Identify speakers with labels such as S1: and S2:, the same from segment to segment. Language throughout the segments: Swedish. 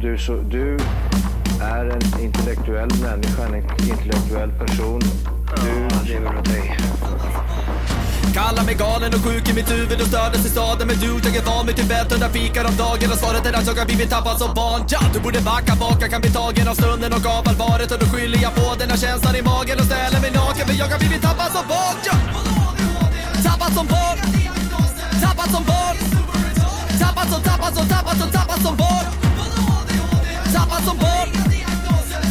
S1: du, så, du är en intellektuell människa, en intellektuell person. Du lever av dig.
S2: Kallar mig galen och sjuk i mitt huvud och stördes i staden Men du, jag är van vid Tibet och där fikar om dagen Och svaret är att jag har blivit tappad som barn ja, Du borde backa bak, jag kan bli tagen av stunden och av allvaret Och då skyller jag på den här känslan i magen och ställer mig naken För jag har blivit tappad som barn ja. Tappad som barn Tappad som barn Tappad som, tappad som, tappad som, tappad som barn Tappad som barn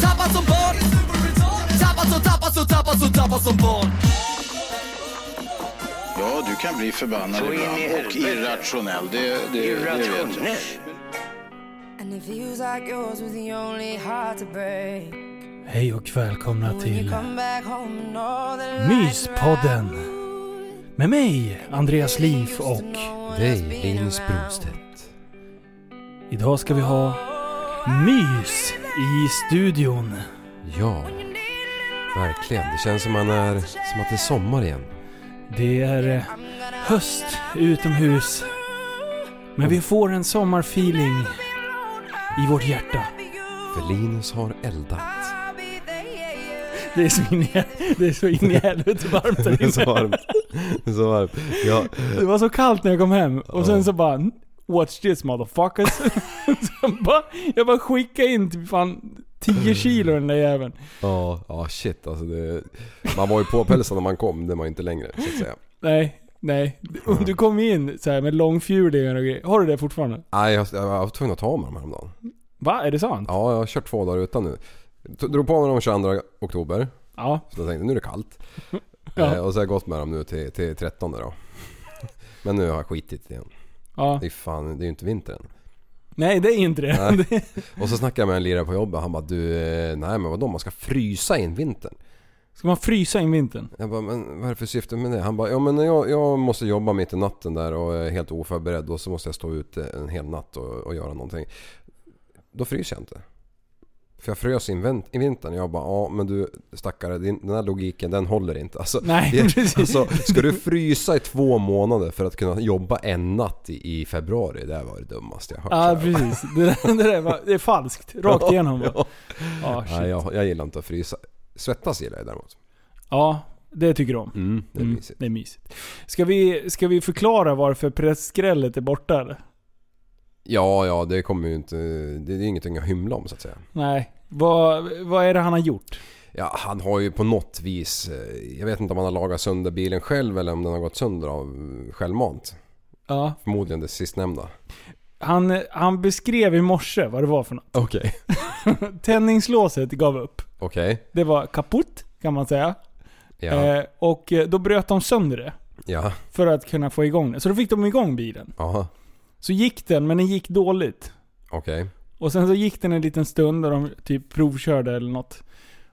S2: Tappad som barn Tappad som, tappad som, tappad som, tappad som barn
S3: Ja, du kan bli förbannad
S1: Så in i
S3: ibland och
S1: helvete.
S3: irrationell. Det, det, det vet jag.
S1: Irrationell.
S4: And it feels like yours was the only heart to break.
S5: Hej och välkomna
S4: When you
S5: till
S4: come back home and all the lights are out.
S5: Myspodden. Med mig, Andreas Liv och
S6: Dig, Linus Brostedt.
S5: idag ska vi ha mys i studion.
S6: Ja, verkligen. Det känns som, man är, som att det är sommar igen.
S5: Det är eh, höst utomhus. Men vi får en sommarfeeling i vårt hjärta.
S6: För Linus har eldat.
S5: Det är så in i, det är så in i helvete varmt där
S6: Det är så
S5: inne.
S6: varmt. Det är så varmt. Ja,
S5: Det var så kallt när jag kom hem och sen
S6: Ja.
S5: så bara Watch this motherfuckers. Sen bara, jag bara skickade in typ fan 10 kilo den där jäveln.
S6: ja, ja shit alltså. Det, man var ju påpälsad när man kom, det är man ju inte längre så att säga.
S5: Nej, nej. Och Du kom in så här med långfjulingar och grejer. Har du det fortfarande?
S6: Nej, jag, jag var tvungen att ta av mig dem häromdagen.
S5: Va? Är det sant?
S6: Ja, jag har kört två dagar utan nu. Jag Drog på mig dem 22 oktober.
S5: Ja.
S6: Så jag tänkte nu är det kallt.
S5: Ja.
S6: Eh, och så har jag gått med dem nu till, till 13 då. Men nu har jag skitit igen.
S5: ja.
S6: Det är fan, det är ju inte vinter än.
S5: Nej, det är inte det.
S6: Nej. Och så snackade jag med en lirare på jobbet han bara du, eh, nej men vadå man ska frysa in vintern?
S5: Ska man frysa in vintern?
S6: Jag bara men vad är det för syfte med det? Han bara ja men jag, jag måste jobba mitt i natten där och är helt oförberedd och så måste jag stå ute en hel natt och, och göra någonting. Då fryser jag inte. För jag frös in vin- i vintern jag bara ja men du stackare din, den här logiken den håller inte. Alltså,
S5: Nej,
S6: det-
S5: precis.
S6: Alltså, ska du frysa i två månader för att kunna jobba en natt i, i februari? Det här var det dummaste jag hört.
S5: Ja,
S6: Så jag bara,
S5: precis. Det, där- det där var, det är falskt. Rakt igenom va?
S6: ja.
S5: Ja,
S6: Nej,
S5: shit.
S6: jag, jag gillar inte att frysa. Svettas gillar jag däremot.
S5: Ja, det tycker du om.
S6: Mm, det är
S5: Mm,
S6: mysigt.
S5: det är mysigt. Ska vi, ska vi förklara varför prästskrället är borta eller?
S6: Ja, ja, det kommer ju inte... Det är ju ingenting att hymla om så att säga.
S5: Nej. Vad, vad är det han har gjort?
S6: Ja, han har ju på något vis... eh, Jag vet inte om han har lagat sönder bilen själv eller om den har gått sönder av eh, självmant.
S5: Ja.
S6: Förmodligen det sistnämnda.
S5: Han, han beskrev i morse vad det var för något.
S6: Okej.
S5: Tändningslåset gav upp.
S6: Okej.
S5: Det var kaputt, kan man säga.
S6: Ja.
S5: Eh, och eh, då bröt de sönder det.
S6: Ja.
S5: För att kunna få igång den. Så då fick de igång bilen.
S6: Aha.
S5: Så gick den, men den gick dåligt.
S6: Okej.
S5: Och sen så gick den en liten stund och de typ provkörde eller något.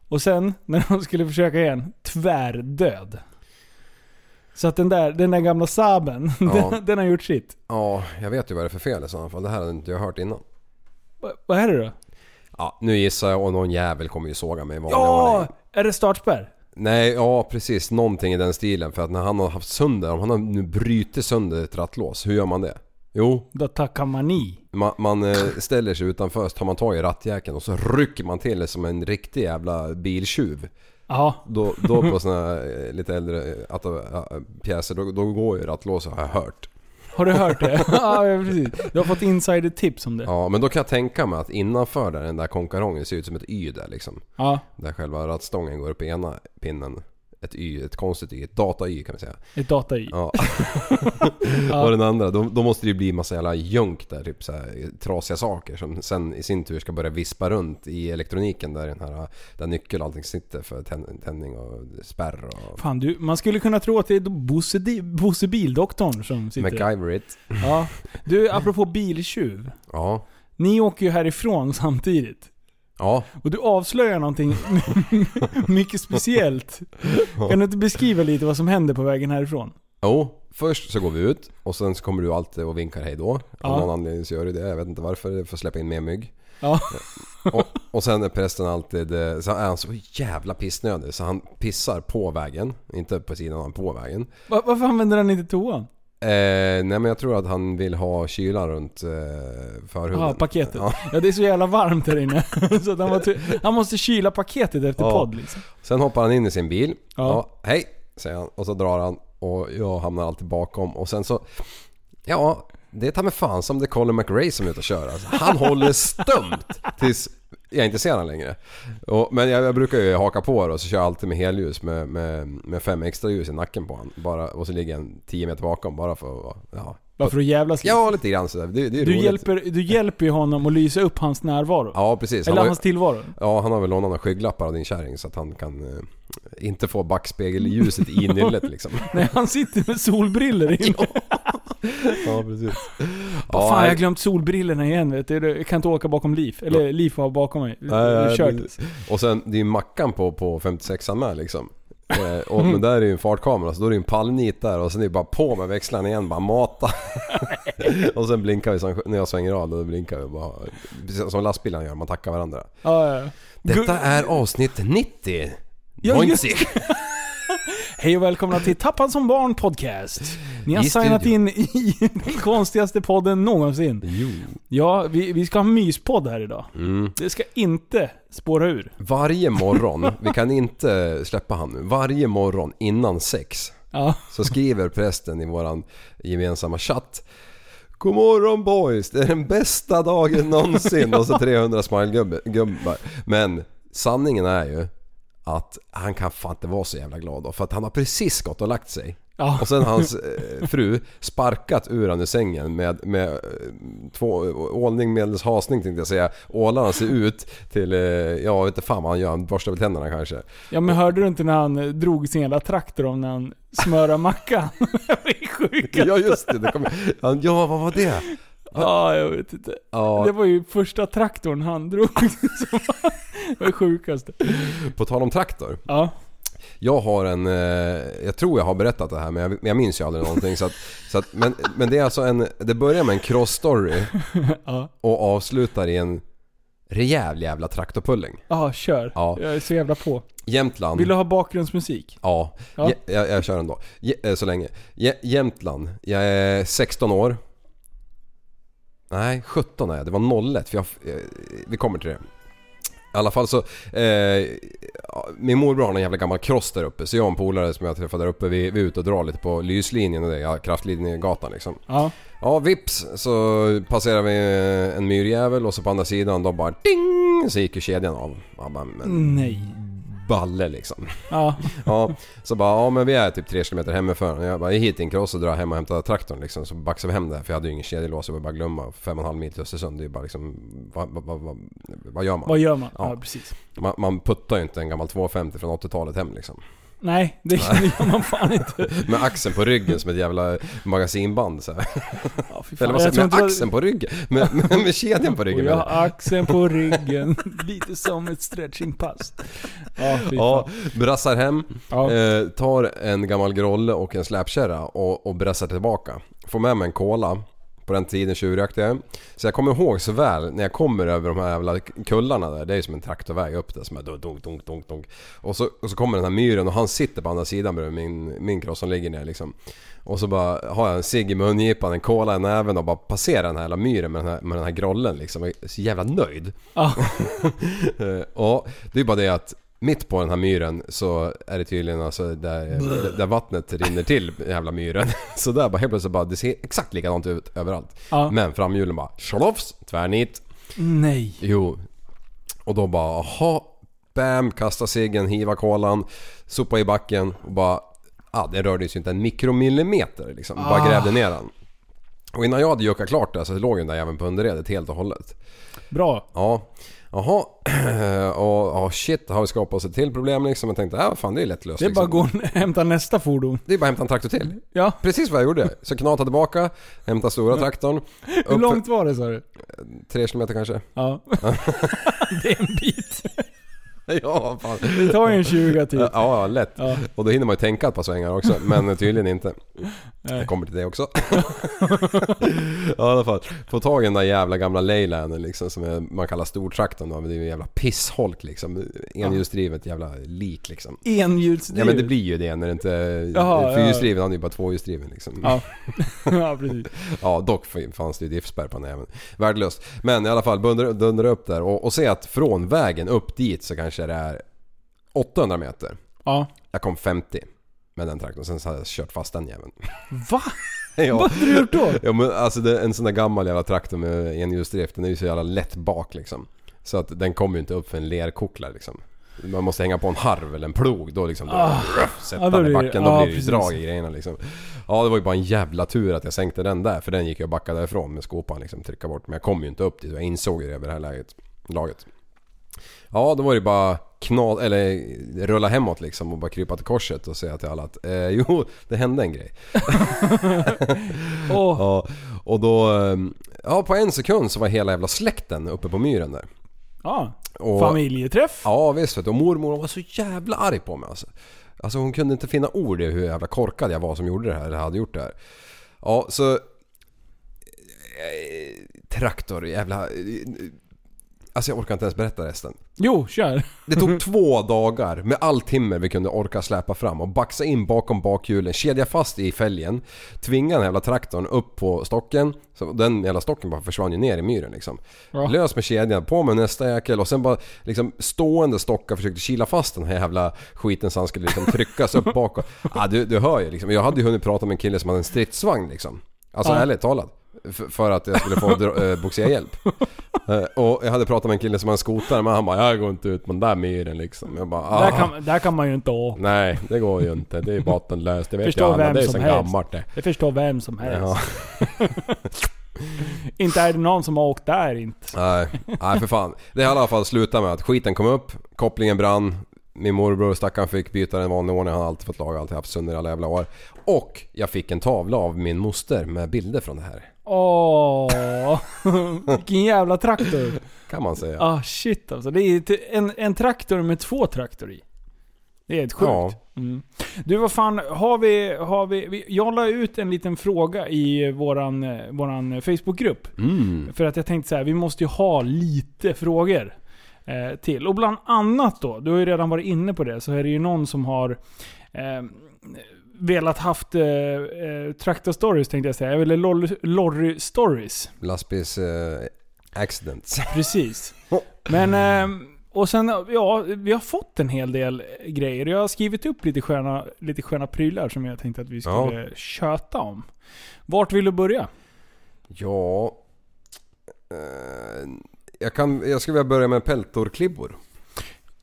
S5: Och sen, när de skulle försöka igen, tvärdöd. Så att den där, den där gamla Saaben,
S6: Ja.
S5: den, den har gjort sitt.
S6: Ja, jag vet ju vad det är för fel i sådana fall. Det här hade inte jag hört innan.
S5: Va, vad är det då?
S6: Ja, nu gissar jag och någon jävel kommer ju såga mig i vanlig ordning.
S5: Ja! Är det startspärr?
S6: Nej, ja precis. Någonting i den stilen. För att när han har haft sönder, om han har nu brutit sönder ett rattlås, hur gör man det? Jo,
S5: Då tackar man i.
S6: man, man eh, ställer sig utanför, så tar man tag i rattjäkeln och så rycker man till det som en riktig jävla biltjuv.
S5: Ja.
S6: Då, då på såna här eh, lite äldre eh, att, eh, pjäser, då, då går ju rattlåset har jag hört.
S5: Har du hört det? ja, ja, precis. Du har fått insider-tips om det. Ja.
S6: Ja, men då kan jag tänka mig att innanför där, den där konkarongen ser ut som ett Y där liksom. Där själva rattstången går upp i ena pinnen. Ett Y, ett konstigt Y, ett data-Y kan vi säga.
S5: Ett data i.
S6: Ja. Och den andra, då, då måste det ju bli massa jävla junk där, typ så här, trasiga saker som sen i sin tur ska börja vispa runt i elektroniken där den här, där nyckel och allting sitter för tänd, tändning och spärr och...
S5: Fan du, man skulle kunna tro att det är Bosse, Di- Bosse Bildoktorn som sitter där.
S6: MacGyverit.
S5: Ja. Du, apropå biltjuv.
S6: Ja.
S5: Ni åker ju härifrån samtidigt.
S6: Ja.
S5: Och du avslöjar någonting mycket speciellt. Kan du inte beskriva lite vad som händer på vägen härifrån?
S6: Jo. Först så går vi ut och sen så kommer du alltid och vinkar hej då. Av
S5: Ja.
S6: någon anledning så gör du det. Jag vet inte varför. För att släppa in mer mygg.
S5: Ja.
S6: Och, och sen är prästen alltid... eh, Så är han så jävla pissnödig så han pissar på vägen. Inte på sidan, han på vägen.
S5: Va- varför använder han inte toan?
S6: Eh, nej men jag tror att han vill ha kylan runt eh, förhuden.
S5: Ja, Ah, paketet.
S6: Ja.
S5: Ja, det är så jävla varmt här inne. så att han, var tu- han måste kyla paketet efter
S6: Ja.
S5: podd liksom.
S6: Sen hoppar han in i sin bil.
S5: Ja.
S6: Ja. hej, säger han. Och så drar han och jag hamnar alltid bakom. Och sen så... Ja, det är ta mig fan som det är Colin McRae som är ute och kör. Alltså, han håller stumt tills jag inte ser honom längre. Och, men jag, jag brukar ju haka på då, så kör jag alltid med helljus med, med, med fem extra ljus i nacken på honom. Bara, och så ligger han 10 meter bakom bara för att... vara- Ja,
S5: Bara för att jävlas lite.
S6: ja lite grann sådär. Det, det är
S5: Du
S6: roligt.
S5: hjälper, du hjälper ju honom att lysa upp hans närvaro.
S6: Ja, precis. Han
S5: Eller
S6: har ju-
S5: hans tillvaro.
S6: Ja, han har väl lånat några skygglappar av din kärring så att han kan eh, inte få backspegelljuset i nyllet liksom.
S5: Nej, han sitter med solbriller inne.
S6: ja, precis.
S5: Vad fan, jag har
S6: nej,
S5: glömt solbrillorna igen vet du. Jag kan inte åka bakom Liv. Eller Liv var bakom mig.
S6: nej, nej,
S5: Kört.
S6: precis. och sen, det är ju Mackan på, på 56an med liksom. Eh, och, men där är ju en fartkamera så då är det ju en pallnit där och sen är det bara på med växlarna igen, bara mata. och sen blinkar vi, som, när jag svänger av då blinkar vi bara. precis Som lastbilarna gör, man tackar varandra.
S5: Ja, ja.
S6: Detta är avsnitt 90!
S5: Ja, just
S6: 90.
S5: Hej och välkomna till Tappan som barn podcast. Ni har
S6: I
S5: signat in
S6: studion.
S5: i den konstigaste podden någonsin.
S6: Jo.
S5: Ja, vi, vi ska ha en myspodd här idag.
S6: Mm.
S5: Det ska inte spåra ur.
S6: Varje morgon, vi kan inte släppa han nu, varje morgon innan sex
S5: Ja.
S6: så skriver prästen i våran gemensamma chatt God morgon boys, det är den bästa dagen någonsin och så 300 smilegubbar. Men sanningen är ju att han kan fan inte vara så jävla glad då för att han har precis gått och lagt sig.
S5: Ja.
S6: Och sen hans eh, fru sparkat ur han ur sängen med, med eh, två, ålning medels hasning tänkte jag säga. Ålar han sig ut till, eh, ja jag vet inte fan vad han gör, han borstar väl tänderna kanske.
S5: ja, men hörde du inte när han eh, drog sin jävla traktor om när han smörade mackan? det är sjukt.
S6: Ja just det, det kom, han, ja vad var det?
S5: Ja, jag vet inte.
S6: Ja.
S5: Det var ju första traktorn han drog. som var- det var det sjukaste.
S6: På tal om traktor.
S5: Ja.
S6: Jag har en, eh, jag tror jag har berättat det här men jag, men jag minns ju aldrig någonting. Så att, så att, men, men det är alltså en, det börjar med en cross story
S5: Ja.
S6: och avslutar i en rejäl jävla traktorpulling.
S5: Ja, kör.
S6: Ja.
S5: Jag är så jävla på.
S6: Jämtland.
S5: Vill du ha bakgrundsmusik?
S6: Ja,
S5: Ja.
S6: Je- Jag, jag kör ändå. Je, eh, så länge. Je, Jämtland. Jag är 16 år. Nej, 17 är jag. Det var 01 för jag, eh, Vi kommer till det. I alla fall så... Eh, ja, min morbror har en jävla gammal cross där uppe så jag och en polare som jag träffade där uppe vi, vi är ute och drar lite på lyslinjen och det, ja, kraftlinjegatan liksom.
S5: Ja.
S6: Ja, vips så passerar vi eh, en myrjävel och så på andra sidan då bara ding så gick ju kedjan av. Man bara, men
S5: Nej.
S6: balle liksom.
S5: Ja.
S6: Ja, så bara ja men vi är typ 3 km hemifrån. Och Jag bara hit i en cross och drar hem och hämtar traktorn liksom. Så baxar vi hem det här för jag hade ju ingen kedjelås. Jag var bara glömma. Fem och en halv mil till Östersund. Det är ju bara liksom... Vad, vad, vad, vad, vad gör
S5: Vad
S6: man?
S5: gör man? Ja,
S6: Ja.
S5: precis.
S6: man? Man puttar ju inte en gammal 250 från 80-talet hem liksom.
S5: Nej, det gör man fan inte.
S6: Med axeln på ryggen som ett jävla magasinband så här.
S5: Ja, fy fan.
S6: Eller vad säger
S5: tror
S6: man?
S5: inte
S6: Med
S5: det-
S6: axeln på ryggen? Med, med, med kedjan på
S5: Och
S6: ryggen
S5: jag
S6: menar jag.
S5: har axeln på ryggen. Lite som ett stretchingpass. Ja, fy
S6: Ja,
S5: fan.
S6: brassar hem.
S5: Ja.
S6: Eh, tar en gammal grolle och en släpkärra och, och brassar tillbaka. Får med mig en cola. På den tiden tjuvrökte jag. Så jag kommer ihåg så väl när jag kommer över de här jävla kullarna där. Det är ju som en traktorväg upp där som är dunk, dunk, dunk, dunk, dunk. Och så, och så kommer den här myren och han sitter på andra sidan bredvid min, min cross som ligger ner liksom. Och så bara har jag en cigg i mungipan, en cola i näven och bara passerar den här jävla myren med den här, med den här grollen liksom. Jag är så jävla nöjd.
S5: Ja.
S6: Eh, Ja, det är bara det att mitt på den här myren så är det tydligen alltså där, där vattnet rinner till jävla myren. Så där bara helt plötsligt bara, det ser exakt likadant ut överallt.
S5: Ja.
S6: Men framhjulen bara tjolofs, tvärnit.
S5: Nej.
S6: Jo. Och då bara aha, bam, kasta ciggen, hiva kolan, sopa i backen och bara... Ah, det rörde sig inte en mikromillimeter liksom. Bara grävde ner den. Och innan jag hade juckat klart det så låg den där jäveln på underredet helt och hållet.
S5: Bra.
S6: Ja. Jaha. Och ja, shit, har vi skapat oss ett till problem liksom? Jag tänkte, ja fan det är lättlöst.
S5: Det är bara
S6: liksom.
S5: att gå och hämta nästa fordon.
S6: det är bara att hämta en traktor till.
S5: Ja.
S6: Precis vad jag gjorde. Så knata tillbaka, hämta stora traktorn.
S5: Hur
S6: Upp
S5: långt var det sa du?
S6: för Tre kilometer kanske.
S5: Ja. det är en bit.
S6: Ja, fan.
S5: Det tar ju en 20 till.
S6: Ja, ja, lätt.
S5: Ja.
S6: Och då hinner man ju tänka ett par svängar också, men tydligen inte. Jag kommer till det också. ja, i alla fall. Få tag i den där jävla gamla Leylanden liksom som är, man kallar stortraktorn då. Men det är ju en jävla pissholk liksom. Enhjulsdrivet jävla lik liksom.
S5: Enhjulsdrivet.
S6: Ja men det blir ju det när det inte...
S5: Jaha, ja.
S6: Fyrhjulsdriven, han är ju bara tvåhjulsdriven liksom.
S5: Ja. ja, precis.
S6: Ja, dock fanns det ju driftspärr på den även. Värdelöst. Men i alla fall, dundra, dundra upp där och, och se att från vägen upp dit så kanske det är 800 meter.
S5: Ja.
S6: Jag kom 50 med den traktorn, sen så hade jag kört fast den jäveln.
S5: Va?
S6: ja.
S5: Vad hade du gjort då?
S6: ja, men alltså det, en sån där gammal jävla traktor med enhjulsdrift, den är ju så jävla lätt bak liksom. Så att den kommer ju inte upp för en lerkokla liksom. Man måste hänga på en harv eller en plog då liksom. Då, ruff, sätta
S5: Ah, Ja, då
S6: den i
S5: blir det-
S6: backen, då
S5: ja,
S6: blir det ju
S5: precis.
S6: drag i grejerna liksom. Ja, det var ju bara en jävla tur att jag sänkte den där, för den gick jag och backade därifrån med skopan liksom, trycka bort. Men jag kom ju inte upp dit och jag insåg ju det vid det här läget, laget. Ja, då var det bara knal, eller rulla hemåt liksom och bara krypa till korset och säga till alla att eh, jo, det hände en grej.
S5: Åh,
S6: Ja, och då... eh, Ja, på en sekund så var hela jävla släkten uppe på myren där.
S5: ja.
S6: Och,
S5: Familjeträff.
S6: Ja, visst vet du. Och mormor hon var så jävla arg på mig alltså. Alltså hon kunde inte finna ord i hur jävla korkad jag var som gjorde det här, eller hade gjort det här. Ja, så... eh, Traktor, jävla... eh, Alltså jag orkar inte ens berätta resten.
S5: Jo, kör.
S6: Det tog två dagar med all timmer vi kunde orka släpa fram och baxa in bakom bakhjulen, kedja fast i fälgen, tvinga den jävla traktorn upp på stocken. Så den jävla stocken bara försvann ju ner i myren liksom.
S5: Ja.
S6: Lös med kedjan, på med nästa jäkel och sen bara liksom stående stockar försökte kila fast den här jävla skiten så han skulle liksom tryckas upp bakåt. Ja, du, du hör ju liksom. Jag hade ju hunnit prata med en kille som hade en stridsvagn liksom. Alltså
S5: Ja.
S6: ärligt talat. För, för att jag skulle få dra- eh, bogserhjälp. Eh, Och jag hade pratat med en kille som har en skoter men han bara 'Jag går inte ut på den där myren' liksom. Jag bara ah,
S5: Där kan, där kan man ju inte å.
S6: Nej, det går ju inte. Det är bottenlöst. Det vet
S5: Förstår
S6: jag Anna.
S5: vem
S6: Det är
S5: som
S6: så
S5: helst.
S6: gammalt det.
S5: Det förstår vem som helst.
S6: Ja.
S5: Inte är det någon som har åkt där inte.
S6: Nej, nej för fan. Det har i alla fall slutat med att skiten kom upp, kopplingen brann. Min morbror stackaren fick byta den i vanlig ordning. Han har alltid fått laga, alltid haft sönder i alla jävla år. Och jag fick en tavla av min moster med bilder från det här.
S5: Åh, vilken jävla traktor.
S6: Kan man säga.
S5: Ah shit alltså. Det är t- en, en traktor med två traktor i. Det är helt sjukt.
S6: Ja.
S5: Mm. Du vad fan, har vi, har vi, vi... Jag la ut en liten fråga i våran, eh, våran Facebookgrupp.
S6: Mm.
S5: För att jag tänkte så här, vi måste ju ha lite frågor eh, till. Och bland annat då, du har ju redan varit inne på det, så är det ju någon som har eh, velat haft eh, eh, Traktor Stories tänkte jag säga, eller lorry, lorry Stories.
S6: Lastbils eh, accidents.
S5: Precis. Men, eh, och sen, ja, vi har fått en hel del grejer. Jag har skrivit upp lite sköna, lite sköna prylar som jag tänkte att vi skulle köta om. Vart vill du börja?
S6: Ja... Eh, jag, kan, jag skulle vilja börja med peltorklibbor.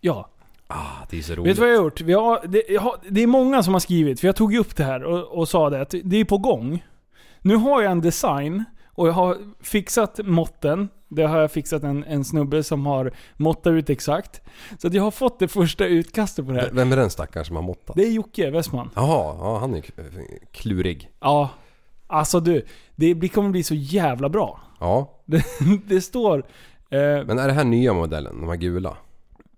S5: Ja,
S6: Ah, det är så
S5: Vet du vad jag har gjort? Vi har, det, jag har, det är många som har skrivit, för jag tog ju upp det här och, och sa det att det är på gång. Nu har jag en design och jag har fixat måtten. Det har jag fixat en, en snubbe som har måttat ut exakt. Så att jag har fått det första utkastet på det här.
S6: Vem är den stackaren som har måttat?
S5: Det är Jocke Westman.
S6: Jaha, ja, han är ju k- klurig.
S5: Ja. Alltså du, det blir- kommer bli så jävla bra.
S6: Ja,
S5: Det, det står... Eh,
S6: Men är det här nya modellen? De här gula?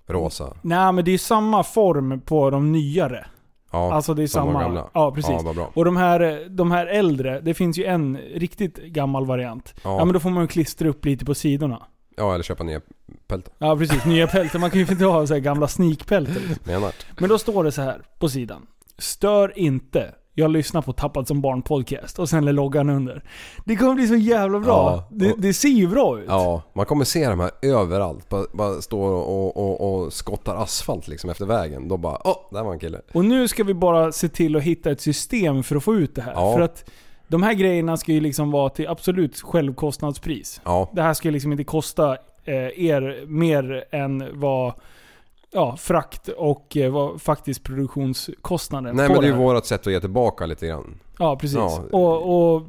S6: Rosa?
S5: nej men det är ju samma form på de nyare.
S6: Ja,
S5: Alltså det är
S6: som de
S5: samma.
S6: gamla.
S5: Ja, precis.
S6: Ja, vad bra.
S5: Och de här, de här äldre, det finns ju en riktigt gammal variant. Ja.
S6: Ja.
S5: men då får man ju klistra upp lite på sidorna.
S6: Ja, eller köpa nya peltor.
S5: Ja precis, nya pälten. Man kan ju inte ha så här gamla sneakpälten. liksom.
S6: Menar.
S5: Men då står det så här på sidan. Stör inte. Jag lyssnar på Tappad som barn podcast och sen är loggan under. Det kommer bli så jävla bra.
S6: Ja,
S5: det,
S6: och-
S5: det ser ju bra ut.
S6: Ja, man kommer se de här överallt. Bara, bara står och, och, och skottar asfalt liksom efter vägen. Då bara åh, där var en kille.
S5: Och nu ska vi bara se till att hitta ett system för att få ut det här.
S6: Ja.
S5: För att de här grejerna ska ju liksom vara till absolut självkostnadspris.
S6: Ja,
S5: Det här ska ju liksom inte kosta eh, er mer än vad ja, frakt och eh, vad faktiskt produktionskostnaden
S6: nej
S5: på
S6: men det är ju
S5: här.
S6: vårat sätt att ge tillbaka lite grann.
S5: Ja, precis.
S6: Ja.
S5: Och, och,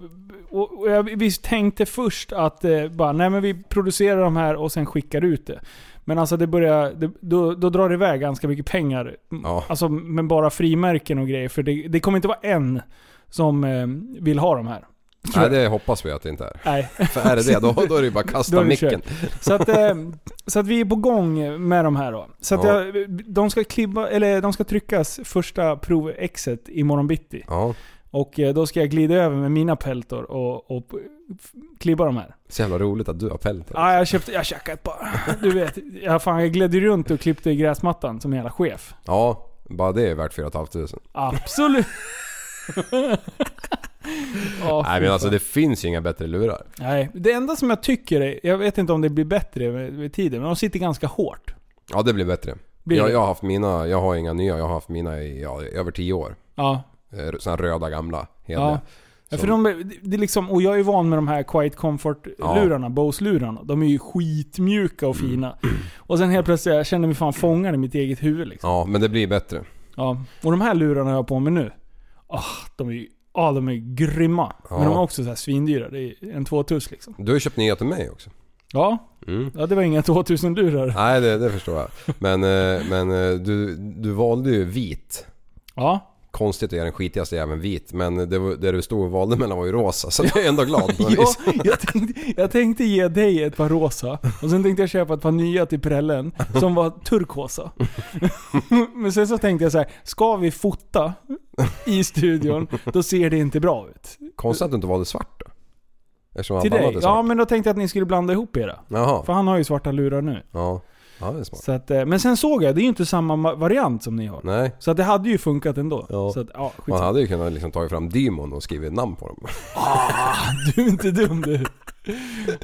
S5: och, och jag, vi tänkte först att eh, bara, nej men vi producerar de här och sen skickar ut det. Men alltså det börjar, det, då, då drar det iväg ganska mycket pengar.
S6: Ja.
S5: Alltså men bara frimärken och grejer. För det, det kommer inte vara en som eh, vill ha de här.
S6: Nej det hoppas vi att det inte är.
S5: Nej.
S6: För är det det då, då är det ju bara att
S5: Då
S6: kasta
S5: är det
S6: micken.
S5: Så att, eh, så att vi är på gång med de här då. Så att
S6: Ja.
S5: jag, de, ska klibba, eller de ska tryckas första provexet imorgon bitti.
S6: Ja,
S5: Och eh, då ska jag glida över med mina peltor och, och p- f- klibba de här.
S6: Så jävla roligt att du har peltor.
S5: Ja, jag köpte, jag käkade ett par. Du vet, jag, fan, jag glädde runt och klippte i gräsmattan som en jävla chef.
S6: Ja, bara det är värt 4 500.
S5: Absolut. Ja,
S6: Nej
S5: fy
S6: men
S5: fan.
S6: alltså det finns ju inga bättre lurar.
S5: Nej, det enda som jag tycker är, jag vet inte om det blir bättre med, med tiden, men de sitter ganska hårt.
S6: Ja det blir bättre.
S5: Blir
S6: jag,
S5: det?
S6: jag har haft mina, jag har inga nya, jag har haft mina i ja, över 10 år.
S5: Ja.
S6: Eh, Såna här röda gamla. Heliga.
S5: ja. ja för de, är- det är liksom, och jag är van med de här Quiet Comfort-lurarna, Bose-lurarna. De är ju skitmjuka
S6: Mm.
S5: och fina. Och sen helt plötsligt, jag känner mig fan fångad i mitt eget huvud liksom.
S6: Ja, men det blir bättre.
S5: Ja. Och de här lurarna jag har på mig nu. Ah, de är ju, ah, de är grymma. Men
S6: Ja.
S5: de är också så här svindyra. Det är en 2000 liksom.
S6: Du har ju köpt nya till mig också.
S5: Ja,
S6: Mm.
S5: ja det var inga 2000-lurar.
S6: Nej, det, det förstår jag. Men, eh, men eh, du, du valde ju vit.
S5: Ja.
S6: Konstigt att göra den skitigaste jäveln vit, men det, var- det du stod och valde mellan var ju rosa, så jag är ändå glad på något
S5: Ja,
S6: vis.
S5: jag, tänkte, jag tänkte ge dig ett par rosa och sen tänkte jag köpa ett par nya till prällen som var turkosa. Men sen så tänkte jag så här: ska vi fota i studion, då ser det inte bra ut.
S6: Konstigt att du inte valde svart då. Eftersom
S5: Till
S6: allt annat
S5: dig?
S6: är
S5: Ja,
S6: svart.
S5: men då tänkte jag att ni skulle blanda ihop era.
S6: Jaha.
S5: För han har ju svarta lurar nu.
S6: Ja. ja, det är smart.
S5: Så att, eh, men sen såg jag, det är ju inte samma ma- variant som ni har.
S6: Nej.
S5: Så att det hade ju funkat ändå.
S6: Ja.
S5: Så att, ja,
S6: Man
S5: skitsamma.
S6: hade ju kunnat liksom tagit fram Dymon och skrivit namn på dem.
S5: Du är inte dum du.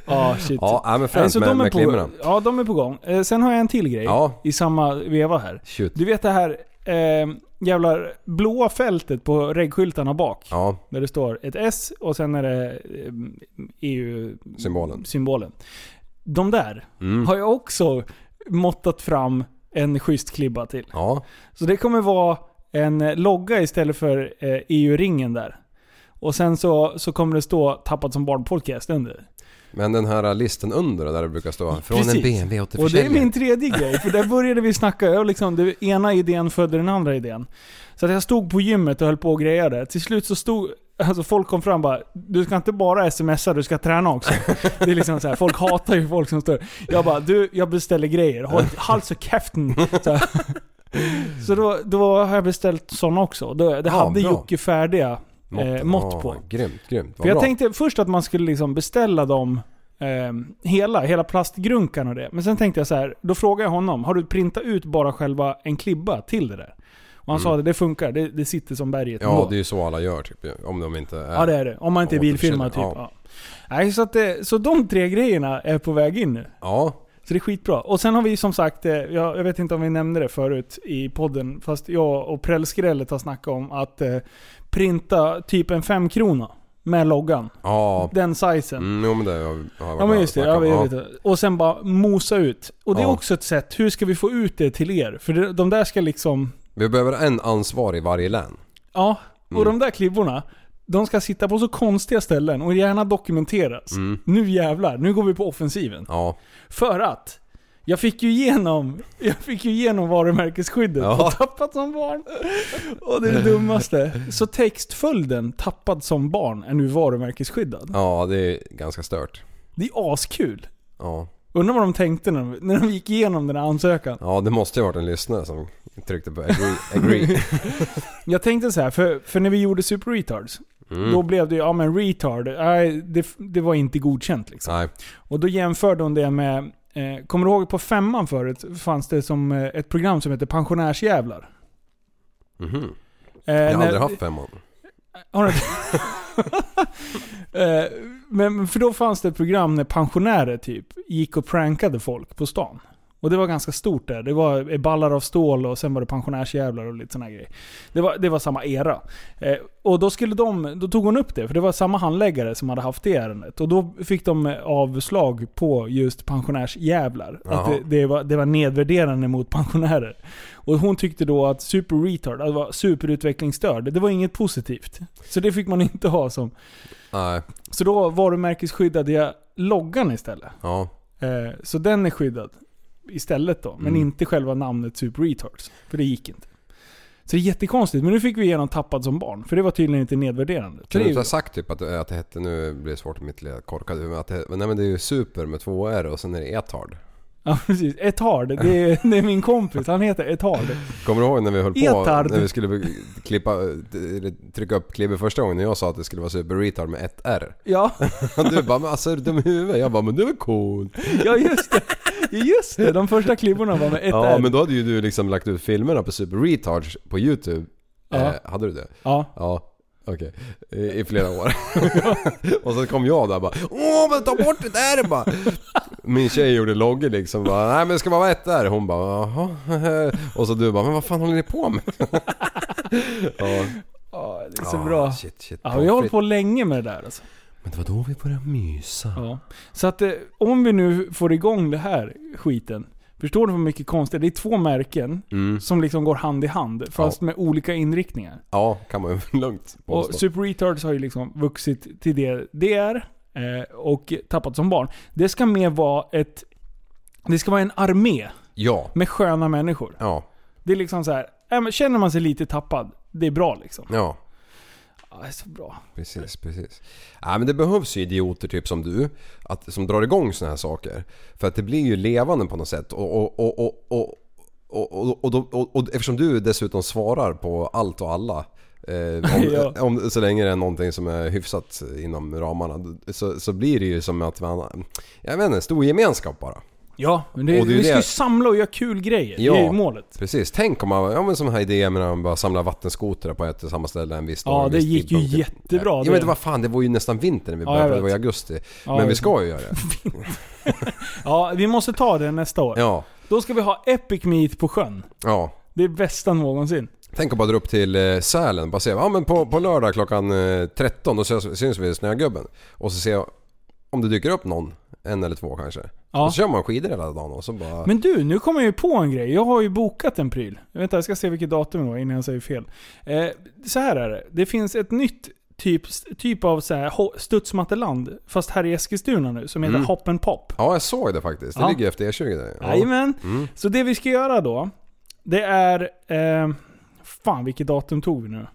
S5: Ja, shit.
S6: Ja, nej, men
S5: Nej,
S6: främst
S5: så
S6: med,
S5: de är
S6: med
S5: på-
S6: klimmerna.
S5: Ja, de är på gång. Eh, sen har jag en till grej
S6: Ja.
S5: i samma veva här.
S6: Shoot.
S5: Du vet det här eh, jävla blåa fältet på regskyltarna bak?
S6: Ja,
S5: Där det står ett S och sen är det eh,
S6: symbolen.
S5: EU-symbolen. De där
S6: Mm.
S5: har jag också måttat fram en schysst klibba till.
S6: Ja,
S5: Så det kommer vara en eh, logga istället för eh, EU-ringen där. Och sen så, så kommer det stå “Tappat som barn podcast” under.
S6: men den här listen under där det brukar stå från en
S5: Precis.
S6: BMW åter
S5: Och det är
S6: försäljning.
S5: min tredje grej, för där började vi snacka. Och liksom, den ena idén födde den andra idén. Så att jag stod på gymmet och höll på och grejade. Till slut så stod... Alltså folk kom fram och bara Du ska inte bara smsa, du ska träna också. Det är liksom så här, folk hatar ju folk som står... Jag bara du, jag beställer grejer. Håll hals och käften. Så, här. så då, då har jag beställt sådana också. Då, det
S6: Ja,
S5: hade
S6: bra.
S5: Jocke färdiga eh,
S6: Måtten.
S5: mått
S6: Ja,
S5: på.
S6: Grymt, grymt. Vad
S5: För jag
S6: bra.
S5: tänkte först att man skulle liksom beställa dem eh, hela, hela plastgrunkan och det. Men sen tänkte jag så här, då frågade jag honom, har du printat ut bara själva en klibba till det där? Och han sa att det funkar, det, det sitter som berget
S6: Mm. Ja,
S5: ändå.
S6: det är ju så alla gör typ ju, Om de inte är...
S5: ja det är det. Om man inte är
S6: Ja,
S5: bilfilmare typ.
S6: återförsäljare,
S5: Ja. Nej, så, att det, så de tre grejerna är på väg in nu.
S6: Ja,
S5: Så det är skitbra. Och sen har vi som sagt, eh, jag, jag vet inte om vi nämnde det förut i podden, fast jag och Prällskrället har snackat om att eh, printa typ en femkrona med loggan.
S6: ja.
S5: Den sizen.
S6: Mm, jo men det har jag har jag varit
S5: Ja
S6: med
S5: men
S6: och
S5: just det,
S6: snackat
S5: ja,
S6: om.
S5: vi vet det. Och sen bara mosa ut. Och det är
S6: Ja.
S5: också ett sätt, hur ska vi få ut det till er? För det- de där ska liksom,
S6: Vi behöver en ansvarig i varje län.
S5: ja. Och
S6: Mm.
S5: de där klibborna, de ska sitta på så konstiga ställen och gärna dokumenteras.
S6: Mm.
S5: Nu jävlar, nu går vi på offensiven.
S6: Ja.
S5: För att, jag fick ju igenom, jag fick ju igenom varumärkesskyddet
S6: Ja.
S5: och tappat som barn. Och det är det dummaste. Så textföljden, tappad som barn, är nu varumärkesskyddad.
S6: ja, det är ganska stört.
S5: Det är askul.
S6: Ja.
S5: Undrar vad de tänkte när de, när de gick igenom den här ansökan.
S6: ja, det måste ju ha varit en lyssnare som tryckte på agree. agree.
S5: Jag tänkte så här, för, för när vi gjorde Super Retards,
S6: Mm.
S5: då blev det ju, ja men retard, nej, det, det var inte godkänt liksom.
S6: Nej.
S5: Och då jämförde hon det med, eh, kommer du ihåg på femman förut fanns det som eh, ett program som hette Pensionärsjävlar?
S6: Mhm.
S5: Eh,
S6: Jag har
S5: när-
S6: aldrig haft femman.
S5: Har du Eh, Men för då fanns det ett program när pensionärer typ gick och prankade folk på stan. Och det var ganska stort där. Det var eh, ballar av stål och sen var det pensionärsjävlar och lite sådana grejer. Det var, det var samma era. Eh, och då, skulle de, då tog hon upp det, för det var samma handläggare som hade haft det ärendet. Och då fick de eh, avslag på just pensionärsjävlar. Att
S6: Jaha.
S5: det, det, var, det var nedvärderande mot pensionärer. Och hon tyckte då att super retard, att vara superutvecklingsstörd, det var inget positivt. Så det fick man inte ha som.
S6: Nej.
S5: Så då varumärkesskyddade jag loggan istället.
S6: Ja.
S5: Eh, så den är skyddad istället då. Men
S6: Mm.
S5: inte själva namnet super retards. För det gick inte. Så det är jättekonstigt. Men nu fick vi igenom tappad som barn. För det var tydligen inte nedvärderande. Så
S6: Kunde
S5: det
S6: du
S5: är
S6: inte
S5: ju-
S6: ha sagt typ att, att det hette, nu blir det svårt med mitt lilla korkade huvud, men att det, nej men det är ju super med två R och sen är det etard.
S5: Ja precis. Etard. Det är, det är min kompis. Han heter Etard.
S6: Kommer du ihåg när vi höll på?
S5: Etard.
S6: När vi skulle be- klippa, eller trycka upp klibben första gången när jag sa att det skulle vara super retard med ett R.
S5: Ja,
S6: Du bara men alltså är du dum i huvudet? Jag bara men det är väl coolt?
S5: ja just det. Ja, Just det. De första klibborna var med ett
S6: Ja
S5: R.
S6: men då hade ju du liksom lagt ut filmerna på super retards på youtube.
S5: Ja.
S6: Eh, hade du det?
S5: Ja.
S6: Ja. Okej, I, i flera år. och så kom jag där bara Åh men ta bort det där bara! Min tjej gjorde loggen liksom bara, Nej men det ska bara vara ett där. Hon bara jaha. Och så du bara men vad fan håller ni på med? ja.
S5: Ja, det är så
S6: Ah,
S5: bra.
S6: Shit, shit,
S5: Ja, vi har hållit på länge med det där alltså.
S6: Men det var då vi började mysa.
S5: Ja. Så att eh, om vi nu får igång det här skiten. Förstår du hur mycket konstigt? Det är två märken
S6: Mm.
S5: som liksom går hand i hand. Fast med olika inriktningar.
S6: Ja, kan man ju lugnt
S5: Och
S6: påstå.
S5: Super Retards har ju liksom vuxit till det det är. eh, Och tappat som barn. Det ska mer vara ett... Det ska vara en armé
S6: Ja.
S5: med sköna människor.
S6: Ja.
S5: Det är liksom så här, äh, men känner man sig lite tappad, det är bra liksom.
S6: Ja.
S5: Ja, det är så bra.
S6: Precis, precis. Ja, men det behövs ju idioter typ som du, att, som drar igång såna här saker. För att det blir ju levande på något sätt. Och, och, och, och, och, och, och, och, och, och, och eftersom du dessutom svarar på allt och alla. Eh, om,
S5: Ja.
S6: om, så länge det är någonting som är hyfsat inom ramarna så, så blir det ju som att man... Jag vet inte, stor gemenskap bara.
S5: Ja, men det,
S6: Och det är ju
S5: vi ska
S6: det-
S5: ju samla och göra kul grejer. Det är ju målet.
S6: Precis, tänk om man, ja men som här idén med att man bara samlar vattenskotrar på ett och samma ställe en viss dag.
S5: Ja,
S6: en
S5: det
S6: viss
S5: gick ju
S6: tidpunkt.
S5: jättebra,
S6: Ja
S5: det.
S6: men det var fan, det var ju nästan vinter när vi
S5: Ja, jag
S6: började, det
S5: vet.
S6: var i augusti.
S5: Ja, jag
S6: men vi
S5: vet.
S6: ska ju göra det.
S5: Ja, vi måste ta det nästa år.
S6: Ja,
S5: Då ska vi ha Epic Meet på sjön.
S6: ja.
S5: Det är bästa någonsin.
S6: Tänk att bara dra upp till eh, Sälen, bara se, ja men på, på lördag klockan eh, 13 då syns, syns vi i Snögubben. Och så se om det dyker upp någon, en eller två kanske.
S5: Ja.
S6: Och så kör man skidor hela dagen och så bara...
S5: Men du, nu kommer jag ju på en grej. Jag har ju bokat en pryl. Vänta, jag ska se vilket datum det var innan jag säger fel. Eh, så här är det. Det finns ett nytt typ, typ av så här ho- studsmatteland, fast här i Eskilstuna nu, som heter
S6: Mm.
S5: Hop and Pop.
S6: Ja jag såg det faktiskt, det
S5: Ja.
S6: ligger efter E20 där. Ja.
S5: Jajamän.
S6: Mm.
S5: Så det vi ska göra då, det är... Eh, fan vilket datum tog vi nu?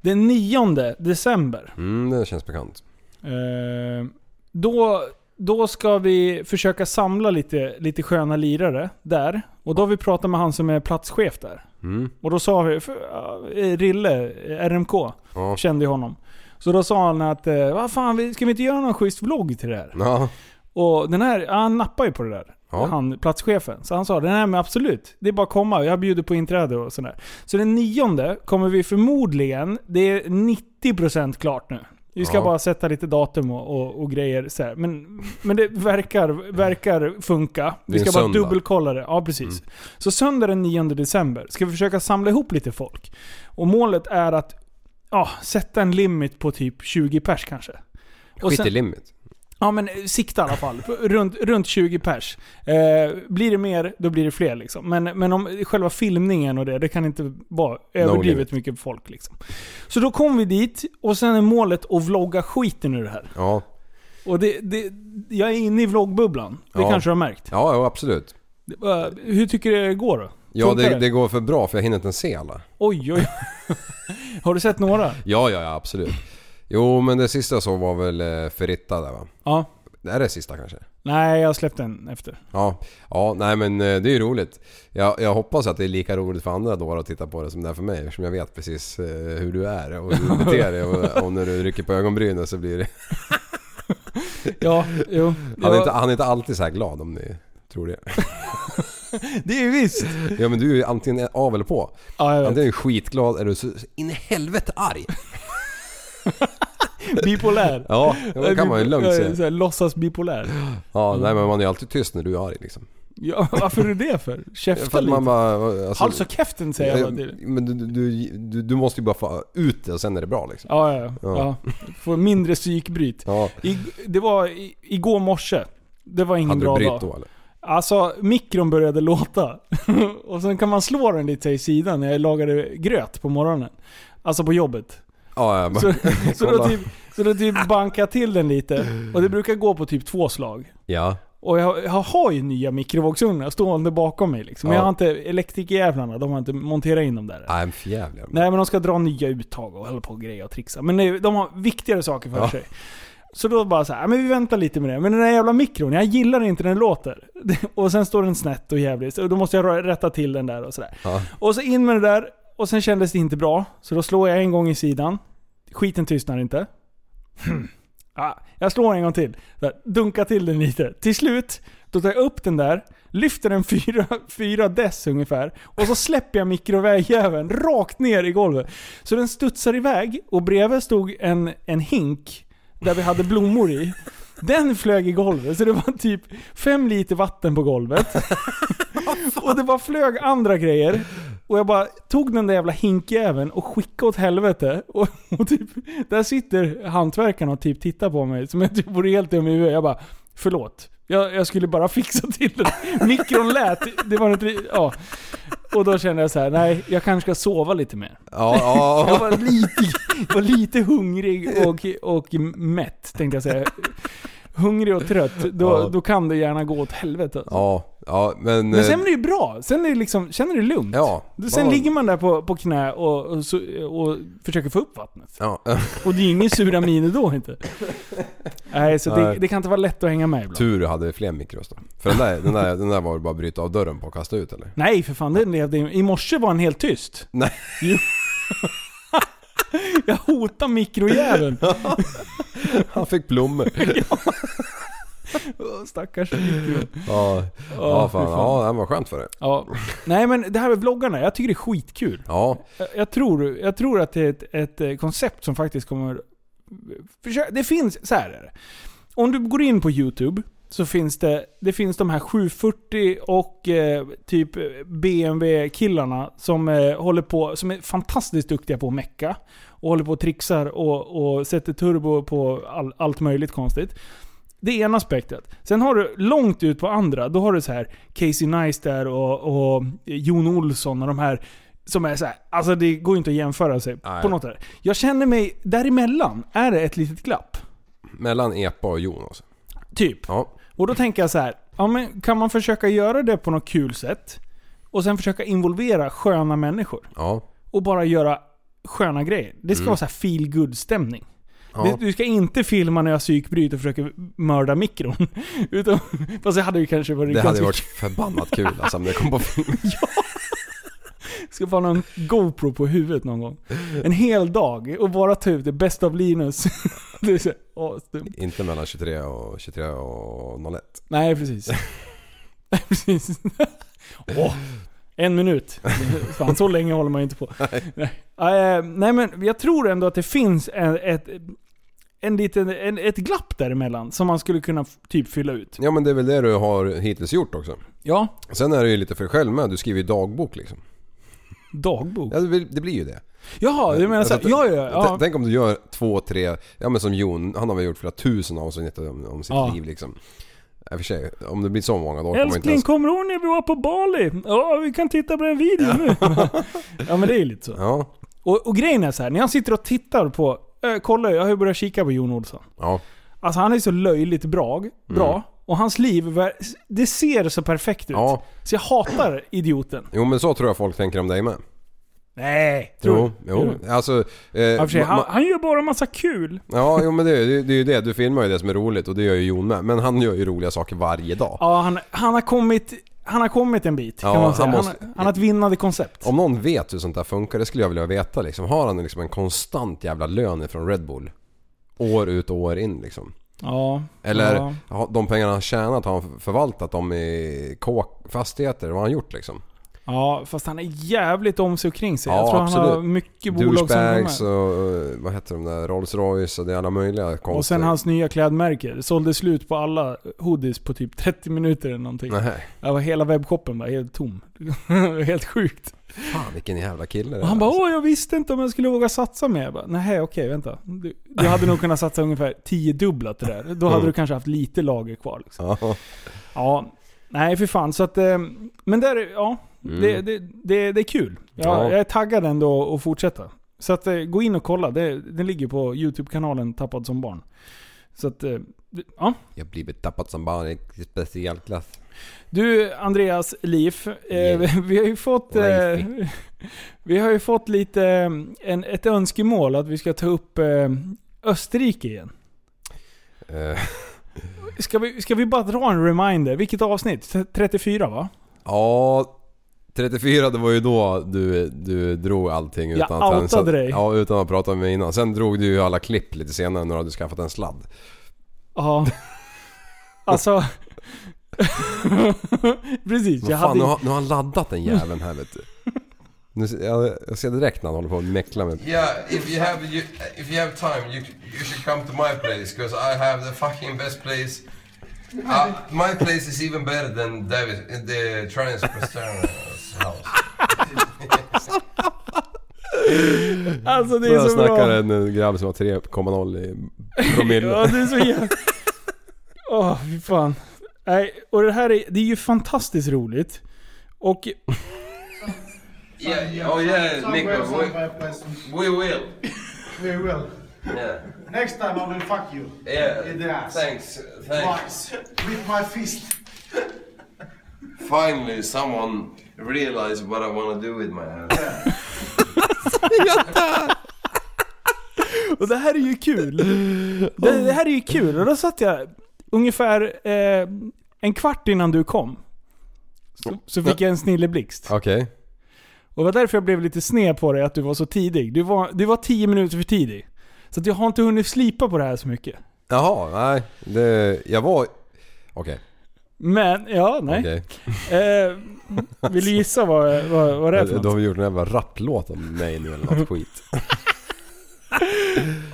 S5: Den 9 december.
S6: Mm, det känns bekant.
S5: Eh, då, då ska vi försöka samla lite, lite sköna lirare där. Och då har vi pratat med han som är platschef där.
S6: Mm.
S5: Och då sa vi, för, ja, eh, Rille, eh, RMK,
S6: Ja.
S5: kände ju honom. Så då sa han att, eh, vad fan, vi- ska vi inte göra någon schysst vlogg till det här?
S6: Ja.
S5: Och den här, ja, han nappar ju på det där.
S6: Ja.
S5: Han, platschefen. Så han sa den här men absolut, det är bara att komma. Jag bjuder på inträde och sådär. Så den nionde kommer vi förmodligen, det är 90% klart nu. Vi ska
S6: Ja.
S5: bara sätta lite datum och, och, och grejer så här. Men, men det verkar, verkar funka.
S6: Det
S5: Vi
S6: är
S5: ska
S6: en
S5: bara
S6: söndag. Mm.
S5: dubbelkolla det. Ja, precis. Så söndag den 9 december ska vi försöka samla ihop lite folk. Och målet är att ja, sätta en limit på typ 20 pers kanske. Och
S6: Skit
S5: sen-
S6: i limit.
S5: Ja men eh, sikta i alla fall. Runt, runt 20 pers. Eh, blir det mer, då blir det fler liksom. Men, men om själva filmningen och det, det kan inte vara överdrivet
S6: limit.
S5: mycket folk liksom. Så då kom vi dit och sen är målet att vlogga skiten ur det här.
S6: Ja.
S5: Och det, det, jag är inne i vloggbubblan. Det
S6: Ja.
S5: kanske du har märkt.
S6: Ja, jo, absolut.
S5: Eh, hur tycker du det går då?
S6: Ja,
S5: Funkar
S6: det, det går för bra för jag hinner inte ens se alla.
S5: Oj oj. har du sett några?
S6: Ja, ja, ja, absolut. Jo, men det sista jag såg var väl eh, Ferritta där va?
S5: Ja.
S6: Det är det sista kanske?
S5: Nej, jag släppte en efter.
S6: Ja, ja nej men eh, det är ju roligt. Jag, jag hoppas att det är lika roligt för andra då att titta på det som det är för mig eftersom jag vet precis eh, hur du är och hur du beter dig och, och när du rycker på ögonbrynen så blir det...
S5: Ja, jo.
S6: Han är,
S5: Ja,
S6: inte, han är inte alltid så här glad om ni tror det.
S5: Det är ju visst.
S6: Ja men du är ju antingen av eller på.
S5: Ja, jag vet.
S6: Antingen är du skitglad eller så så in i helvete arg.
S5: Bipolär.
S6: Ja, Mm. det kan man ju lugnt
S5: Jag är
S6: säga.
S5: såhär, Låtsas bipolär.
S6: Ja, nej men man är ju alltid tyst när du är arg liksom.
S5: Ja, varför är du det för? Käfta
S6: För att
S5: lite.
S6: man bara... Alltså,
S5: Hals och käften säger jag bara till.
S6: men du, du, du, du måste ju bara få ut det och sen är det bra liksom.
S5: Ja, ja, ja.
S6: Ja.
S5: ja. Får mindre psykbryt.
S6: Ja.
S5: I, det var i, igår morse. Det var ingen
S6: Hade du
S5: bra
S6: brytt
S5: dag.
S6: då eller?
S5: Alltså, mikron började låta. och sen kan man slå den lite i sidan när jag lagade gröt på morgonen. Alltså på jobbet.
S6: Ja, ja, men,
S5: Så, så, då
S6: Kolla.
S5: typ, så då typ bankar jag till den lite. Och det brukar gå på typ två slag.
S6: ja.
S5: Och jag, jag har ju nya mikrovågsugnar stående bakom mig liksom. Men
S6: Ja.
S5: jag har inte, elektrikjävlarna, de har inte monterat in dem där. än.
S6: Nej, men för jävlar.
S5: Nej men de ska dra nya uttag och hålla på och greja och trixa. Men nej, de har viktigare saker för
S6: Ja.
S5: sig. Så då bara så här, "Ja, men vi väntar lite med det. Men den här jävla mikron, jag gillar inte den låter. Och sen står den snett och jävligt. Och då måste jag rö- rätta till den där och sådär.
S6: Ja.
S5: Och så in med det där. Och sen kändes det inte bra. Så då slår jag en gång i sidan. Skiten tystnar inte. Hmm. Ja, jag slår en gång till. Där, dunkar till den lite. Till slut, då tar jag upp den där. Lyfter den fyra, fyra dess ungefär. Och så släpper jag mikrovägjäveln rakt ner i golvet. Så den studsar iväg och bredvid stod en, en hink där vi hade blommor i. Den flög i golvet, så det var typ fem liter vatten på golvet. och det bara flög andra grejer. Och jag bara tog den där jävla hinkjäveln och skickade åt helvete. Och, och typ, där sitter hantverkaren och typ tittar på mig som jag typ vore helt dum i huvudet. Jag bara, förlåt. Jag, jag skulle bara fixa till det. Mikron lät. Det var inte... Ja. Och då kände jag så här: nej, jag kanske ska sova lite mer.
S6: Ja,
S5: Jag
S6: ja.
S5: var lite, var lite hungrig och, och mätt, tänkte jag säga. Hungrig och trött, då,
S6: Ja.
S5: då kan det gärna gå åt helvete. alltså.
S6: Ja, Eh. ja men...
S5: Men sen är det ju bra. Sen är det liksom, känner du lugnt.
S6: Ja.
S5: Sen
S6: man-
S5: ligger man där på, på knä och, och, så- och försöker få upp vattnet.
S6: Ja,
S5: Och det är ju ingen sura miner då inte. Nej, så det,
S6: Nej.
S5: det kan inte vara lätt att hänga med ibland.
S6: tur hade vi fler mikros då. För den där, den där, den där var det bara att bryta av dörren på och kasta ut eller?
S5: Nej för fan, den levde i, i morse var den helt tyst.
S6: Nej.
S5: Jo. jag hotar mikrojäveln.
S6: Han fick blommor.
S5: Åh, Stackars mikro.
S6: Ja, ja fan. Ja, det var skönt för det.
S5: Ja. Nej men det här med vloggarna, jag tycker det är skitkul.
S6: Ja,
S5: Jag, jag, tror, jag tror att det är ett, ett eh, koncept som faktiskt kommer... Försö- Det finns, så här är det. Om du går in på YouTube så finns det, det finns de här 740 och eh, typ BMW-killarna som eh, håller på, som är fantastiskt duktiga på att mecka. Och håller på och trixar och, och sätter turbo på all, allt möjligt konstigt. Det är ena aspektet. Sen har du långt ut på andra, då har du så här Casey Neistat och, och Jon Olsson och de här som är så här, alltså det går ju inte att jämföra sig
S6: Nej.
S5: på något där. Jag känner mig, däremellan är det ett litet glapp.
S6: mellan Epa och Jonas.
S5: Typ.
S6: Ja,
S5: Och då tänker jag så här, ja, men kan man försöka göra det på något kul sätt? Och sen försöka involvera sköna människor.
S6: ja,
S5: Och bara göra sköna grejer. Det ska vara så här feel good stämning
S6: Mm. ja.
S5: Du ska inte filma när jag psykbryter och försöker mörda mikron. Utan, fast det hade ju kanske varit
S6: Det hade
S5: ganska
S6: varit förbannat kul alltså om det kom på film.
S5: Ska få någon GoPro på huvudet någon gång. En hel dag och bara ta ut det bästa av Linus. det är så, här, åh, stumt.
S6: Inte mellan 23 och 23 och 01.
S5: Nej, precis. Nej, precis. Åh, en minut. Fan, så länge håller man ju inte på. Nej. Eh, nej, men jag tror ändå att det finns en, ett, en liten, en, ett glapp däremellan som man skulle kunna f- typ fylla ut.
S6: Ja men det är väl det du har hittills gjort också.
S5: Ja.
S6: Sen är det ju lite för dig själv med. Du skriver ju dagbok liksom.
S5: Dagbok.
S6: Ja, det blir- det blir ju det.
S5: Jaha, du menar såhär.
S6: Alltså,
S5: Ja, ja, ja.
S6: t- Tänk om du gör två, tre, ja men som Jon, han har väl gjort flera tusen avsnitt om, om sitt
S5: Ja.
S6: liv liksom. I och för sig, om det blir så många då kommer man inte
S5: Älskling,
S6: ens...
S5: kommer du ihåg när vi var på Bali? Ja, vi kan titta på den videon nu. ja, men det är ju lite så.
S6: Ja,
S5: Och, och grejen är så här, när jag sitter och tittar på... Äh, kolla, jag har ju börjat kika på Jon Olsson.
S6: ja,
S5: Alltså han är så löjligt bra.
S6: Mm.
S5: bra Och hans liv, ver- det ser så perfekt ut.
S6: ja.
S5: Så jag hatar idioten.
S6: Jo men så tror jag folk tänker om dig med.
S5: Nej,
S6: Jo,
S5: tror du?
S6: jo. Alltså... Eh,
S5: Ja, för sig,
S6: ma-
S5: han,
S6: ma-
S5: han gör bara massa kul.
S6: ja, jo men det, är- det, är- det är ju det. Du filmar ju det som är roligt och det gör ju Jon med. Men han gör ju roliga saker varje dag.
S5: Ja, han, han, har, kommit, han har kommit en bit
S6: Ja,
S5: kan man säga. Han,
S6: han måste-
S5: han har ett vinnande koncept.
S6: Om någon vet hur sånt där funkar, det skulle jag vilja veta liksom. Har han liksom en konstant jävla lön från Red Bull? År ut och år in liksom.
S5: Ja.
S6: Eller
S5: Ja.
S6: har de pengarna han tjänat, har han förvaltat dem i kåk, fastigheter? Vad har han gjort liksom?
S5: Ja, fast han är jävligt om sig och kring sig.
S6: Ja,
S5: jag tror han har
S6: absolut.
S5: mycket bolag som är
S6: Douchebags
S5: med.
S6: och eh, vad heter de där? Rolls Royce och det är alla möjliga konster.
S5: Och sen hans nya klädmärke. Det sålde slut på alla hoodies på typ 30 minuter eller någonting.
S6: Nej,
S5: Jag var hela webbshoppen var helt tom. helt sjukt.
S6: fan vilken jävla kille det
S5: Och han
S6: är,
S5: bara
S6: alltså.
S5: åh jag visste inte om jag skulle våga satsa mer. Jag bara, Nej okej vänta. Du, du hade nog kunnat satsa ungefär 10 dubblat det där. Då hade du kanske haft lite lager kvar. Liksom.
S6: Mm. Ja,
S5: Ja. Nej för fan så att... eh, Men där, är- ja.
S6: Mm.
S5: Det, det, det, det är kul. Jag,
S6: Ja.
S5: jag är taggad ändå att fortsätta. Så att, eh, gå in och kolla. Det, den ligger på YouTube-kanalen Tappad som barn. Så att, eh, det- ja.
S6: jag blir betappad som barn i specialklass.
S5: Du Andreas Liv, eh,
S6: Yeah.
S5: vi har ju fått... Eh,
S6: Leify.
S5: vi har ju fått lite eh, en, ett önskemål att vi ska ta upp eh, Österrike igen.
S6: Eh,
S5: Ska vi, ska vi bara dra en reminder? Vilket avsnitt? 34 va?
S6: ja, 34 det var ju då du, du drog allting
S5: Jag
S6: utan ens-
S5: outade dig.
S6: Ja, utan att prata med mig innan. Sen drog du ju alla klipp lite senare när du hade skaffat en sladd.
S5: Ja. Alltså... Precis,
S6: Men
S5: jag
S6: fan,
S5: hade...
S6: nu, har, nu har han laddat den jäveln här vet du. Nu, ser- jag, jag ser direkt när han håller på och mäcklar med...
S7: Yeah, if you have you, if you have time, you you should come to my place because I have the fucking best place. Uh, my place is even better than David, the Travis Pasterna's house.
S5: Alltså det är
S6: Jag
S5: så
S6: snackar
S5: bra.
S6: en eh, grabb som har 3,0 i promille.
S5: Ja, det är så jävla... Åh, fy fan. Nej, och det här är, det är ju fantastiskt roligt. Och
S7: Yeah, yeah, oh yeah, Nico, we, we will.
S8: We will.
S7: Yeah,
S8: Next time I will fuck you. In the
S7: yeah.
S8: ass.
S7: Thanks, thanks.
S8: Twice. With my fist.
S7: Finally, someone realized what I want to do with my hands.
S5: Och det här är ju kul. Det, det här är ju kul. Och då satt jag ungefär eh, en kvart innan du kom. Så, så fick jag en snilleblixt.
S6: Okej.
S5: Och det var därför jag blev lite sned på dig att du var så tidig. Du var, du var tio minuter för tidig. Så att jag har inte hunnit slipa på det här så mycket.
S6: Jaha, nej. Det, jag var... Okej,
S5: Men, ja, nej.
S6: okej.
S5: Eh, vill du gissa vad, vad, vad det är för
S6: Du
S5: något?
S6: har gjort en jävla rapplåt om mig nu eller något skit.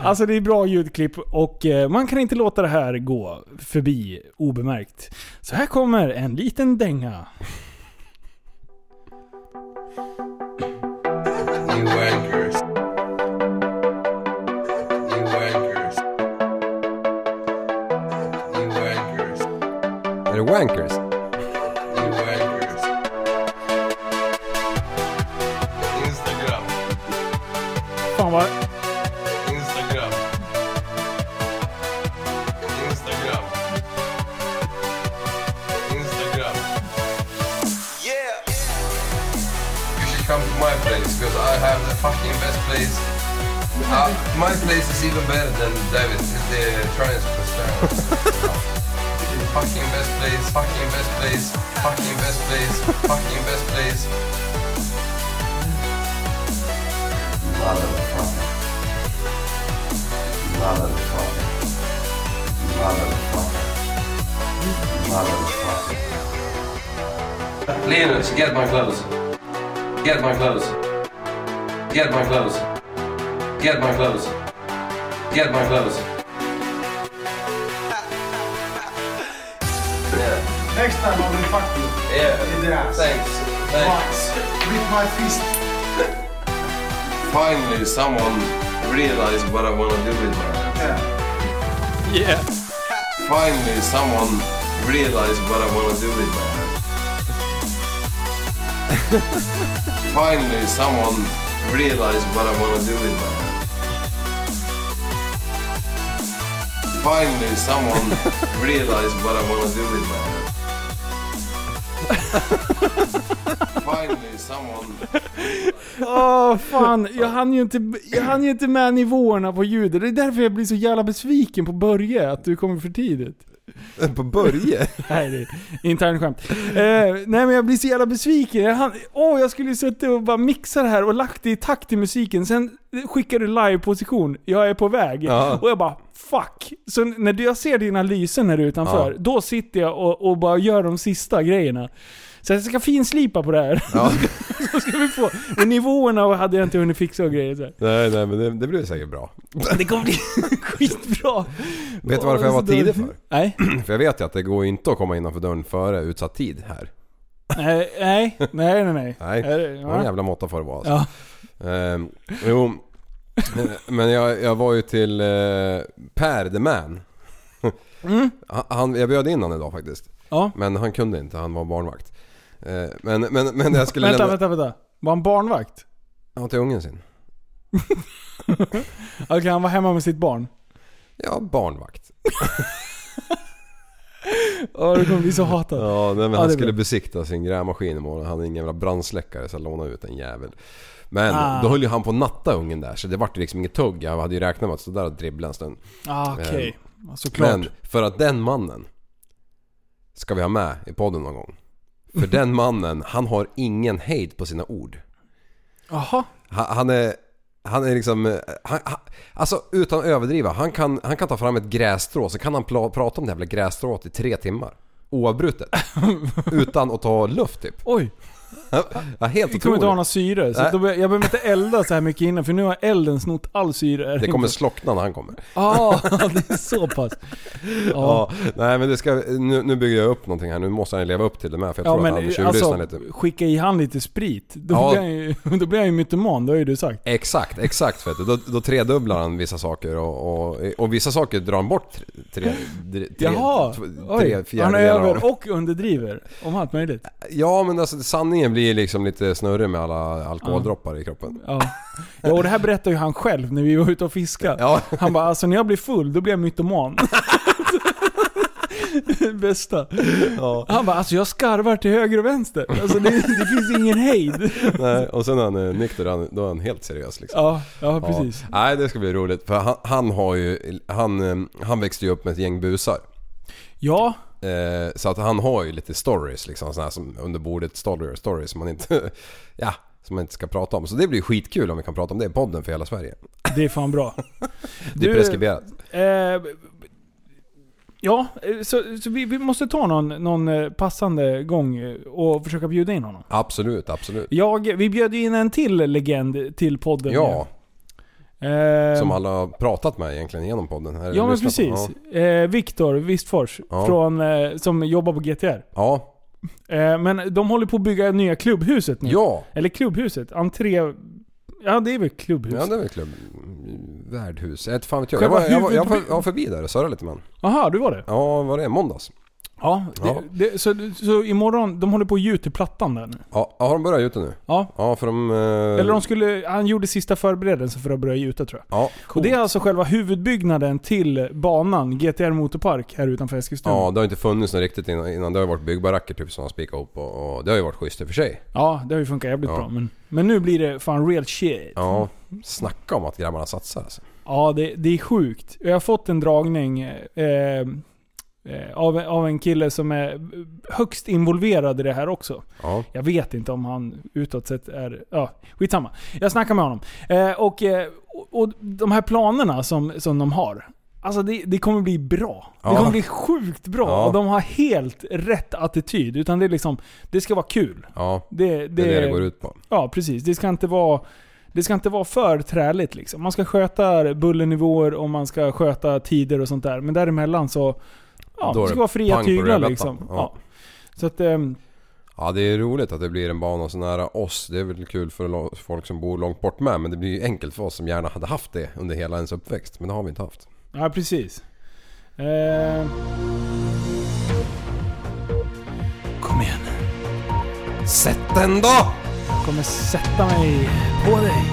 S5: Alltså det är bra ljudklipp och eh, man kan inte låta det här gå förbi obemärkt. Så här kommer en liten dänga.
S7: You wankers. You wankers. You wankers.
S6: Är det Wankers?
S7: You wankers. Instagram.
S5: Fan vad...
S7: Instagram. Instagram. Instagram. Yeah! You should come to my place because I have the fucking best place. Uh, my place is even better than David, the Trans Fucking best place, fucking best place, fucking best place, fucking best place. Linus, get my clothes. Get my clothes. Get my clothes. Get my clothes. Get my clothes. Yeah.
S8: Next time I will fuck you.
S7: Yeah.
S8: In the ass.
S7: Thanks. Thanks.
S8: Twice. With my fist.
S7: Finally, someone realized what I want to do with my life.
S8: Yeah.
S5: Yeah.
S7: Finally, someone realized what I want to do with my life. Finally, someone realized what I want to do with my life. Finally, someone realized what I want to do with my life. Finally, someone.
S5: Åh fan, jag hann, ju inte, jag hann ju inte med nivåerna på ljudet. Det är därför jag blir så jävla besviken på Börje, att du kommer för tidigt.
S6: På Börje?
S5: Nej, det är internskämt. Eh, nej men jag blir så jävla besviken. Jag hann, åh, jag skulle ju suttit och bara mixa det här och lagt det i takt till musiken. Sen skickar du liveposition, jag är på väg.
S6: Ja.
S5: Och jag bara fuck. Så när du- jag ser dina lysen här utanför,
S6: Ja.
S5: då sitter jag och, och bara gör de sista grejerna. Så jag ska finslipa på det här.
S6: Ja.
S5: Så ska vi få. Och nivåerna och hade jag inte hunnit fixa och grejer så här.
S6: nej, nej men det, det blir säkert bra.
S5: Det kommer bli skitbra.
S6: Vet du varför jag var
S7: alltså,
S6: tidig för?
S5: Nej.
S6: För jag vet ju att det går ju inte att komma innanför dörren före utsatt tid här.
S5: Nej, nej, nej, nej. nej.
S6: Nej,
S5: Är det-
S6: det var en
S5: ja.
S6: jävla måtta får det vara alltså.
S5: Ja.
S6: Ehm, jo, men jag, jag var ju till eh, Per the Man. Han- Han, jag bjöd in honom idag faktiskt.
S5: Mm. ja.
S6: Men han kunde inte, han var barnvakt. Eh, Men, men, men jag skulle
S5: Vänta,
S6: lämna...
S5: vänta, vänta. Var han barnvakt?
S6: Ja, till ungen sin.
S5: Okej, han var hemma med sitt barn.
S6: Ja, barnvakt.
S5: Åh, det kommer bli så hatat.
S6: Ja, nej, men
S5: Ja,
S6: han
S5: det är
S6: skulle
S5: bra.
S6: besikta sin grävmaskin imorgon. Han hade ingen jävla brandsläckare så jag lånade ut en jävel. Men
S5: Ah.
S6: då höll ju han på att natta ungen där så det vart ju liksom inget tugg. Jag hade ju räknat med att stå där och dribbla en stund.
S5: Ah, Okej. Ja, Såklart.
S6: Men för att den mannen ska vi ha med i podden någon gång. För den mannen, han har ingen hejd på sina ord.
S5: Aha.
S6: Han, han är... Han är liksom... eh, Han, han, alltså utan att överdriva. Han kan, han kan ta fram ett grässtrå så kan han pla, prata om det jävla grässtrået i tre timmar. Oavbrutet. utan att ta luft typ.
S5: Oj,
S6: Ja, helt
S5: vi kommer inte ha några
S6: otroligt.
S5: syre. Så
S6: Nej.
S5: då, be- jag behöver inte elda så här mycket innan för nu har elden snott all syre.
S6: Det kommer slockna när han kommer.
S5: Ja, det är så pass. Ja,
S6: Ja, nej men det ska, nu, nu bygger jag upp någonting här. Nu måste han leva upp till det med för jag
S5: ja
S6: tror att
S5: men
S6: han tjuvlyssnar
S5: alltså,
S6: lite.
S5: skicka i han lite sprit. Då,
S6: Ja.
S5: blir han ju, då blir han ju mytoman, det har ju du sagt.
S6: Exakt, exakt vet du. Då, då tredubblar han vissa saker och, och, och vissa saker drar han bort tre, tre, tre,
S5: Jaha,
S6: tv- tre
S5: oj, han
S6: fjärdedelar av.
S5: över och underdriver. Om allt möjligt.
S6: Ja men alltså sanningen blir liksom lite snurrig med alla alkoholdroppar i kroppen.
S5: Ja. ja, och det här berättar ju han själv när vi var ute och fiskade.
S6: Ja,
S5: Han bara alltså när jag blir full då blir jag mytoman. Bästa. Han bara alltså jag skarvar till höger och vänster. Alltså det, det finns ingen hejd.
S6: nej, och sen när han är nykter han, då är han helt seriös liksom.
S5: Ja, ja precis.
S6: Ja. Nej det ska bli roligt för han, han har ju, han, eh, han växte ju upp med ett gäng busar.
S5: Ja,
S6: Eh, så att han har ju lite stories liksom såna här som under bordet stories, stories som man inte, ja, som man inte ska prata om. Så det blir skitkul om vi kan prata om det i podden för hela Sverige.
S5: det är fan bra.
S6: Det är
S5: Du-
S6: preskriberat.
S5: Eh, ja, eh, så, så vi, vi måste ta någon, någon eh, passande gång eh, och försöka bjuda in honom.
S6: Absolut, absolut.
S5: Jag, vi bjöd ju in en till legend till podden.
S6: Ja,
S5: eh,
S6: som alla har pratat med egentligen genom podden. Eller
S5: Ja men
S6: lyssnat på.
S5: precis. Eh, Viktor Wistfors,
S6: Ja.
S5: från, eh, som jobbar på GTR.
S6: Ja.
S5: Eh, men de håller på att bygga nya klubbhuset nu.
S6: Ja.
S5: Eller klubbhuset, entré... Ja det är väl klubbhus?
S6: Ja, det är väl klubb... Värdhus. Jag vet fan vet jag. Jag
S5: Själva
S6: var, jag, var, jag, var,
S5: huvudproble-
S6: jag var förbi där och surrade lite med honom.
S5: Aha, du var det?
S6: Ja, var det? Måndags?
S5: Ja.
S6: Ja.
S5: Det, det, så, så imorgon, de håller på att gjuta plattan där nu?
S6: Ja, har de börjat ute nu?
S5: Ja.
S6: Ja, för de... eh,
S5: Eller de skulle, han gjorde sista förberedelsen för att börja gjuta tror jag.
S6: Ja,
S5: Och det är alltså själva huvudbyggnaden till banan, GTR Motorpark, här utanför Eskilstuna.
S6: Ja, det har inte funnits något riktigt innan. innan. Det har ju varit byggbaracker typ som har spikat ihop och, och det har ju varit schysst i och för sig.
S5: Ja, det har ju funkat jävligt
S6: Ja.
S5: bra. Men, men nu blir det fan real shit.
S6: Ja,
S5: Mm.
S6: snacka om att grabbarna satsar alltså.
S5: Ja, det, det är sjukt. Jag har fått en dragning eh, eh, av, av en kille som är högst involverad i det här också.
S6: Ja.
S5: Jag vet inte om han utåt sett är... Ja, skitsamma. Jag snackar med honom. Eh, och, eh, och, och de här planerna som, som de har. Alltså det, det kommer bli bra. Det
S6: Ja.
S5: kommer bli sjukt bra.
S6: Ja.
S5: Och de har helt rätt attityd. Utan det är liksom, det ska vara kul.
S6: Ja,
S5: Det,
S6: det är det det går ut på.
S5: Ja, precis. Det ska inte vara, det ska inte vara för träligt liksom. Man ska sköta bullernivåer och man ska sköta tider och sånt där. Men däremellan så... Ja,
S6: Då är
S5: det ska
S6: det
S5: vara fria
S6: pang på
S5: tyglar
S6: rödbetan.
S5: liksom. Ja.
S6: Ja.
S5: Så att... ehm,
S6: Ja det är roligt att det blir en bana så nära oss. Det är väl kul för lo- folk som bor långt bort med men det blir ju enkelt för oss som gärna hade haft det under hela ens uppväxt. Men det har vi inte haft.
S5: Ja, precis. Eh,
S2: Kom igen.
S6: Sätt den då!
S5: kommer sätta mig på dig.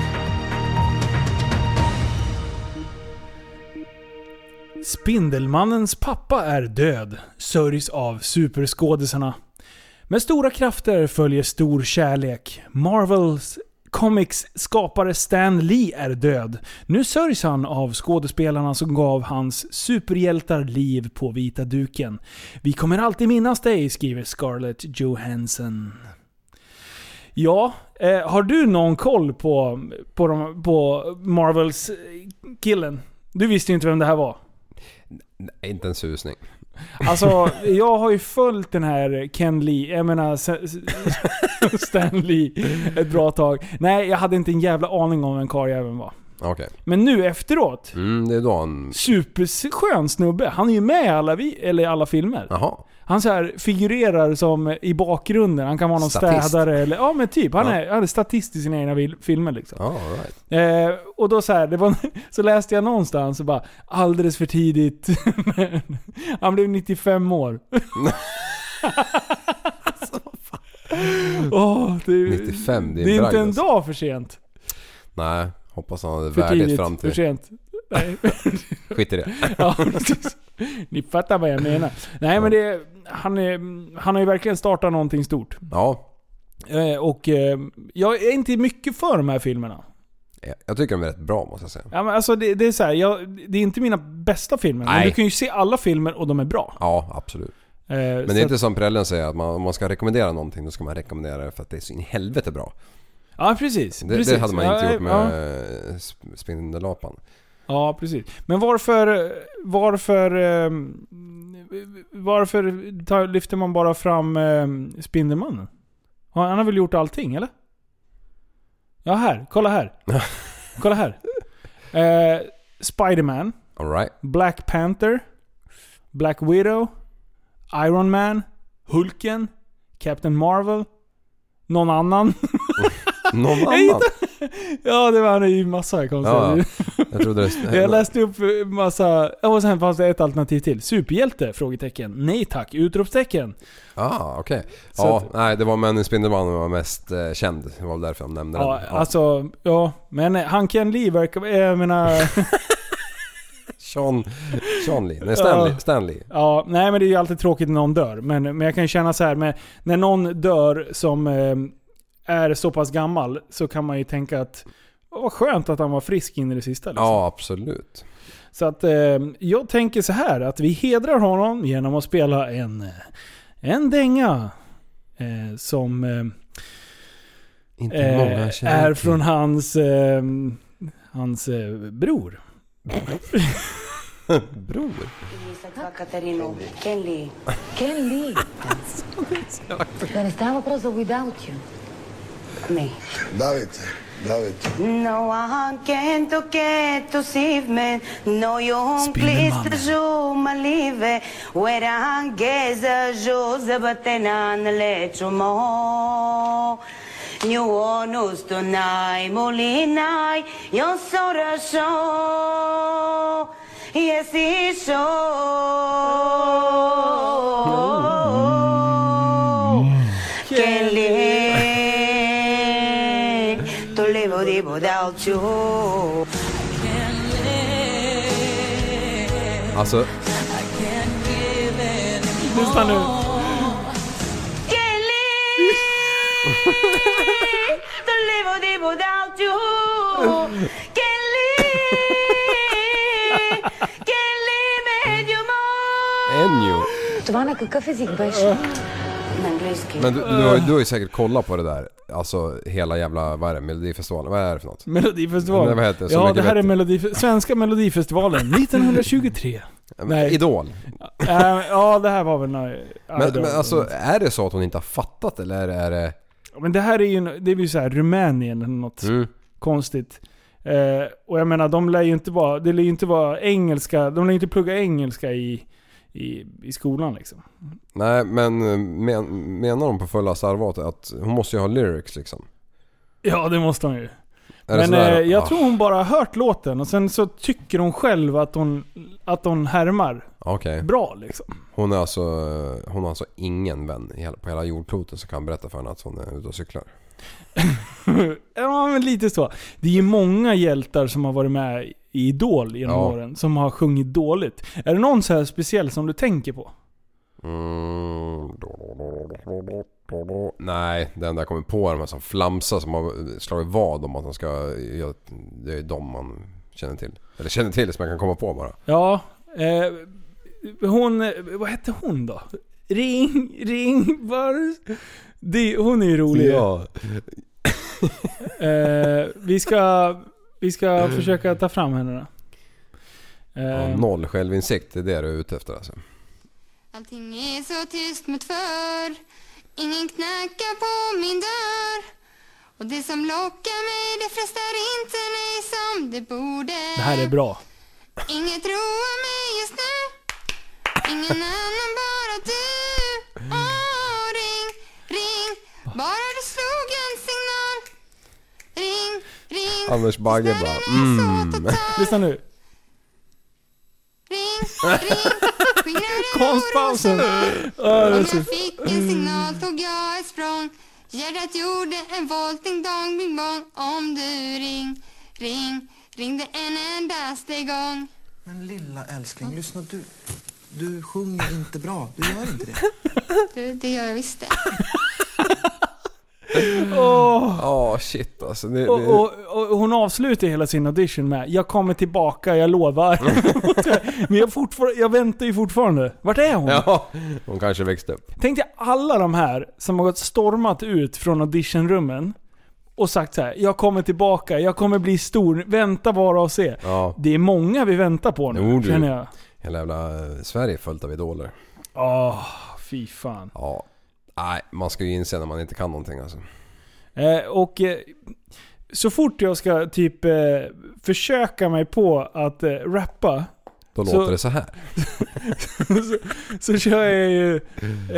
S5: Spindelmannens pappa är död, sörjs av superskådisarna. Med stora krafter följer stor kärlek. Marvels Comics skapare Stan Lee är död. Nu sörjs han av skådespelarna som gav hans superhjältar liv på vita duken. Vi kommer alltid minnas dig, skriver Scarlett Johansson. Ja, eh, har du någon koll på, på, de, på Marvels eh, killen? Du visste ju inte vem det här var.
S6: Nej, Inte en susning.
S5: Alltså, jag har ju följt den här Ken Lee, jag menar S- S- Stan Lee ett bra tag. Nej, jag hade inte en jävla aning om vem karljäveln var.
S6: Okej.
S5: Men nu efteråt,
S6: Mm, det är då han...
S5: superskön snubbe. Han är ju med i alla, vi, eller i alla filmer.
S6: Jaha.
S5: Han så här figurerar som i bakgrunden. Han kan vara någon
S6: Statist.
S5: städare eller... Ja men typ. Han,
S6: Ja.
S5: är, han är statist i sina egna vil- filmer liksom.
S6: Ja, all right.
S5: Eh, och då så, här, det var, så läste jag någonstans och bara alldeles för tidigt. Han blev 95 år. Åh, det, är-
S6: 95, det är,
S5: det är inte en
S6: alltså.
S5: dag för sent.
S6: Nej, hoppas han hade
S5: För
S6: värdigt
S5: tidigt,
S6: fram
S5: för
S6: till...
S5: sent. Nej.
S6: Skit i det.
S5: ja, precis. Ni fattar vad jag menar. Nej men det, han, är, han har ju verkligen startat någonting stort.
S6: Ja.
S5: Eh, och eh, jag är inte mycket för de här filmerna.
S6: Jag- Jag tycker de är rätt bra måste jag säga.
S5: Ja, men alltså det, det är så här, jag, det är inte mina bästa filmer, men
S6: Nej.
S5: du kan ju se alla filmer och de är bra.
S6: Ja, absolut.
S5: Eh,
S6: Men
S5: så
S6: det är
S5: att-
S6: inte som Prellen säger att man, om man ska rekommendera någonting då ska man rekommendera det för att det är så in i helvete bra.
S5: Ja, precis.
S6: Det,
S5: precis.
S6: det hade man inte
S5: ja,
S6: gjort med
S5: Ja.
S6: eh, sp- Spindelapan.
S5: Ja, precis. Men varför... Varför... ehm, Varför tar, lyfter man bara fram ehm, Spindelmannen? Har- Han har väl gjort allting, eller? Ja, här. Kolla här. kolla här. Eh, Spiderman.
S6: Alright.
S5: Black Panther. Black Widow. Iron Man. Hulken. Captain Marvel. Någon annan.
S6: Någon
S5: hittar-
S6: annan?
S5: ja, det var han i massa konstiga...
S6: Ja, jag trodde det...
S5: Jag läste upp eh, massa, och sen fanns det ett alternativ till. Superhjälte? Frågetecken. Nej tack! Utropstecken.
S6: Ah, okej.
S5: Så
S6: Ja,
S5: att-
S6: nej det var men Spindelmannen var mest eh, känd. Det var väl därför de nämnde
S5: Ja,
S6: den. Ja.
S5: alltså, ja. Men eh, han Ken Lee verkar, eh, jag menar...
S6: Sean, Sean Lee. Nej, Stanley.
S5: Ja.
S6: Stanley.
S5: ja, nej men det är ju alltid tråkigt när någon dör. Men, men jag kan ju känna så här med, när någon dör som eh, är så pass gammal så kan man ju tänka att "Åh, vad skönt att han var frisk in i det sista. Liksom.
S6: Ja, absolut.
S5: Så att eh, jag tänker så här att vi hedrar honom genom att spela en, eh, en dänga. Eh, som... Eh,
S6: Inte
S5: eh,
S6: många känner
S5: är
S6: till.
S5: från hans, eh, hans eh, bror.
S6: Bror?
S9: Катарину. Келли. Келли. Да не става въпрос за without you. Не.
S10: Давайте, давайте.
S9: No one can to get to save me. No you please to show my live. Where I get the shoes but then I let you more. New onus tonight, molinai, your soda show. Yes, it's show. Can't live to live with- without you.
S6: Alltså,
S5: Lyssna nu.
S9: Can't live to live with- without you. Can't live, can't live with you more.
S6: Ennio.
S9: Това на какъв език беше? На английски.
S6: Men du, du, har, ju- du har ju säkert kollat på det där. Alltså hela jävla, vad är det? Melodifestivalen? Vad är det för något?
S5: Melodifestivalen.
S6: Men vad heter det? Så
S5: ja,
S6: mycket
S5: det här är
S6: bättre.
S5: Melodif- Svenska Melodifestivalen 1923. Nej.
S6: Idol.
S5: Eh, ja, det här var väl när...
S6: Men, men alltså, är det så att hon inte har fattat eller är det...
S5: Men det här är ju, en- det är ju så här Rumänien eller något
S6: Mm.
S5: konstigt. Eh, och jag menar, de lär ju inte vara, det lär ju inte vara engelska, de lär ju inte plugga engelska i, i, i skolan liksom.
S6: Nej, men eh, men, menar hon på fullaste allvar att hon måste ju ha lyrics liksom?
S5: Ja, det måste de ju.
S6: Är det
S5: Men
S6: sådär?
S5: eh, jag
S6: Ah,
S5: tror hon bara har hört låten och sen så tycker hon själv att hon, att hon härmar
S6: Okej.
S5: bra liksom.
S6: Hon, är alltså, hon har alltså ingen vän i hela, på hela jordkloten som kan berätta för henne att hon är ute och cyklar.
S5: ja men lite så. Det är ju många hjältar som har varit med i Idol genom
S6: Ja.
S5: åren som har sjungit dåligt. Är det någon så här speciell som du tänker på?
S6: Mm. Nej, den där kommer på är de här som flamsar som har slagit vad om att de ska... ja, Det är de man känner till. Eller känner till som jag kan komma på bara.
S5: Ja, eh, hon, eh, vad hette hon då? Ring, ring, var... Det, hon är ju rolig. Eh, vi ska, vi ska försöka ta fram henne då.
S6: Ja,
S5: Eh,
S6: noll självinsikt, det är det du är ute efter alltså.
S11: Allting är så tyst mot förr Ingen knackar på min dörr Och det som lockar mig det frestar inte mig som det borde
S5: det här är bra.
S11: Inget roar mig just nu Ingen annan, bara du Åh, ring, ring Bara du slog en signal Ring, ring
S6: Anders Bagge bara
S11: Mm.
S5: Lyssna nu.
S11: Ring, ring Skingrar en oro som
S5: Konstpausen. Ja, det Mm. är
S11: Om
S5: så-
S11: jag fick en signal tog jag ett språng Hjärtat gjorde en volt, ding dong, bing bong Om du ring, ring, ringde en endaste gång
S10: Men lilla älskling, lyssna du. Du sjunger inte bra. Du gör inte det.
S11: Du, det gör jag visst det.
S6: Ja, shit alltså. Det, det,
S5: Ah. Och, och, och hon avslutar hela sin audition med Jag kommer tillbaka, jag lovar. Men jag, fortfar- jag väntar ju fortfarande. Vart är hon?
S6: Ja, hon kanske växte upp.
S5: Tänk dig alla de här som har gått stormat ut från auditionrummen och sagt så här: Jag kommer tillbaka, jag kommer bli stor, vänta bara och se.
S6: Ja.
S5: Det är många vi väntar på nu,
S6: Jo, du.
S5: känner jag.
S6: Hela jävla eh, Sverige är fullt av idoler.
S5: Åh, fy fan.
S6: Ja. Nej, man ska ju inse när man inte kan någonting alltså.
S5: Eh, och eh, så fort jag ska typ eh, försöka mig på att eh, rappa
S6: Då
S5: Så-
S6: låter det så här.
S5: så, så kör jag ju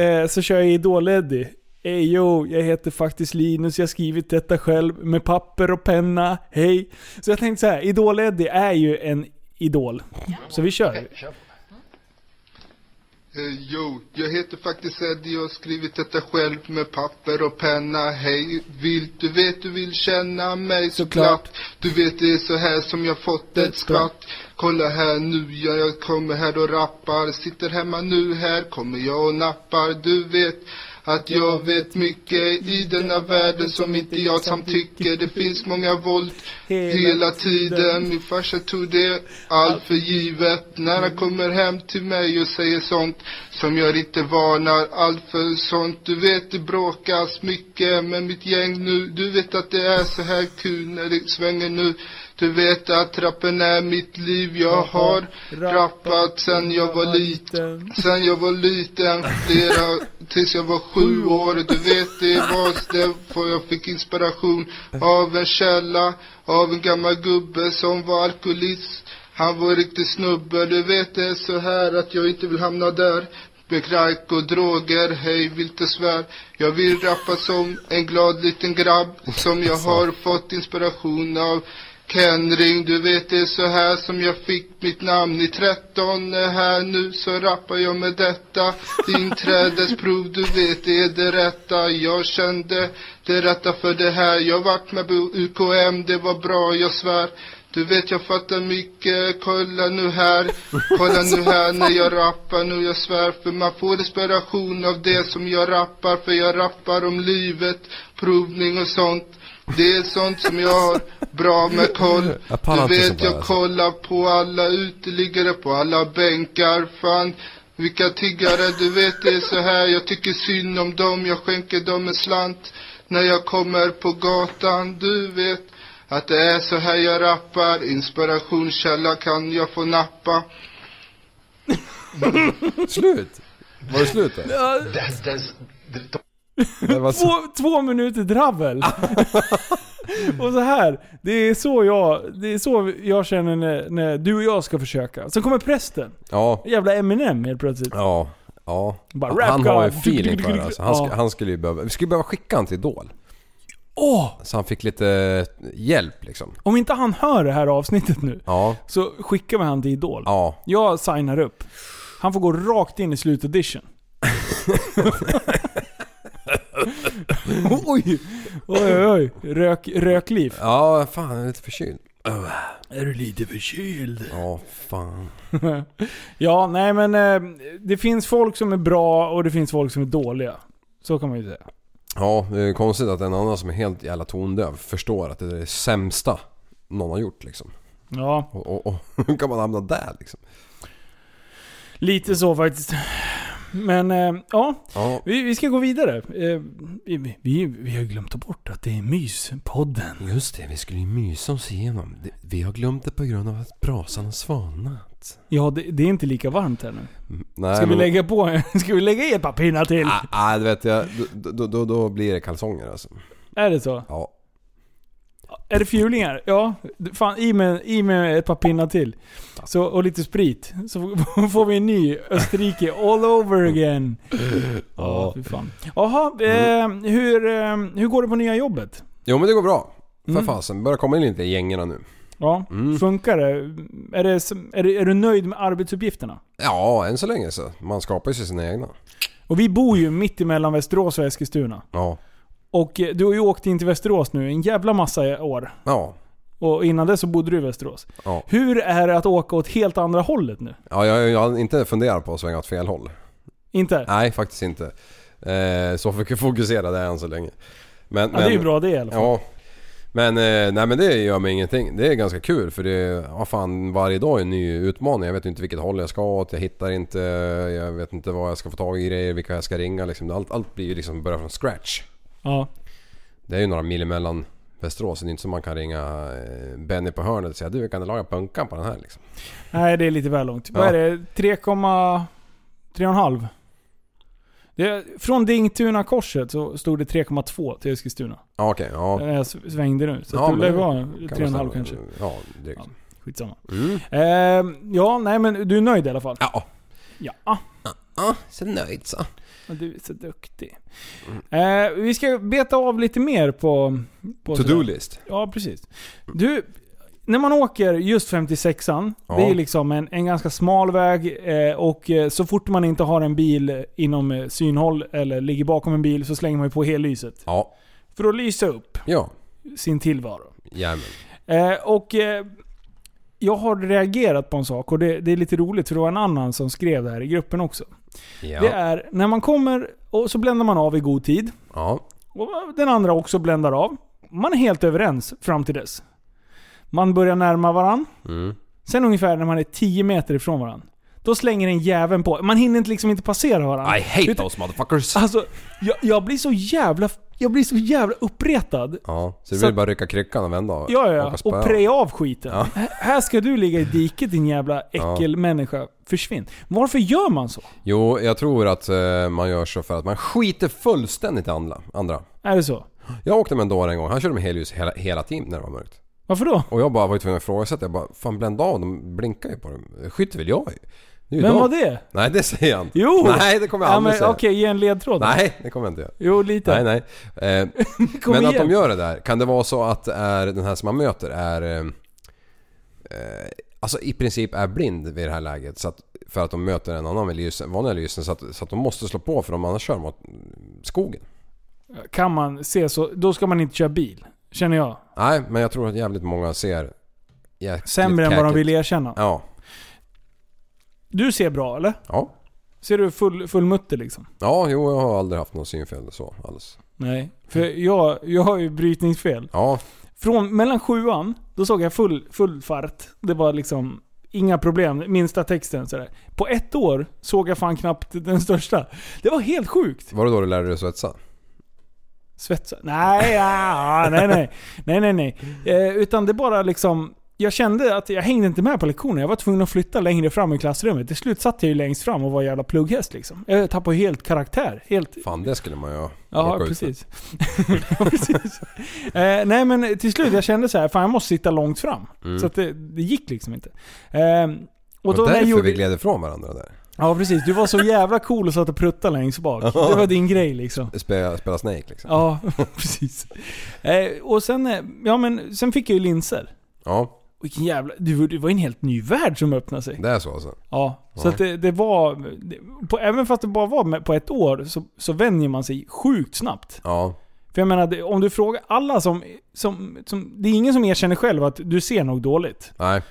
S5: eh, så kör jag Idol-Eddie. Ey yo, jag heter faktiskt Linus, jag har skrivit detta själv med papper och penna, hej. Så jag tänkte så här, Idol-Eddie är ju en idol. Så vi kör.
S7: Eh, Jo, jag heter faktiskt Eddie och har skrivit detta själv med papper och penna. Hej, vill, du vet du vill känna mig såklart. Du vet det är så här som jag fått ett skvatt. Kolla här nu, ja, jag kommer här och rappar. Sitter hemma nu, här kommer jag och nappar. Du vet att jag vet mycket i denna världen som inte jag samtycker. Det finns många våld hela tiden. Min farsa tog det allt för givet. När han kommer hem till mig och säger sånt som jag inte varnar. Allt för sånt. Du vet det bråkas mycket med mitt gäng nu. Du vet att det är så här kul när det svänger nu. Du vet att rappen är mitt liv. Jag har rappat sen jag var liten. Sen jag var liten. Flera, tills jag var sju år. Du vet det var det för jag fick inspiration av en källa. Av en gammal gubbe som var alkoholist. Han var riktigt snubbe. Du vet det är så här att jag inte vill hamna där. Med knark och droger, hej vilt och svär. Jag vill rappa som en glad liten grabb. Som jag har fått inspiration av. Kenring, du vet det är så här som jag fick mitt namn i 13 är här nu så rappar jag med detta Inträdesprov, du vet det är det rätta Jag kände det rätta för det här Jag vart med på UKM, det var bra, jag svär Du vet jag fattar mycket, kolla nu här Kolla nu här när jag rappar nu, jag svär För man får inspiration av det som jag rappar För jag rappar om livet, provning och sånt det är sånt som jag har bra med koll.
S6: Jag pallar
S7: Du
S6: inte sånt
S7: vet,
S6: där,
S7: jag
S6: alltså.
S7: kollar på alla uteliggare, på alla bänkar. Fan, vilka tiggare. Du vet, det är så här. Jag tycker synd om dem. Jag skänker dem en slant när jag kommer på gatan. Du vet att det är så här jag rappar. Inspirationskälla kan jag få nappa.
S6: Slut! Var det slut där? Det var så...
S5: Två, två minuter dravel. och så här, det är så jag, det är så jag känner när, när du och jag ska försöka. Så kommer prästen.
S6: Ja.
S5: Jävla Eminem helt plötsligt.
S6: Ja. Ja.
S5: Bara
S6: Han-
S5: rap
S6: han har ju
S5: god.
S6: feeling för det alltså. han, sk-
S5: Ja.
S6: han skulle ju behöva... Vi skulle behöva skicka han till Idol.
S5: Åh!
S6: Så han fick lite hjälp liksom.
S5: Om inte han hör det här avsnittet nu,
S6: Ja.
S5: så skickar vi han till Idol.
S6: Ja.
S5: Jag signar upp. Han får gå rakt in i slutaudition. oj! Oj, oj, Rök, rökliv.
S6: Ja, fan jag är lite förkyld.
S5: Är du lite förkyld?
S6: Ja, fan.
S5: ja, nej men eh, det finns folk som är bra och det finns folk som är dåliga. Så kan man ju säga.
S6: Ja, det är konstigt att en annan som är helt jävla tondöv förstår att det är det sämsta någon har gjort liksom.
S5: Ja,
S6: Och, och, och hur kan man hamna där liksom?
S5: lite så faktiskt. Men eh, ja,
S6: Ja,
S5: vi, vi ska gå vidare. Eh, vi- vi, vi, vi har glömt ta bort att det är Myspodden.
S6: just det. Vi skulle ju mysa oss igenom. Det- Vi har glömt det på grund av att brasan har svalnat.
S5: Ja, det, det är inte lika varmt ännu.
S6: Nej,
S5: Mm. Ska vi
S6: men-
S5: lägga på Ska vi lägga i ett par pinnar till?
S6: Ah, ah, du vet jag. Då, då, då, då blir det kalsonger alltså.
S5: Är det så?
S6: Ja.
S5: Är det fjulingar? Ja. Fan, i med, i med ett par pinnar till. Så, och lite sprit. Så får vi en ny Österrike all over again. Ja, fy fan. Jaha, eh, hur, eh, hur går det på nya jobbet?
S6: Jo men det går bra. För
S5: Mm.
S6: fasen. Börjar komma in lite i gängerna nu.
S5: Ja,
S6: Mm.
S5: funkar det? Är, det, som- är det? är du nöjd med arbetsuppgifterna?
S6: Ja, än så länge så. Man skapar ju sig sina egna.
S5: Och vi bor ju mitt emellan Västerås och Eskilstuna.
S6: Ja.
S5: Och eh, du har ju åkt in till Västerås nu en jävla massa år.
S6: Ja.
S5: Och innan det så bodde du i Västerås.
S6: Ja.
S5: Hur är det att åka åt helt andra hållet nu?
S6: Ja, jag, jag har inte funderat på att svänga åt fel håll.
S5: Inte?
S6: Nej, faktiskt inte. Eh, så fokuserad är jag än så länge. Men,
S5: ja, det är ju bra det i alla fall.
S6: Ja. Men, eh, nej, men det gör mig ingenting. Det är ganska kul för det ja, fan, varje dag är en ny utmaning. Jag vet inte vilket håll jag ska åt. Jag hittar inte... Jag vet inte vad jag ska få tag i grejer. Vilka jag ska ringa liksom. Allt, allt blir ju liksom börja från scratch.
S5: Ja.
S6: Det är ju några mil emellan Västerås. Det är inte som man kan ringa eh, Benny på hörnet och säga du kan du laga punkan på den här liksom.
S5: Nej, det är lite väl långt. Vad
S6: Ja.
S5: är det? 3,3,5? Det är- Från Dingtuna-korset så stod det 3,2 till Eskilstuna.
S6: Ja okej, ja.
S5: När jag svängde nu. Så
S6: Ja,
S5: det
S6: men
S5: lär vara
S6: kan väl
S5: 3,5
S6: stämma.
S5: kanske.
S6: Ja, drygt.
S5: Skitsamma.
S6: Mm.
S5: Ehm, ja, nej men du är nöjd i alla fall?
S6: Ja.
S5: Ja.
S6: Ja, så nöjd så.
S5: Ja, Du är så duktig. Eh, vi ska beta av lite mer på... på sådär.
S6: To-do-list.
S5: Ja, precis. Du, när man åker just 56an,
S6: Ja.
S5: det är liksom en, en ganska smal väg eh, och eh, så fort man inte har en bil inom eh, synhåll eller ligger bakom en bil så slänger man ju på hellyset.
S6: Ja.
S5: För att lysa upp
S6: Ja.
S5: sin tillvaro.
S6: Jajamän.
S5: Eh, och eh, jag har reagerat på en sak och det, det är lite roligt för det var en annan som skrev det här i gruppen också.
S6: Ja.
S5: Det är när man kommer och så bländar man av i god tid.
S6: Ja.
S5: Och den andra också bländar av. Man är helt överens fram till dess. Man börjar närma varandra.
S6: Mm.
S5: Sen ungefär när man är 10 meter ifrån varandra. Då slänger en jäveln på. Man hinner inte liksom inte passera varandra.
S6: I hate those motherfuckers.
S5: Alltså, jag, jag blir så jävla... Jag blir så jävla uppretad.
S6: Ja, så det
S5: Så-
S6: blir bara rycka kryckan och vända och
S5: Ja, ja.
S6: åka spö.
S5: Och preja av skiten.
S6: Ja.
S5: H- Här ska du ligga i diket din jävla äckelmänniska. Försvinn. Varför gör man så?
S6: Jo, jag tror att eh, man gör så för att man skiter fullständigt i andra. andra.
S5: Är det så?
S6: Jag åkte med en dåre en gång, han körde med helljus hela, hela tiden när det var mörkt.
S5: Varför då?
S6: Och jag bara var ju tvungen att ifrågasätta. Jag bara, fan blända av, de blinkar ju på dem. Skiter väl jag i. Det är ju
S5: Vem
S6: de.
S5: var det?
S6: Nej, det säger jag inte.
S5: Jo!
S6: Nej, det kommer jag
S5: Ja,
S6: aldrig
S5: men
S6: säga.
S5: Okej, ge en ledtråd. då.
S6: Nej, det kommer jag inte göra.
S5: Jo, lite.
S6: Nej, nej. Eh,
S5: Kom
S6: men att
S5: igen.
S6: de gör det där, kan det vara så att det är, den här som man möter är... Eh, eh, alltså i princip är blind vid det här läget så att, för att de möter en annan med lysen, vanliga lysen så att, så att de måste slå på för de annars kör mot skogen.
S5: Kan man se så, då ska man inte köra bil. Känner jag.
S6: Nej, men jag tror att jävligt många ser... jäkligt
S5: Sämre än vad de
S6: käkigt.
S5: vill erkänna.
S6: Ja.
S5: Du ser bra eller?
S6: Ja.
S5: Ser du full, full mutter liksom?
S6: Ja, jo jag har aldrig haft någon synfel så alls.
S5: Nej. För jag, jag har ju brytningsfel.
S6: Ja.
S5: Från mellan sjuan, då såg jag full, full fart. Det var liksom inga problem. Minsta texten sådär. På ett år såg jag fan knappt den största. Det var helt sjukt.
S6: Var det då du lärde dig svetsa?
S5: Svetsa? Nej, ja, nej, nej. Nej, nej, nej. Eh, utan det bara liksom... Jag kände att jag hängde inte med på lektionen. Jag var tvungen att flytta längre fram i klassrummet. Till slut satt jag ju längst fram och var en jävla plugghäst liksom. Jag tappade ju helt karaktär. Helt...
S6: Fan det skulle man ju
S5: Ja,
S6: råka ut för.
S5: precis. Ja, precis. Eh, nej men till slut jag kände så här, fan jag måste sitta långt fram.
S6: Mm.
S5: Så att det, det gick liksom inte. Eh,
S6: Och,
S5: när jag
S6: därför
S5: gjorde-
S6: vi gled ifrån varandra där.
S5: Ja precis, du var så jävla cool och satt och pruttade längst bak. Det var din grej liksom.
S6: Spela, spela Snake liksom.
S5: Ja, precis. Eh, och sen, eh, ja, men, sen fick jag ju linser.
S6: Ja,
S5: Vilken jävla... Det var, det var en helt ny värld som öppnade sig.
S6: det är så alltså.
S5: Ja, så
S6: Ja.
S5: att det, det var... Det, på, även fast det bara var med, på ett år så, så vänjer man sig sjukt snabbt.
S6: Ja.
S5: För jag menar, det- om du frågar alla som, som, som... Det är ingen som erkänner själv att du ser nog dåligt.
S6: Nej.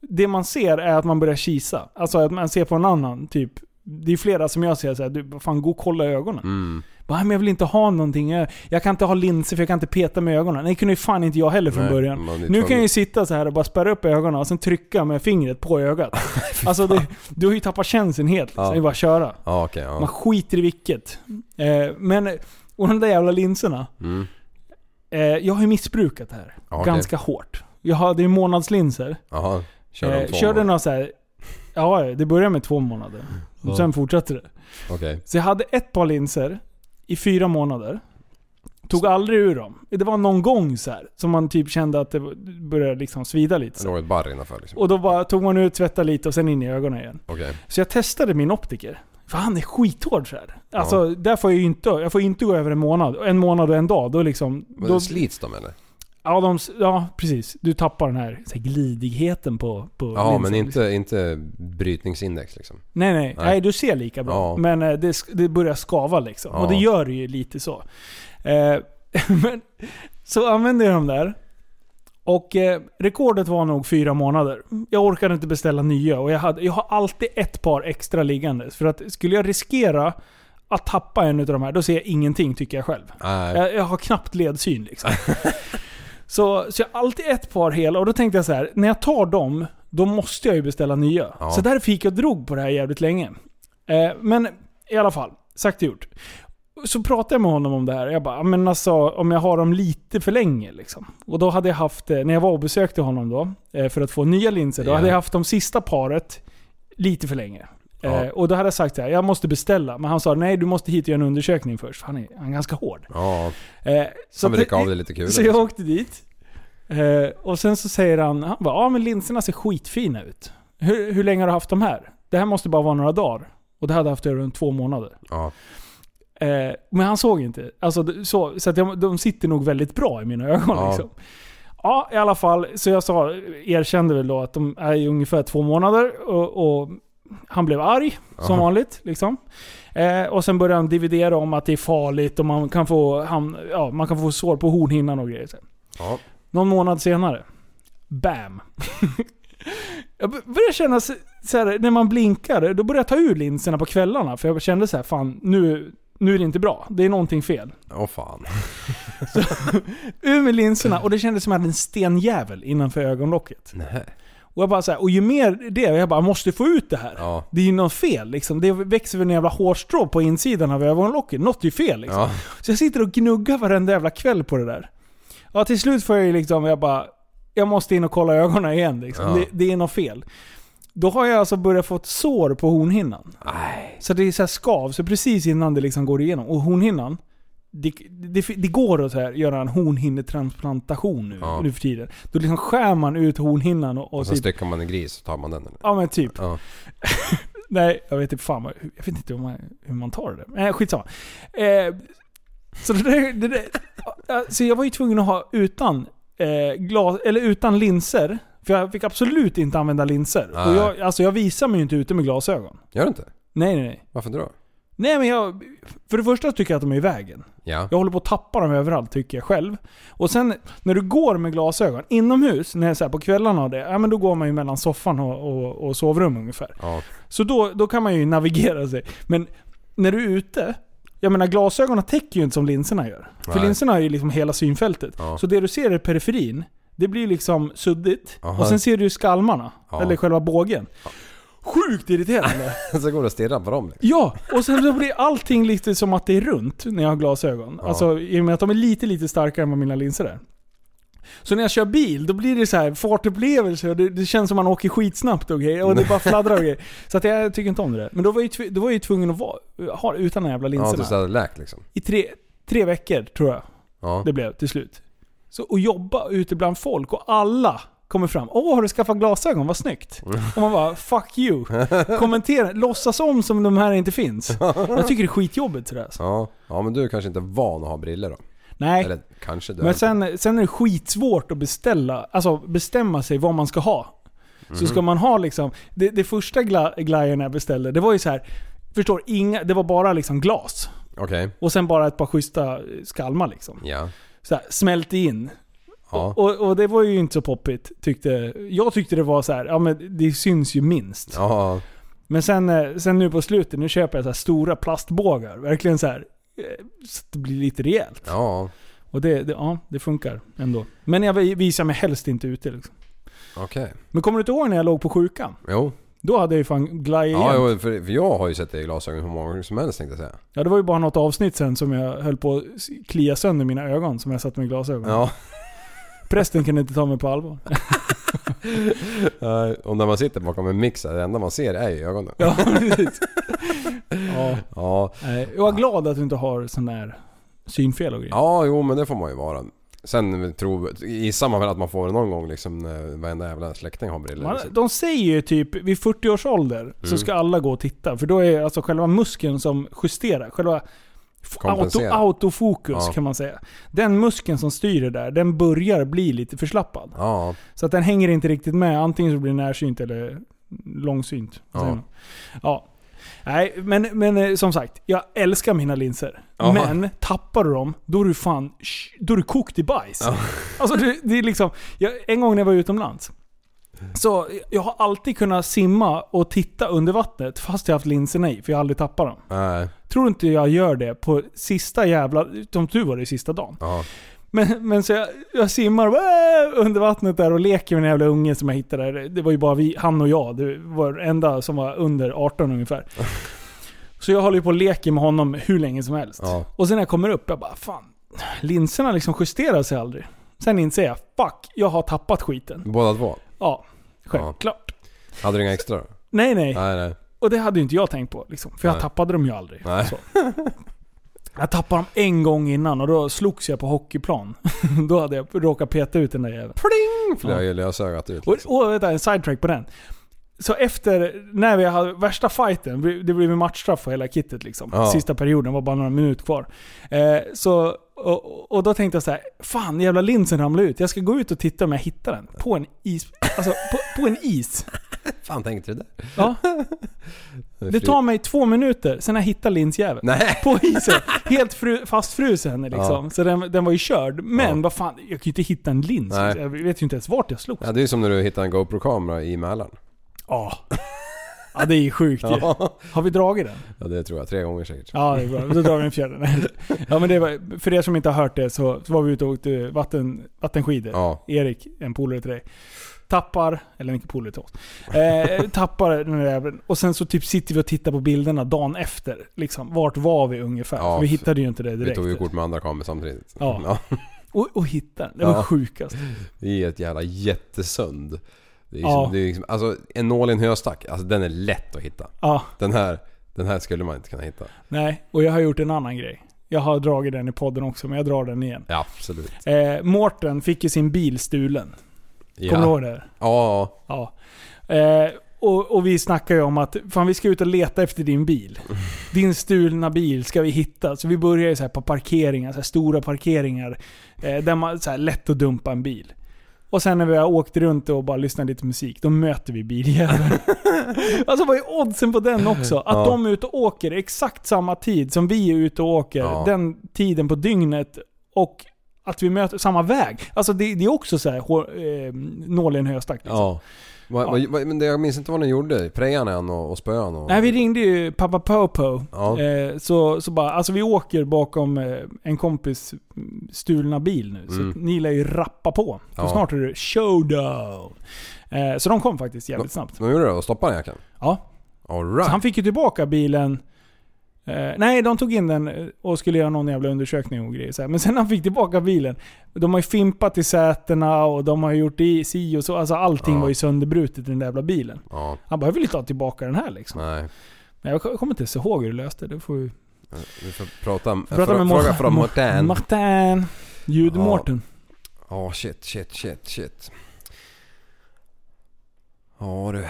S5: Det man ser är att man börjar kisa. Alltså att man ser på en annan, typ. Det är flera som jag ser såhär, du vad fan gå och kolla ögonen.
S6: Mm.
S5: Bara, men jag vill inte ha någonting. Jag, jag kan inte ha linser för jag kan inte peta med ögonen. Nej, kunde ju fan inte jag heller från
S6: Nej,
S5: början.
S6: man är
S5: Nu kan
S6: tvungen.
S5: jag ju sitta så här och bara spärra upp ögonen och sen trycka med fingret på ögat. alltså, det, du har ju tappat känseln helt. Liksom.
S6: Ja.
S5: Det är bara att köra.
S6: Ja okej, ja.
S5: Man skiter i vilket. Eh, men, och de där jävla linserna.
S6: Mm.
S5: Eh, jag har ju missbrukat det här.
S6: Ja, okej.
S5: Ganska hårt. Jag hade ju månadslinser.
S6: Jaha. Kör de
S5: Eh,
S6: två
S5: körde
S6: månader?
S5: några så här. Ja, det började med två månader.
S6: Mm. Ja.
S5: Och sen fortsatte det.
S6: Okej.
S5: Så jag hade ett par linser i fyra månader. Tog aldrig ur dem. Det var någon gång så här som man typ kände att det började liksom svida lite.
S6: Det
S5: Så.
S6: låg ett barr innanför liksom.
S5: Och då bara tog man ut, tvättade lite och sen in i ögonen igen.
S6: Okej.
S5: Så jag testade min optiker. För han är skithård så här. Alltså där får jag ju inte, jag får inte gå över en månad. En månad och en dag. Då liksom...
S6: Men
S5: Då,
S6: slits de eller?
S5: ja, de, ja, precis. Du tappar den här, så här glidigheten på, på
S6: Jaha,
S5: linsen,
S6: men
S5: liksom.
S6: inte, inte brytningsindex liksom.
S5: Nej, nej.
S6: Nej.
S5: Nej. du ser lika bra.
S6: Ja.
S5: Men eh, det, sk- det börjar skava liksom.
S6: Ja.
S5: Och det gör det ju lite så. Eh, men, så använde jag dem där. Och eh, rekordet var nog fyra månader. Jag orkade inte beställa nya och jag, hade, jag har alltid ett par extra liggandes. För att skulle jag riskera att tappa en av de här, då ser jag ingenting tycker jag själv.
S6: Nej.
S5: Jag, jag har knappt ledsyn liksom. Så, så jag har alltid ett par hela och då tänkte jag så här: när jag tar dem, då måste jag ju beställa nya.
S8: Ja.
S5: Så därför gick jag och drog på det här jävligt länge. Eh, men i alla fall, sagt och gjort. Så pratade jag med honom om det här. Jag bara, "Ja, men alltså om jag har dem lite för länge liksom. Och då hade jag haft, eh, när jag var och besökte honom då, eh, för att få nya linser, då
S8: Ja.
S5: hade jag haft de sista paret lite för länge. Eh, och då hade jag sagt så här, jag måste beställa. Men han sa, nej du måste hit och göra en undersökning först. För han är, han är ganska hård.
S6: Ja.
S5: Eh,
S6: Han vill
S5: att-
S6: rycka av dig lite liksom. kul.
S5: Så jag åkte dit. Eh, och sen så säger han, han bara, ja men linserna ser skitfina ut. Hur, hur länge har du haft de här? Det här måste bara vara några dagar. Och det hade jag haft i runt två månader.
S6: Ja.
S5: Eh, men han såg inte. Alltså, d- så så att jag, de sitter nog väldigt bra i mina ögon.
S8: Ja.
S5: Liksom. Ja, i alla fall. Så jag sa, erkände väl då att de är i ungefär två månader. Och, och han blev arg, som
S8: Aha.
S5: vanligt. Liksom. Eh, och sen började han dividera om att det är farligt och man kan få, han, ja, man kan få sår på hornhinnan och grejer.
S6: Ja.
S5: Någon månad senare. Bam! jag bör- började känna så så här, när man blinkar, då började jag ta ur linserna på kvällarna. För jag kände så här, fan nu, nu är det inte bra. Det är någonting fel.
S6: Åh fan.
S5: Ur med linserna och det kändes som att jag hade en stenjävel innanför ögonlocket.
S6: Nej.
S5: Och jag bara så här, och ju mer det, jag bara jag måste få ut det här. Det är ju något fel liksom. Det växer väl en jävla hårstrå på insidan av ögonlocket. Något är ju fel liksom.
S6: Ja.
S5: Så jag sitter och gnuggar varenda jävla kväll på det där. Ja, till slut får jag ju liksom, jag bara... Jag måste in och kolla ögonen igen liksom.
S8: Ja.
S5: det, det är något fel. Då har jag alltså börjat få ett sår på hornhinnan. Så det är så här skav, så precis innan det liksom går igenom. Och hornhinnan, det, det, det går att så här, göra en hornhinnetransplantation nu,
S6: Ja.
S5: nu för tiden. Då liksom skär man ut hornhinnan och, och,
S6: Och sen
S5: typ,
S6: styckar man en gris och tar man den. Eller?
S5: Ja men typ.
S6: Ja.
S5: Nej, jag vet inte fan vad- Jag vet inte hur man, hur man tar det där. Eh, skitsamma. Eh, så det, där- det, där- ja, så jag var ju tvungen att ha utan eh, glas, eller utan linser. För jag fick absolut inte använda linser.
S6: Nej.
S5: Och jag, alltså jag visar mig ju inte ute med glasögon.
S6: Gör du inte?
S5: Nej, nej, nej.
S6: Varför då?
S5: Nej men jag... För det första tycker jag att de är i vägen.
S6: Ja.
S5: Jag håller på att tappa dem överallt tycker jag själv. Och sen när du går med glasögon inomhus, när jag så här på kvällarna och det, ja men då går man ju mellan soffan och, och, och sovrum ungefär.
S6: Ja.
S5: Så då, då kan man ju navigera sig. Men när du är ute, jag menar glasögonen täcker ju inte som linserna gör. För
S8: Nej.
S5: linserna är ju liksom hela synfältet.
S8: Ja.
S5: Så det du ser i periferin, det blir liksom suddigt.
S6: Aha.
S5: Och sen ser du ju skalmarna,
S6: Ja.
S5: eller själva bågen. Sjukt irriterande.
S6: så går du och stirrar på dem. Liksom.
S5: Ja, och sen så blir allting lite som att det är runt när jag har glasögon.
S6: Ja.
S5: Alltså i och med att de är lite, lite starkare än vad mina linser är. Så när jag kör bil, då blir det så här fartupplevelse och det, det känns som man åker skitsnabbt och grejer. Och det bara fladdrar och grejer. Så att jag tycker inte om det där. Men då var jag ju tv- då var jag ju tvungen att vara, ha det utan de här jävla
S6: Ja,
S5: linserna.
S6: tills det hade läkt liksom.
S5: I tre, tre veckor tror jag
S6: Ja.
S5: det blev till slut. Så att jobba ute bland folk och alla kommer fram. Åh, har du skaffat glasögon? Vad snyggt.
S6: Mm.
S5: Och man bara, fuck you. Kommentera, låtsas om som de här inte finns. Jag tycker det är skitjobbigt sådär. alltså.
S6: Ja. ja, men du är kanske inte van att ha briller då?
S5: Nej.
S6: Eller kanske du är.
S5: Men sen, sen är det skitsvårt att beställa, alltså bestämma sig vad man ska ha. Så
S6: Mm.
S8: Mhm.
S5: ska man ha liksom, det, det första gla, glajen jag beställde, det var ju så här. förstår, inga, det var bara liksom glas.
S6: Okej.
S5: Och sen bara ett par schyssta eh, skalmar liksom.
S6: Ja.
S5: Så här, smälte in.
S6: Ja.
S5: Och, och det var ju inte så poppigt. Tyckte, jag tyckte det var så här, ja men det syns ju minst.
S6: Ja.
S5: Men sen, eh, sen nu på slutet, nu köper jag så här stora plastbågar. Verkligen så här, eh, så att det blir lite rejält.
S6: Ja.
S5: Och det, det, ja, det funkar ändå. Men jag visar mig helst inte ute liksom.
S6: Okej.
S5: Men kommer du inte ihåg när jag låg på sjukan?
S6: Jo.
S5: Då hade jag ju fan glajjor
S6: Ja,
S5: igen.
S6: jo, för, för jag har ju sett dig i glasögon hur många gånger som helst tänkte jag säga.
S5: Ja, det var ju bara något avsnitt sen som jag höll på att s- klia sönder mina ögon som jag satt med glasögon.
S6: Ja.
S5: Prästen kunde inte ta mig på allvar.
S6: Nej, och när man sitter bakom en mixer, det enda man ser är ju ögonen.
S5: Ja, precis. Ja.
S6: Ja.
S5: Nej, jag är glad att du inte har sån där synfel och grejer.
S6: Ja, jo men det får man ju vara. Sen tror, gissar man väl att man får det någon gång liksom när varenda jävla släkting har briller.
S5: Man,
S6: liksom.
S5: de säger ju typ vid 40 års ålder så
S6: Mm.
S5: ska alla gå och titta. För då är alltså själva muskeln som justerar, själva f- auto,
S6: Kompensera.
S5: autofokus
S6: Ja.
S5: kan man säga. Den muskeln som styr det där, den börjar bli lite förslappad.
S6: Ja.
S5: Så att den hänger inte riktigt med. Antingen så blir det närsynt eller långsynt.
S6: Ja.
S5: Ja. ja. Nej, men, men eh, som sagt. Jag älskar mina linser.
S8: Jaha.
S5: Men tappar du dem, då är du fan... sh- Då är du kokt i bajs.
S8: Ja.
S5: Alltså det, det är liksom... Jag, en gång när jag var utomlands. Så jag har alltid kunnat simma och titta under vattnet fast jag haft linserna i, för jag har aldrig tappat dem.
S6: Nej.
S5: Tror du inte jag gör det på sista jävla... Som du var det sista dagen.
S6: Ja.
S5: Men, men så jag, jag simmar äh, under vattnet där och leker med en jävla unge som jag hittade där. Det var ju bara vi, han och jag. Det var den enda som var under 18 ungefär. Så jag håller ju på och leker med honom hur länge som helst.
S6: Ja.
S5: Och sen när jag kommer upp, jag bara fan. Linserna liksom justerar sig aldrig. Sen inser jag, fuck, jag har tappat skiten.
S6: Båda två?
S5: Ja, självklart.
S6: Hade du inga extra då?
S5: Nej, nej.
S6: Nej, nej.
S5: Och det hade ju inte jag tänkt på. Liksom, för jag
S6: Nej.
S5: tappade dem ju aldrig.
S6: Nej.
S5: Så. Jag tappade dem en gång innan och då slogs jag på hockeyplan. då hade jag råkat peta ut den där jäveln.
S6: Flög ju lösögat ut.
S5: Och, och vänta, en sidetrack på den. Så efter, när vi hade värsta fighten, det blev ju matchstraff för hela kittet liksom.
S6: Ja.
S5: Sista perioden, var bara några minuter kvar. Eh, så, och, och då tänkte jag så här: fan jävla linsen ramlade ut. Jag ska gå ut och titta om jag hittar den. På en is. Alltså, på, på en is.
S6: fan tänkte du det?
S5: Ja. Det tar mig två minuter, sen jag hittar linsjäveln. På isen. Helt fru, fastfrusen liksom.
S6: Ja.
S5: Så den, den var ju körd. Men vad fan, jag kan ju inte hitta en lins.
S6: Nej.
S5: Jag vet ju inte ens vart jag slog.
S6: Ja, det är ju som när du hittar en GoPro-kamera i Mälaren.
S5: Ja. Ah. Ja det är ju sjukt ju.
S6: Ja.
S5: Har vi dragit den?
S6: Ja, det tror jag. Tre gånger säkert.
S5: Ja det är bra, då drar vi en fjärde. Nej. Ja, men det var, för er som inte har hört det så, så var vi ute och åkte vatten, vattenskidor.
S6: Ja.
S5: Erik, en polare till dig. Tappar, eller inte polare till oss. Eh, tappar den där jäveln. Och sen så typ sitter vi och tittar på bilderna dagen efter. Liksom, vart var vi ungefär?
S6: Ja,
S5: För vi hittade ju inte det
S6: Vi
S5: direkt.
S6: tog ju kort med andra kameror samtidigt.
S5: Ja. Och, och hittade den. Det var
S6: Ja.
S5: sjukast.
S6: I ett jävla jättesund. Det är
S5: Ja.
S6: liksom, det är liksom, alltså en nål i en höstack, alltså den är lätt att hitta.
S5: Ja.
S6: Den, här, den här skulle man inte kunna hitta.
S5: Nej, och jag har gjort en annan grej. Jag har dragit den i podden också, men jag drar den igen.
S6: Ja, absolut.
S5: Eh, Mårten fick ju sin bil stulen. Kommer du ihåg det? här?
S6: Ja.
S5: Ja. Eh, och, och vi snackar ju om att fan, vi ska ut och leta efter din bil. Din stulna bil ska vi hitta. Så vi börjar ju så här på parkeringar, så här stora parkeringar. Eh, där man så här lätt att dumpa en bil. Och sen när vi har åkt runt och bara lyssnat lite musik, då möter vi biljäveln. alltså vad är oddsen på den också? Att
S6: Ja.
S5: de är ute och åker exakt samma tid som vi är ute och åker.
S6: Ja.
S5: Den tiden på dygnet. Och att vi möter samma väg. Alltså det, det är också så här, hår, eh, nål i en höstack. Liksom.
S6: Ja. Vad-
S5: Ja.
S6: vad- vad- men det, jag minns inte vad ni gjorde. Prejade han och, och spöade han? Och,
S5: Nej, vi ringde ju pappa Popo.
S6: Ja.
S5: Eh, så, så bara, alltså vi åker bakom eh, en kompis mm, stulna bil nu. Så
S6: Mm.
S5: ni lär ju rappa på. För
S6: Ja.
S5: snart är det showdown. Eh, så de kom faktiskt jävligt snabbt.
S6: De gjorde det och stoppade han jackan?
S5: Ja.
S6: All
S5: Så
S6: right.
S5: han fick ju tillbaka bilen. Eh, nej, de tog in den eh, och skulle göra någon jävla undersökning och grejer. Så här. Men sen när han fick tillbaka bilen. De har ju fimpat i sätena och de har gjort i si och så. Alltså allting
S6: Ja.
S5: var ju sönderbrutet i den där jävla bilen.
S6: Ja.
S5: Han bara, jag vill inte ha tillbaka den här liksom.
S6: Nej.
S5: Men jag kommer inte ens ihåg hur du löste det. det. Får vi...
S6: Vi får prata,
S5: Får prata med
S6: fråga
S5: Mor-
S6: från Martin.
S5: Martin.
S6: Ja.
S5: Ljud-Mårten.
S6: Ja, shit, shit, shit, shit. Ja du,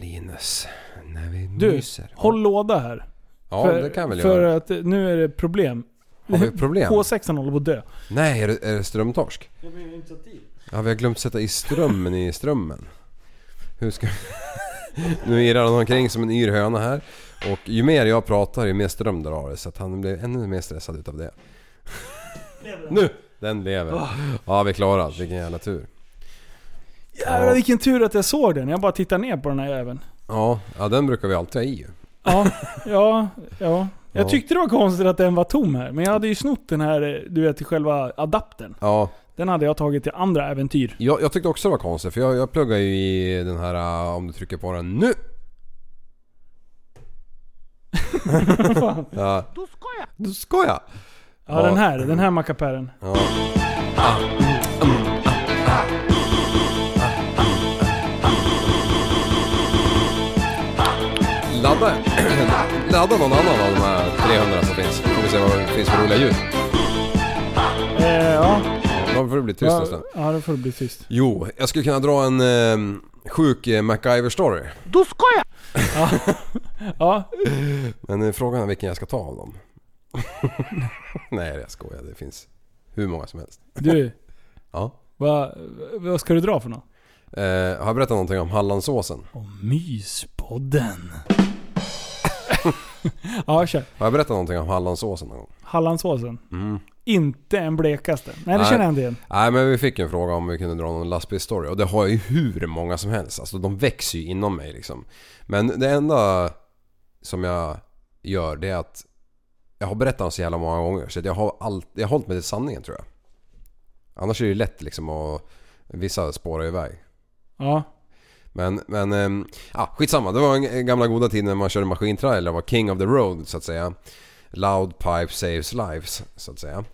S6: Linus. När vi
S5: Du,
S6: myser.
S5: håll låda här.
S6: Ja,
S5: för,
S6: det kan jag väl
S5: För
S6: göra.
S5: att eh, nu är det problem.
S6: Har vi problem?
S5: K6 håller på att dö.
S6: Nej, är det, är det strömtorsk?
S5: Jag blir initiativ.
S6: Ja, vi har glömt sätta i strömmen i strömmen. Hur ska... nu irrar han omkring som en yr höna här. Och ju mer jag pratar, ju mer ström drar det. Så att han blev ännu mer stressad utav det. nu! Den
S5: Ah.
S6: lever. Ja, vi klarar Vilken jävla tur.
S5: Jävlar vilken tur att jag såg den. Jag bara tittar ner på den här jäveln.
S6: Ja, ja den brukar vi alltid ha i ju.
S5: Ja, ja, ja. Jag
S6: Ja.
S5: tyckte det var konstigt att den var tom här. Men jag hade ju snott den här, eh, du vet, till själva adaptern.
S6: Ja,
S5: Den hade jag tagit till andra äventyr.
S6: Jag, jag tyckte också det var konstigt för jag, jag pluggar ju i den här äh, om du trycker på den nu. ja. Då ska jag. Då ska jag.
S5: Ja, den här. Den här mackapären.
S6: Ja. Ah, mm, ah, ah. Ah, ah, ah, ah. Ladda, ladda någon annan av de här 300 som finns. Får vi se vad det finns för roliga ljud.
S5: Eh, ja.
S6: Då får det bli tyst en
S5: Ja,
S6: stund.
S5: ja, då får det bli tyst.
S6: Jo, jag skulle kunna dra en eh, sjuk eh, MacGyver-story.
S5: Då ska jag! Ja. ja.
S6: Men eh, frågan är vilken jag ska ta av dem. Nej jag skojar, det finns hur många som helst.
S5: Du,
S6: Ja.
S5: vad, vad ska du dra för något?
S6: Eh, har jag berättat någonting om Hallandsåsen?
S5: Myspodden. ja, kör.
S6: Har jag berättat någonting om Hallandsåsen någon gång?
S5: Hallandsåsen.
S6: Mm.
S5: Inte en blekaste. Nej, det
S6: Nej.
S5: känner jag inte igen.
S6: Nej men vi fick en fråga om vi kunde dra någon lastbilsstory och det har jag ju hur många som helst. Alltså de växer ju inom mig liksom. Men det enda som jag gör det är att jag har berättat dem så jävla många gånger så att jag har, all, jag har hållit mig till sanningen tror jag. Annars är det lätt liksom att... Vissa spårar iväg.
S5: Ja.
S6: Men, men... ehm, Ja, skitsamma. Det var en eh, gamla goda tid när man körde maskintrailer och var king of the road så att säga. Loud pipe saves lives så att säga.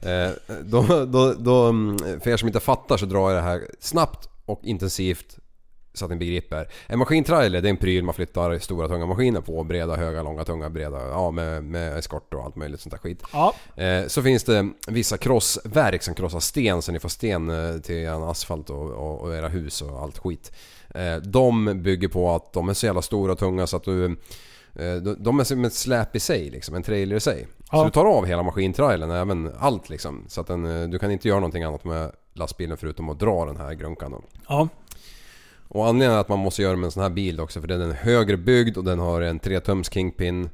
S6: Eh, Då, då, då, mm, för er som inte fattar så drar jag det här snabbt och intensivt så att ni begriper. En maskintrailer det är en pryl man flyttar stora tunga maskiner på. Breda, höga, långa, tunga, breda. Ja, med, med eskort och allt möjligt sånt där skit.
S5: Ja.
S6: Eh, Så finns det vissa krossverk som krossar sten så ni får sten eh, till er asfalt och, och, och era hus och allt skit. Eh, De bygger på att de är så jävla stora och tunga så att du... eh, de- De är som ett släp i sig liksom, en trailer i sig.
S5: Ja.
S6: Så du tar av hela maskintrailern, även allt liksom. Så att den, eh, du kan inte göra någonting annat med lastbilen förutom att dra den här grunkan då.
S5: Ja.
S6: Och anledningen att man måste göra med en sån här bil också för den är högre byggd och den har en 3-tums kingpin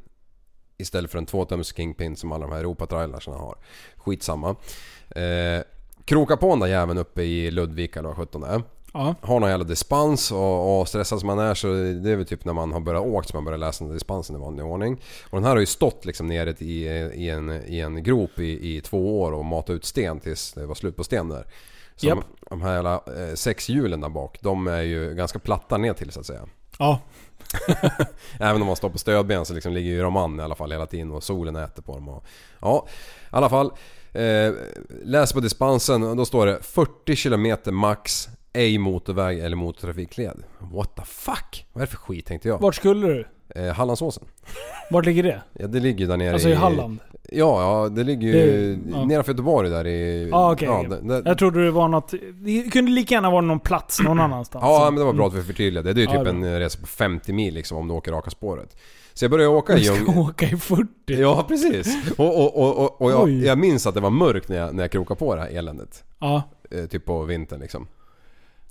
S6: istället för en 2-tums kingpin som alla de här Europa-trailersarna har. Skitsamma. Eh, kroka på den där jäveln uppe i Ludvika eller vad sjutton det är.
S5: Ja.
S6: Har någon jävla dispens och, och stressad som man är så det är väl typ när man har börjat åka som man börjar läsa den där dispensen i vanlig ordning. Och den här har ju stått liksom nere i, i, en, i en grop i, i två år och matat ut sten tills det var slut på sten där. Så
S5: Japp.
S6: de, de här jävla eh, sexhjulen där bak, de är ju ganska platta ner till så att säga.
S5: Ja.
S6: Även om man står på stödben så liksom ligger ju de an i alla fall hela tiden och solen äter på dem. Och, ja, i alla fall. Eh, läs på dispensen och då står det 40 km max, ej motorväg eller motortrafikled. What the fuck? Vad är det för skit tänkte jag?
S5: Vart skulle du?
S6: Eh, Hallandsåsen.
S5: Vart ligger det?
S6: Ja, det ligger ju där nere
S5: Alltså i Halland?
S6: Ja, ja det ligger ju
S5: Det- ja.
S6: nedanför Göteborg där i...
S5: Ah, okej,
S6: ja,
S5: okej.
S6: där- där-
S5: Jag trodde det var något... Det kunde lika gärna vara någon plats någon annanstans.
S6: Ja, men det var bra att vi förtydligade. Det är ju
S5: Mm. Ja,
S6: typ
S5: det
S6: en resa på 50 mil liksom om du åker raka spåret. Så jag började åka i
S5: Vi ska
S6: djungeln.
S5: åka i 40.
S6: Ja, precis. Och, och, och, och, och jag,
S5: Oj.
S6: jag minns att det var mörkt när jag, när jag krokade på det här eländet.
S5: Ja.
S6: Eh, typ på vintern liksom.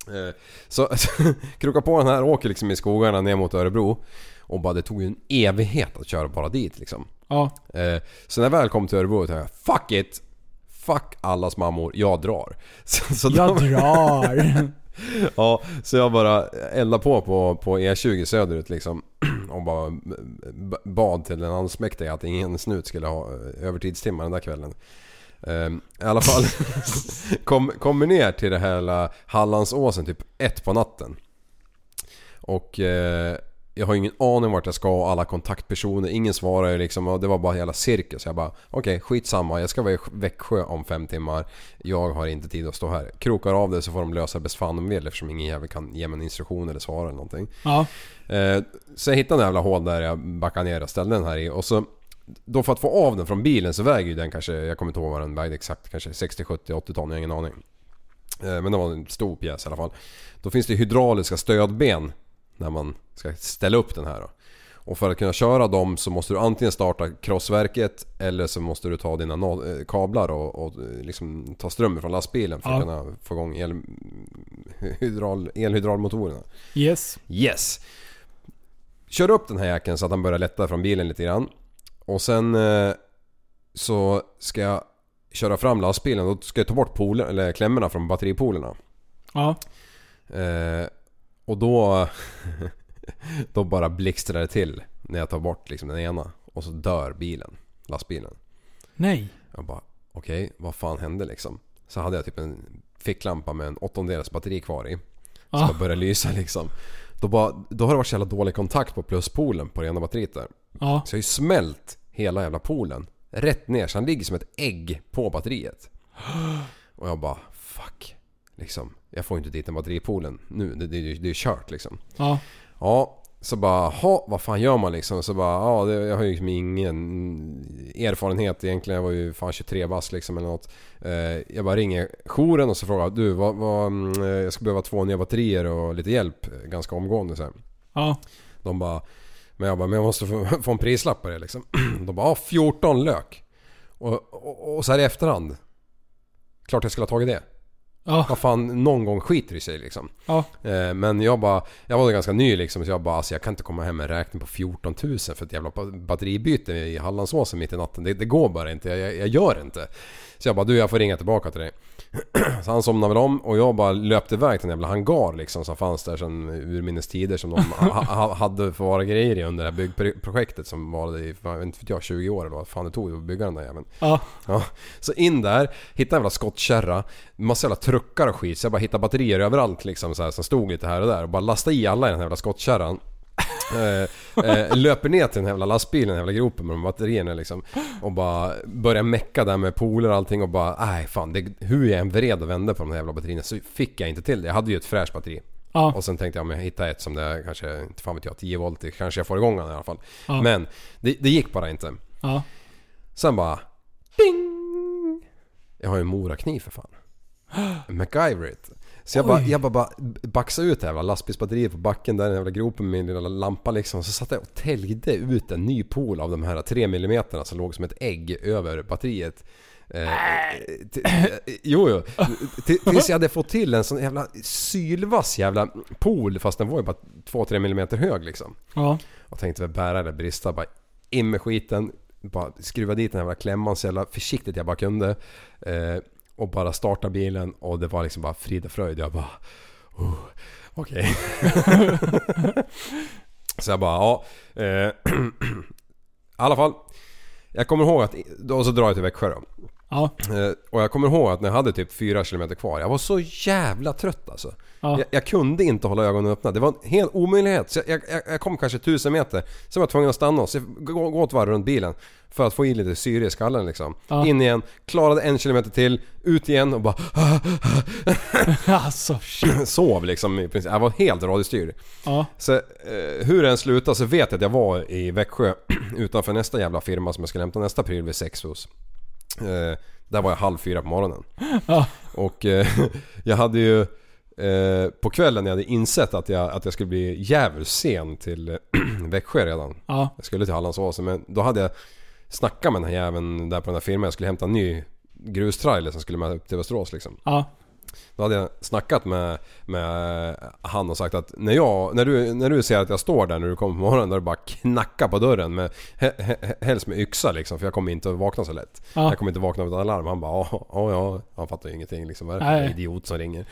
S6: Eh, Så krokar på den här, åker liksom i skogarna ner mot Örebro. Och bara det tog ju en evighet att köra bara dit liksom.
S5: Ja.
S6: Eh, Så när jag väl kom till Örebro tänkte jag Fuck it! Fuck allas mammor, jag drar. Så, så
S5: Jag drar.
S6: ja, så jag bara eldade på på, på E20 söderut liksom. Och bara b- bad till den allsmäktige att ingen snut skulle ha eh, övertidstimmar den där kvällen. Ehm, I alla fall kom, kommer ner till det här hela Hallandsåsen typ ett på natten. Och eh, jag har ingen aning vart jag ska och alla kontaktpersoner, ingen svarar ju liksom. Och det var bara hela cirkus. Jag bara okej skitsamma, jag ska vara i Växjö om fem timmar. Jag har inte tid att stå här. Krokar av det så får de lösa det bäst fan de vill eftersom ingen jävel kan ge mig en instruktion eller svara eller någonting.
S5: Ja.
S6: Eh, så jag hittade en jävla hål där jag backade ner och ställde den här i. Och så, då för att få av den från bilen så väger ju den kanske, jag kommer inte ihåg vad den vägde exakt, kanske 60, 70, 80 ton, jag har ingen aning. Eh, Men det var en stor pjäs i alla fall. Då finns det hydrauliska stödben när man ska ställa upp den här då. Och för att kunna köra dem så måste du antingen starta krossverket eller så måste du ta dina no- eh, kablar och, och eh, liksom ta ström från lastbilen för att
S5: Ja.
S6: kunna få igång el- hydral- elhydraulmotorerna.
S5: Yes.
S6: Yes! Kör upp den här jäkeln så att han börjar lätta från bilen lite grann. Och sen eh, så ska jag köra fram lastbilen. Då ska jag ta bort polen, eller klämmorna från batteripolerna.
S5: Ja.
S6: Eh, och då... då bara blixtrar det till när jag tar bort liksom den ena. Och så dör bilen. Lastbilen.
S5: Nej.
S6: Jag bara okej, vad fan hände liksom? Så hade jag typ en ficklampa med en åttondels batteri kvar i. Som
S5: Ah.
S6: bara började lysa liksom. Då, bara, då har det varit så jävla dålig kontakt på pluspolen på det ena batteriet där.
S5: Ja.
S6: Så jag har ju smält hela jävla polen. Rätt ner så han ligger som ett ägg på batteriet. Och jag bara fuck. Liksom, jag får ju inte dit den batteripolen nu. Det, det, är ju- det är ju kört liksom.
S5: Ja.
S6: Ja, så bara ha vad fan gör man liksom? Så bara ja, det, jag har ju liksom ingen erfarenhet egentligen. Jag var ju fan 23 bast liksom eller något. Eh, jag bara ringer jouren och så frågar jag, du vad, vad, mm, eh, jag ska behöva två nya batterier och lite hjälp eh, ganska omgående så här.
S5: Ja.
S6: De bara men jag bara, men jag måste få, få en prislapp på det liksom. De bara, ja 14 lök. Och, och, och så här i efterhand. Klart jag skulle ha tagit det. Vad fan, någon gång skiter i sig liksom.
S5: Ja.
S6: Eh, Men jag bara, jag var ganska ny liksom så jag bara alltså jag kan inte komma hem med en räkning på 14 000 för ett jävla ba- batteribyte i Hallandsåsen mitt i natten. Det, det går bara inte, jag, jag, jag gör inte. Så jag bara du jag får ringa tillbaka till dig. Så han somnade väl om och jag bara löpte iväg till en jävla hangar liksom som fanns där sedan urminnes tider som de ha, ha, hade förvarat grejer i under det här byggprojektet som var i, fan, inte vet jag, 20 år eller vad fan det tog att bygga den där jäveln.
S5: Ja.
S6: Ja, så in där, hittade en jävla skottkärra, massa jävla truckar och skit. Så jag bara hittade batterier överallt liksom så här, som stod lite här och där. Och bara lastade i alla i den här jävla skottkärran. eh, eh, löper ner till den här jävla lastbilen, den här jävla gropen med de batterierna liksom. Och bara börjar mecka där med poler och allting och bara nej fan det, hur jag än vred och vände på de här jävla batterierna så fick jag inte till det. Jag hade ju ett fräscht batteri.
S5: Ja.
S6: Och sen tänkte jag, men jag hittar ett som det är kanske, inte fan vet jag, 10 volt, det kanske jag får igång den i alla fall.
S5: Ja.
S6: Men det, det gick bara inte.
S5: Ja.
S6: Sen bara... Ding! Jag har ju en morakniv för fan. MacGyverit. Så jag bara,
S5: Oj.
S6: jag bara, bara baxade ut det här jävla lastbilsbatteriet på backen där, den jävla gropen med min lilla lampa liksom. Så satt jag och täljde ut en ny pool av de här 3 mm som låg som ett ägg över batteriet. Eh, t- eh, jo, jo. T- Tills jag hade fått till en sån jävla sylvass jävla pool fast den var ju bara 2-3 mm hög liksom.
S5: Ja.
S6: Och tänkte väl bära eller brista. Bara in med skiten. Bara skruva dit den här jävla klämman så jävla försiktigt jag bara kunde. Eh, och bara starta bilen och det var liksom bara frid och fröjd. Jag bara... Oh, Okej. så jag bara ja. Eh, I alla fall. Jag kommer ihåg att... Och så drar jag till Växjö då.
S5: Ja.
S6: Eh, Och jag kommer ihåg att när jag hade typ 4 km kvar, jag var så jävla trött alltså.
S5: Ja.
S6: Jag, jag kunde inte hålla ögonen öppna. Det var en hel omöjlighet. Så jag, jag, jag kom kanske 1000 meter, sen var jag tvungen att stanna och se- gå, gå ett varv runt bilen. För att få i lite syre i skallen liksom.
S5: Ja.
S6: In igen, klarade en kilometer till, ut igen och bara...
S5: Alltså shit.
S6: Sov liksom i princip. Jag var helt radiostyrd.
S5: Ja.
S6: Så eh, hur det än slutade så vet jag att jag var i Växjö utanför nästa jävla firma som jag skulle hämta nästa pryl vid sex hos. Eh, där var jag halv fyra på morgonen.
S5: Ja.
S6: Och eh, jag hade ju eh, på kvällen när jag hade insett att jag, att jag skulle bli djävulskt sen till Växjö redan.
S5: Ja.
S6: Jag skulle till Hallandsåsen men då hade jag snackat med den här jäveln där på den här firman. Jag skulle hämta en ny grustrailer som skulle med upp till Västerås liksom.
S5: Ja.
S6: Då hade jag snackat med, med eh, han och sagt att när, jag, när, du, när du ser att jag står där när du kommer på morgonen då är det bara knacka på dörren med, he, he, he- helst med yxa liksom för jag kommer inte att vakna så lätt.
S5: Ja.
S6: Jag kommer inte vakna av ett alarm. Han bara ja, ja, ja. Han fattar ju ingenting liksom. Vad är det för
S5: Nej.
S6: jävla idiot som ringer?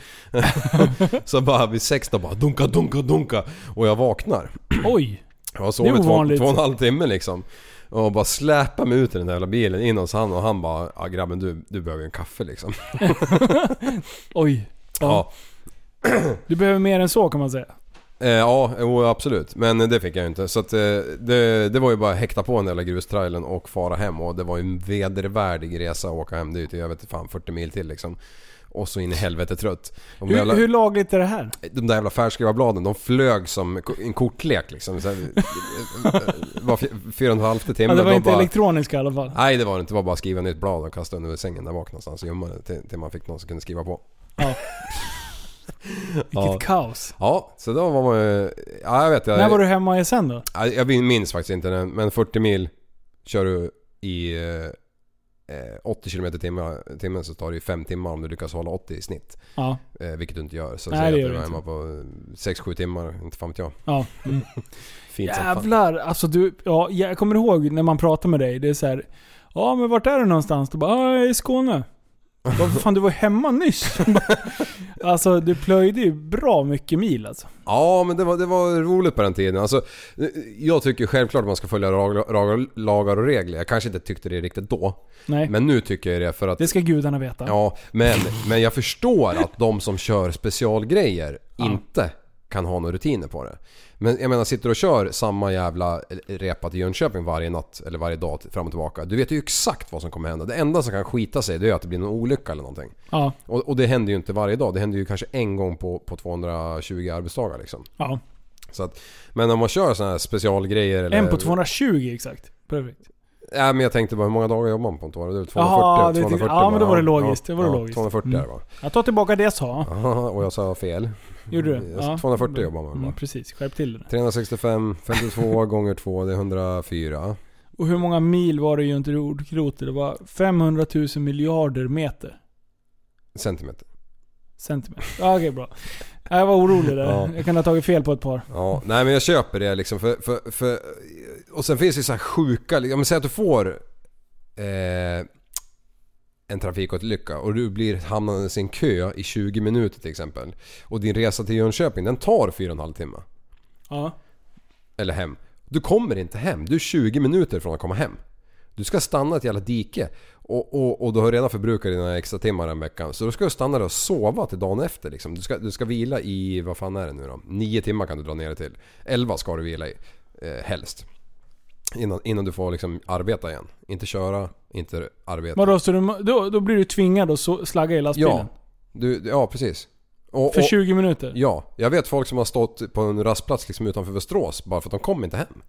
S6: så bara vid sex då bara dunka, dunka, dunka. Och jag vaknar.
S5: Oj.
S6: Jag har
S5: Det är
S6: sovit två,
S5: ovanligt.
S6: två och en halv timme liksom. Och bara släpa mig ut i den där jävla bilen in hos han och han bara ja, grabben du, du behöver ju en kaffe liksom.
S5: Oj.
S6: ja.
S5: Du behöver mer än så kan man säga.
S6: Eh, ja, jo, absolut. Men det fick jag ju inte. Så att, eh, det, det var ju bara att häkta på den där lilla grustrailen och fara hem. Och det var ju en vedervärdig resa att åka hem dit. Jag vet inte fan 40 mil till liksom. Och så in i helvete trött. De där
S5: Hur,
S6: jävla,
S5: hur lagligt är det här?
S6: de där jävla färdskrivarbladen, de flög som ko- en kortlek liksom. Så här, det var fy- fyra och en halv timme.
S5: Ja, det
S6: och
S5: var
S6: de
S5: inte
S6: bara-
S5: elektroniska i alla fall.
S6: Nej det var det inte, det var bara att skriva nytt blad och kasta under sängen där bak någonstans och gömma det till, till man fick någon som kunde skriva på.
S5: Ja. Vilket
S6: Ja.
S5: kaos.
S6: Ja, så då var man ju... Ja, jag vet. Jag,
S5: När var du hemma i sen då?
S6: Ja, Jag minns faktiskt inte den, men 40 mil kör du i eh, eh, 80 km i timmen så tar det ju 5 timmar om du lyckas hålla 80 i snitt.
S5: Ja.
S6: Eh, vilket du inte gör. Så
S5: Nej,
S6: säg
S5: det
S6: att
S5: gör
S6: du
S5: du
S6: är
S5: inte.
S6: hemma på 6-7 timmar, inte fan vet jag.
S5: Ja. Mm.
S6: Fint som fan.
S5: Jävlar. Alltså du, ja, jag kommer ihåg när man pratar med dig. Det är så här. Ja men vart är du någonstans? Du bara, "Ja, jag är i Skåne. Vad fan du var hemma nyss. alltså du plöjde ju bra mycket mil alltså.
S6: Ja, men det var, det var roligt på den tiden. Alltså, eh, jag tycker självklart att man ska följa lag- lag- lagar och regler. Jag kanske inte tyckte det riktigt då.
S5: Nej.
S6: Men nu tycker jag det för att...
S5: Det ska gudarna veta.
S6: Ja, men, men jag förstår att de som kör specialgrejer inte kan ha några rutiner på det. Men jag menar, sitter du och kör samma jävla repa till Jönköping varje natt eller varje dag fram och tillbaka. Du vet ju exakt vad som kommer hända. Det enda som kan skita sig det är att det blir någon olycka eller någonting.
S5: Ja.
S6: Och, och det händer ju inte varje dag. Det händer ju kanske en gång på, på 220 arbetsdagar liksom.
S5: Ja.
S6: Så att, men om man kör sådana här specialgrejer eller...
S5: En på 220 exakt. Perfekt.
S6: Ja, men jag tänkte bara hur många dagar jobbar man på en toa? Det är väl 240?
S5: Jaha, det tyckte-
S6: 240
S5: ja, men då var det
S6: bara.
S5: logiskt. Det var det logiskt.
S6: 240 är det
S5: Mm.
S6: va?
S5: Jag tar tillbaka det jag sa.
S6: Ja, och jag sa fel.
S5: Gjorde du?
S6: Jag sa 240 jobbar man
S5: Mm,
S6: bara.
S5: precis, skärp till det.
S6: 365, 52 gånger 2, det är 104.
S5: Och hur många mil var det ju inte jordklotet? Det var 500 000 miljarder meter.
S6: Centimeter.
S5: Centimeter. Ja, Okej, bra. Jag var orolig där.
S6: Ja.
S5: Jag kan ha tagit fel på ett par.
S6: Ja, nej men jag köper det liksom för, för, för Och sen finns det ju så här sjuka, ja men säg att du får eh, en trafikolycka och du blir hamnandes i en kö i 20 minuter till exempel. Och din resa till Jönköping den tar 4,5 timmar.
S5: Ja.
S6: Eller hem. Du kommer inte hem, du är 20 minuter från att komma hem. Du ska stanna i ett jävla dike och, och, och du har redan förbrukat dina extra timmar den veckan. Så då ska du stanna där och sova till dagen efter liksom. Du ska, du ska vila i, vad fan är det nu då? 9 timmar kan du dra ner det till. 11 ska du vila i, eh, helst. Innan, innan du får liksom arbeta igen. Inte köra, inte arbeta.
S5: Vadå, så du, då, då blir du tvingad att så- slagga i lastbilen?
S6: Ja, du, ja precis. Och-
S5: För
S6: och-
S5: 20 minuter?
S6: Ja, jag vet folk som har stått på en rastplats liksom utanför Västerås bara för att de kom inte hem.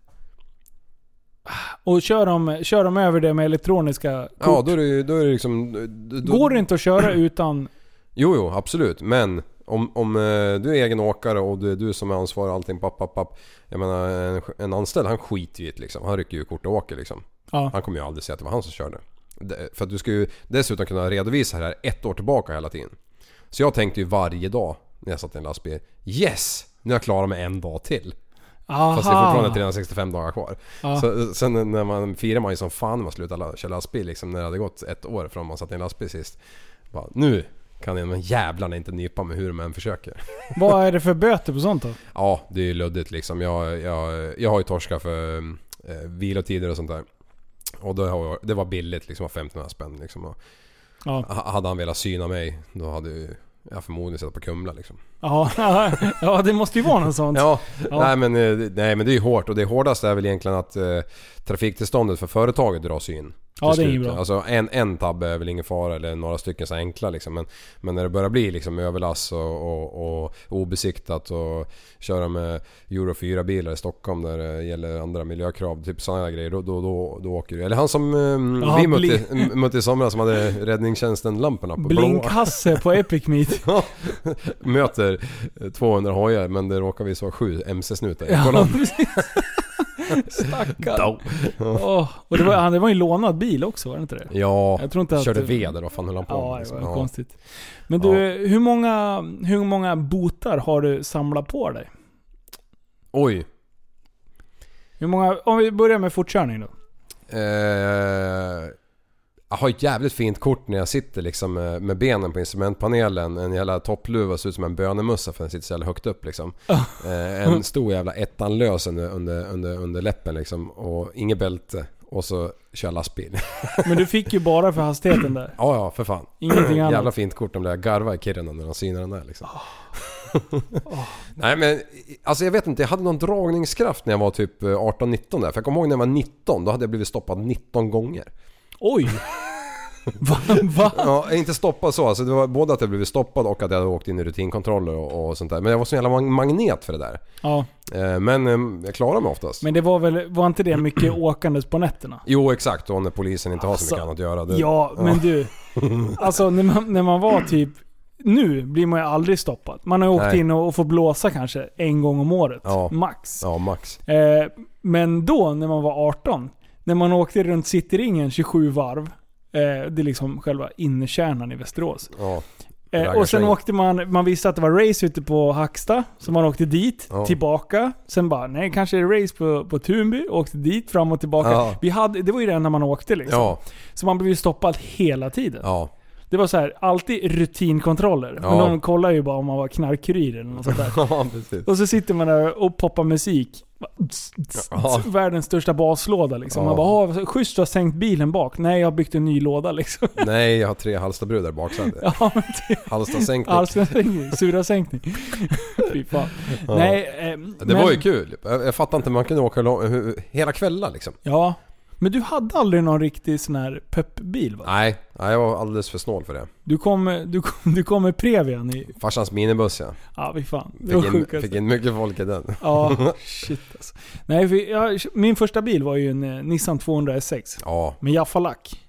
S5: Och kör de, kör de över det med elektroniska kort?
S6: Ja, då är det, ju- då är det liksom... Då, då-
S5: Går det inte att köra utan...
S6: Jo, jo, absolut. Men om, om eh, du är egen åkare och du, du som är ansvarig allting, papp, papp, papp. Jag menar, en, en anställd han skiter ju i det liksom. Han rycker ju kort och åker liksom.
S5: Ja.
S6: Han kommer ju aldrig säga att det var han som körde. Det- För att du ska ju dessutom kunna redovisa det här ett år tillbaka hela tiden. Så jag tänkte ju varje dag när jag satt i en lastbil. Yes! Nu är jag klar med en dag till.
S5: Aha.
S6: Fast det är fortfarande 365 dagar kvar.
S5: Ja.
S6: Så, sen när man firar man ju som fan när man slutar la- köra lastbil liksom. När det hade gått ett år från man satt i en lastbil sist. Bara, nu kan jag men jävlarna inte nypa mig hur de än försöker.
S5: Vad är det för böter på sånt då?
S6: Ja, det är ju luddigt liksom. Jag, jag, jag har ju torskat för eh, vilotider och sånt där. Och då har jag, det var billigt liksom, 1500 spänn liksom. Och,
S5: Ja.
S6: ha- Hade han velat syna mig, då hade ju jag förmodligen sett på Kumla liksom.
S5: Ja, ja det måste ju vara något sånt.
S6: Ja,
S5: Ja.
S6: Nej, men, eh, nej men det är ju hårt och det hårdaste är väl egentligen att eh, trafiktillståndet för företaget dras ju in. till
S5: Ja, det är
S6: slut.
S5: ju bra.
S6: Alltså en, en tabbe är väl ingen fara eller några stycken så här enkla liksom. Men, men när det börjar bli liksom överlass och, och, och obesiktat och köra med Euro 4 bilar i Stockholm där det gäller andra miljökrav. Typ sådana grejer. Då, då, då, då åker du. Eller han som eh,
S5: Ja,
S6: vi
S5: bli-
S6: mötte, m- mötte i somras som hade räddningstjänsten-lamporna på blå.
S5: Blinkhasse på Epic Meet.
S6: Ja, möter 200 hojar men det råkar visst vara sju MC-snutar i
S5: Ja,
S6: kolonn.
S5: precis. Stackarn.
S6: Dau. Ja.
S5: Åh, och det var, han- det var ju en lånad bil också, var det inte det?
S6: Ja,
S5: Jag tror inte att-
S6: körde ved eller vad fan höll han på
S5: Ja,
S6: med,
S5: det
S6: liksom?
S5: var
S6: Ja.
S5: konstigt. Men du, hur, många, hur många botar har du samlat på dig?
S6: Oj.
S5: Hur många, om vi börjar med fortkörning då.
S6: Eh, jag har ett jävligt fint kort när jag sitter liksom eh, med benen på instrumentpanelen. En jävla toppluva ser ut som en bönemössa för den sitter så jävla högt upp liksom. Eh, en stor jävla ettanlös under, under, under, under läppen liksom. Och inget bälte. Och så kör jag lastbil.
S5: Men du fick ju bara för hastigheten där.
S6: Ja, ja för fan.
S5: Ingenting annat.
S6: Jävla fint kort de där garva i Kiruna när de synar den där liksom.
S5: Ah.
S6: Nej men, alltså jag vet inte. Jag hade någon dragningskraft när jag var typ eh, 18-19 där. För jag kommer ihåg när jag var 19, då hade jag blivit stoppad 19 gånger.
S5: Oj! Va? Va?
S6: Ja, inte stoppad så. Alltså det var både att jag blivit stoppad och att jag hade åkt in i rutinkontroller och, och sånt där. Men jag var så jävla mag- magnet för det där.
S5: Ja,
S6: Eh, Men eh, jag klarade mig oftast.
S5: men det var väl, var inte det mycket åkandes på nätterna?
S6: Jo exakt, och när polisen inte har
S5: Alltså,
S6: så mycket annat att göra. det-
S5: Ja, men du. Alltså när man, när man var typ... Nu blir man ju aldrig stoppad. Man har ju åkt
S6: Nej.
S5: in och, och får blåsa kanske en gång om året.
S6: Ja.
S5: Max.
S6: Ja, max.
S5: Eh, men då, när man var 18, när man åkte runt Cityringen 27 varv. Eh, det är liksom själva innerkärnan i Västerås.
S6: Ja.
S5: Eh, och sen
S6: Raggarslängen.
S5: åkte man, man visste att det var race ute på Hacksta, så man åkte dit,
S6: Ja.
S5: tillbaka. Sen bara, nej kanske är det race på, på Tunby, åkte dit, fram och tillbaka.
S6: Ja.
S5: Vi hade, det var ju det när man åkte liksom.
S6: Ja.
S5: Så man blev ju stoppad hela tiden.
S6: Ja.
S5: Det var så här, alltid rutinkontroller. Men
S6: Ja.
S5: de kollar ju bara om man var knarkkurir eller något sånt där.
S6: ja, precis.
S5: Och så sitter man där och poppar musik.
S6: Ja.
S5: Världens största baslåda liksom.
S6: Ja.
S5: Man bara, "Ah, schysst du har sänkt bilen bak. Nej, jag har byggt en ny låda liksom.
S6: Nej, jag har tre Halstabrudar i baksätet.
S5: Ja, men det- alltså
S6: Halstasänkning.
S5: Halstasänkning. Surasänkning. Fy fan.
S6: Ja.
S5: Nej, eh,
S6: Det var ju kul. Jag, jag fattar inte, man kunde åka lång, hur- hela kvällar liksom.
S5: Ja. Men du hade aldrig någon riktig sån här peppbil va?
S6: Nej, nej, jag var alldeles för snål för det.
S5: Du kom, du kom, du kom med Previan i...
S6: Farsans minibuss ja.
S5: Ja, fy fan. Det var
S6: Fick in,
S5: sjukaste.
S6: fick in mycket folk i den.
S5: Ja, shit alltså. Nej, för jag, min första bil var ju en eh, Nissan 200 S6.
S6: Ja.
S5: Med Jaffa-lack.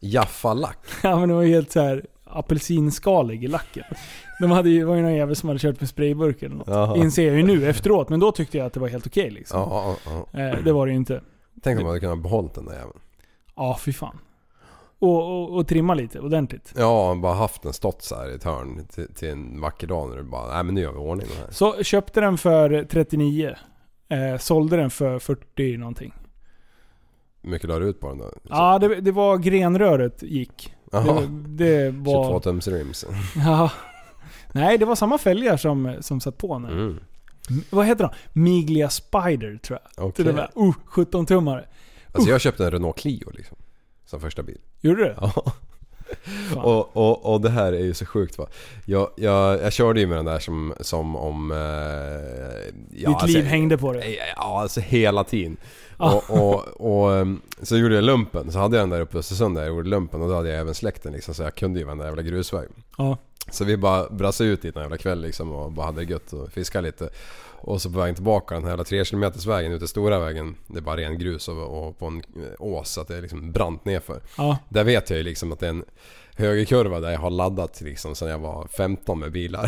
S6: Jaffalack.
S5: Ja men den var ju helt så här apelsinskalig i lacken. De hade ju, det var ju någon jävel som hade kört med sprayburk eller
S6: Jaha.
S5: något. Inser jag ju nu efteråt, men då tyckte jag att det var helt okej liksom.
S6: Ja, ja, ja.
S5: Eh, det var det ju inte.
S6: Tänk om man hade kunnat behålla den där jäveln.
S5: Ja, fy fan. och, och, och trimma lite ordentligt.
S6: Ja, bara haft den stått så här i ett hörn till, till en vacker dag när du bara, nej men nu gör vi ordning den här.
S5: Så köpte den för 39. Eh, sålde den för 40 någonting.
S6: Hur mycket la du ut på den då?
S5: Ja, det, det var grenröret gick.
S6: Jaha.
S5: Det, det var...
S6: 22 tums rims.
S5: Ja. Nej, det var samma fälgar som, som satt på nu.
S6: Mm.
S5: Vad heter de? Miglia Spider tror jag.
S6: Okej.
S5: Till och med. Uh, 17-tummare.
S6: Alltså jag köpte en Renault Clio liksom. Som första bil.
S5: Gjorde du?
S6: Ja. Och, och, och det här är ju så sjukt va. Jag, jag, jag körde ju med den där som, som om... Eh, ja, alltså,
S5: Ditt liv hängde på det.
S6: Ja, alltså hela tiden.
S5: Ja.
S6: Och, och, och ehm, så gjorde jag lumpen. Så hade jag den där uppe i Östersund där jag gjorde lumpen och då hade jag även släkten liksom så jag kunde ju vara den där jävla grusvägen.
S5: Ja.
S6: Så vi bara brassade ut dit en jävla kväll liksom och bara hade det gött och fiskade lite. Och så på vägen tillbaka den här jävla 3 km vägen ute i stora vägen. Det är bara ren grus och, och på en eh, ås så att det är liksom brant nerför.
S5: Ja.
S6: Där vet jag ju liksom att det är en högerkurva där jag har laddat liksom sen jag var 15 med bilar.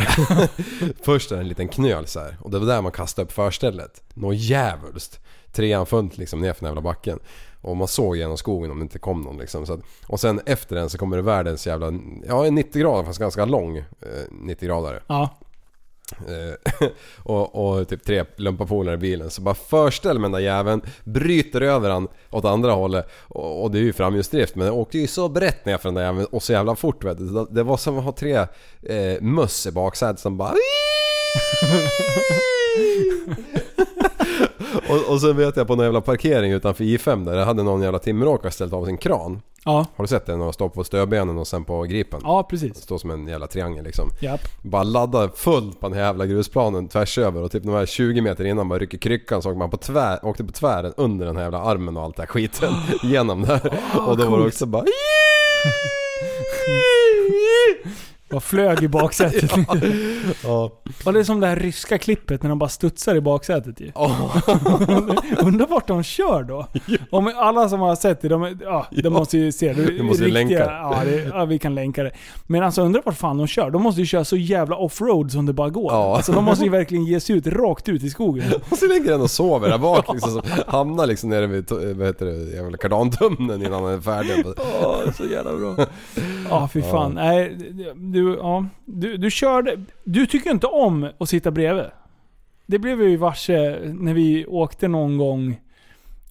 S6: Först är det en liten knöl så här och det var där man kastade upp förstället. Nå jävulst. Trean fullt liksom nerför den jävla backen. Och man såg genom skogen om det inte kom någon liksom. Så att, och sen efter den så kommer det världens jävla... Ja en 90 grader fast ganska lång eh, 90 gradare.
S5: Ja.
S6: Eh, och, och typ tre lumpapolare i bilen. Så bara förställ med den där jäveln, bryter över han åt andra hållet. Och, och det är ju framhjulsdrift men den åkte ju så brett ner för den där jäveln och så jävla fort vet du. Det var som att ha tre eh, möss i baksätet som bara... och, och sen vet jag på någon jävla parkering utanför I5 där, där hade någon jävla timmeråkare ställt av sin kran.
S5: Ja.
S6: Har du sett den? Och står på stödbenen och sen på gripen.
S5: Ja, precis.
S6: Står som en jävla triangel liksom.
S5: Japp.
S6: Bara laddar fullt på den här jävla grusplanen tvärs över och typ de här 20 meter innan bara rycker kryckan så åker man på tvär, åkte på tvären under den här jävla armen och allt det här skiten. genom där. och då var det
S5: coolt.
S6: också bara...
S5: Bara flög i baksätet.
S6: Ja.
S5: Och det är som det här ryska klippet när de bara studsar i baksätet ju. Undrar vart de kör då? Om alla som har sett det, de, är- ja, de måste ju se det.
S6: Vi måste ju länka det.
S5: Ja, det, ja, vi kan länka det. Men alltså undrar vart fan de kör? De måste ju köra så jävla offroad som det bara går.
S6: Ja.
S5: Alltså de måste ju verkligen ge sig ut rakt ut i skogen.
S6: Och så ligger den och sover där bak liksom. Så hamnar liksom nere vid to- vad heter det, jävla kardantumnen innan den är färdig.
S5: Ja, så jävla bra. Ja, fy fan. Nej, du, ja. du, du körde... Du tycker inte om att sitta bredvid. Det blev vi ju varse när vi åkte någon gång.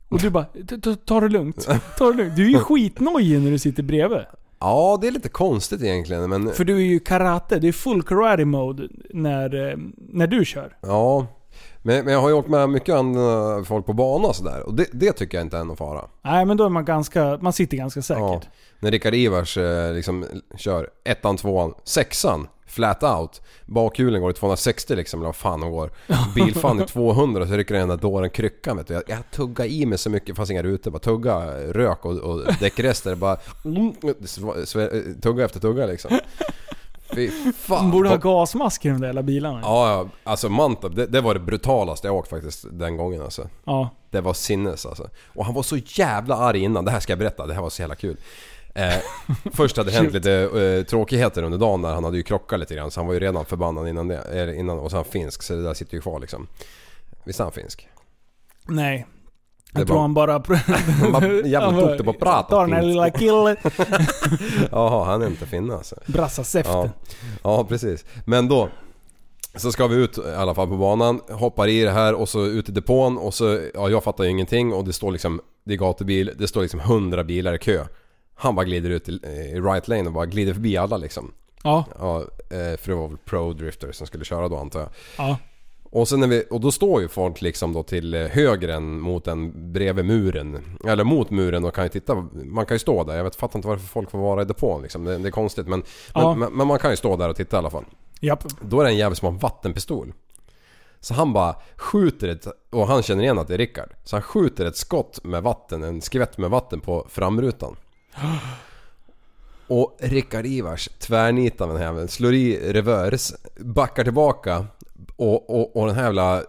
S5: Och du bara, "Ta- ta- ta det lugnt. Ta det lugnt. Du är ju skitnojig när du sitter bredvid.
S6: Ja, det är lite konstigt egentligen men...
S5: För du är ju karate, det är full karate mode när, eh, när du kör.
S6: Ja. Men, men jag har ju åkt med mycket andra folk på bana och sådär och det, det tycker jag inte är någon fara.
S5: Nej men då är man ganska, man sitter ganska säkert.
S6: Ja, när Rickard Ivars eh, liksom kör ettan, tvåan, sexan flat out. Bakhjulen går i 260 liksom, eller vad fan de går. Bilfan i 200 så rycker den där dåren kryckan vet du. Jag, jag tugga i mig så mycket, det fanns inga rutor, bara tugga rök och, och däckrester bara... Mm, sv- sv- tugga efter tugga liksom. Fy fan.
S5: Man borde ha
S6: Vad-
S5: gasmask i de där jävla bilarna.
S6: Ja, ja, alltså Mantorp, det, det var det brutalaste jag åkt faktiskt den gången alltså.
S5: Ja.
S6: Det var sinnes alltså. Och han var så jävla arg innan, det här ska jag berätta, det här var så jävla kul. Eh, först hade det hänt
S8: Shoot.
S6: lite eh, tråkigheter under dagen när han hade ju krockat lite grann så han var ju redan förbannad innan det. eller Innan, och så är han finsk så det där sitter ju kvar liksom. Visst är han finsk?
S5: Nej.
S6: Det
S5: Jag tror
S6: var-
S5: han bara...
S6: Han bara jävla
S5: bara,
S6: tog det på prat.
S5: Ta den här lilla killen.
S6: Jaha, han är inte finne alltså.
S5: Brassa
S6: Ja.
S5: säften.
S6: ja, precis. Men då. Så ska vi ut i alla fall på banan, hoppar i det här och så ut i depån och så, ja jag fattar ju ingenting och det står liksom, det är gatubil, det står liksom 100 bilar i kö. Han bara glider ut i, i right lane och bara glider förbi alla liksom.
S5: Ja.
S6: ja eh, för det var väl pro drifter som skulle köra då antar jag.
S5: Ja.
S6: Och, sen när vi, och då står ju folk liksom då till eh, höger än mot den bredvid muren. Eller mot muren och kan ju titta. Man kan ju stå där. Jag vet, fattar inte varför folk får vara i depån liksom. Det, det är konstigt men,
S5: Ja.
S6: men, men, men man kan ju stå där och titta i alla fall.
S5: Japp.
S6: Då är det en jävel som har en vattenpistol. Så han bara skjuter ett, och han känner igen att det är Rickard. Så han skjuter ett skott med vatten, en skvätt med vatten på framrutan. Och Rickard Ivars tvärnitar med den här jäveln, slår i revers, backar tillbaka, Och, och, och den här jävla eh,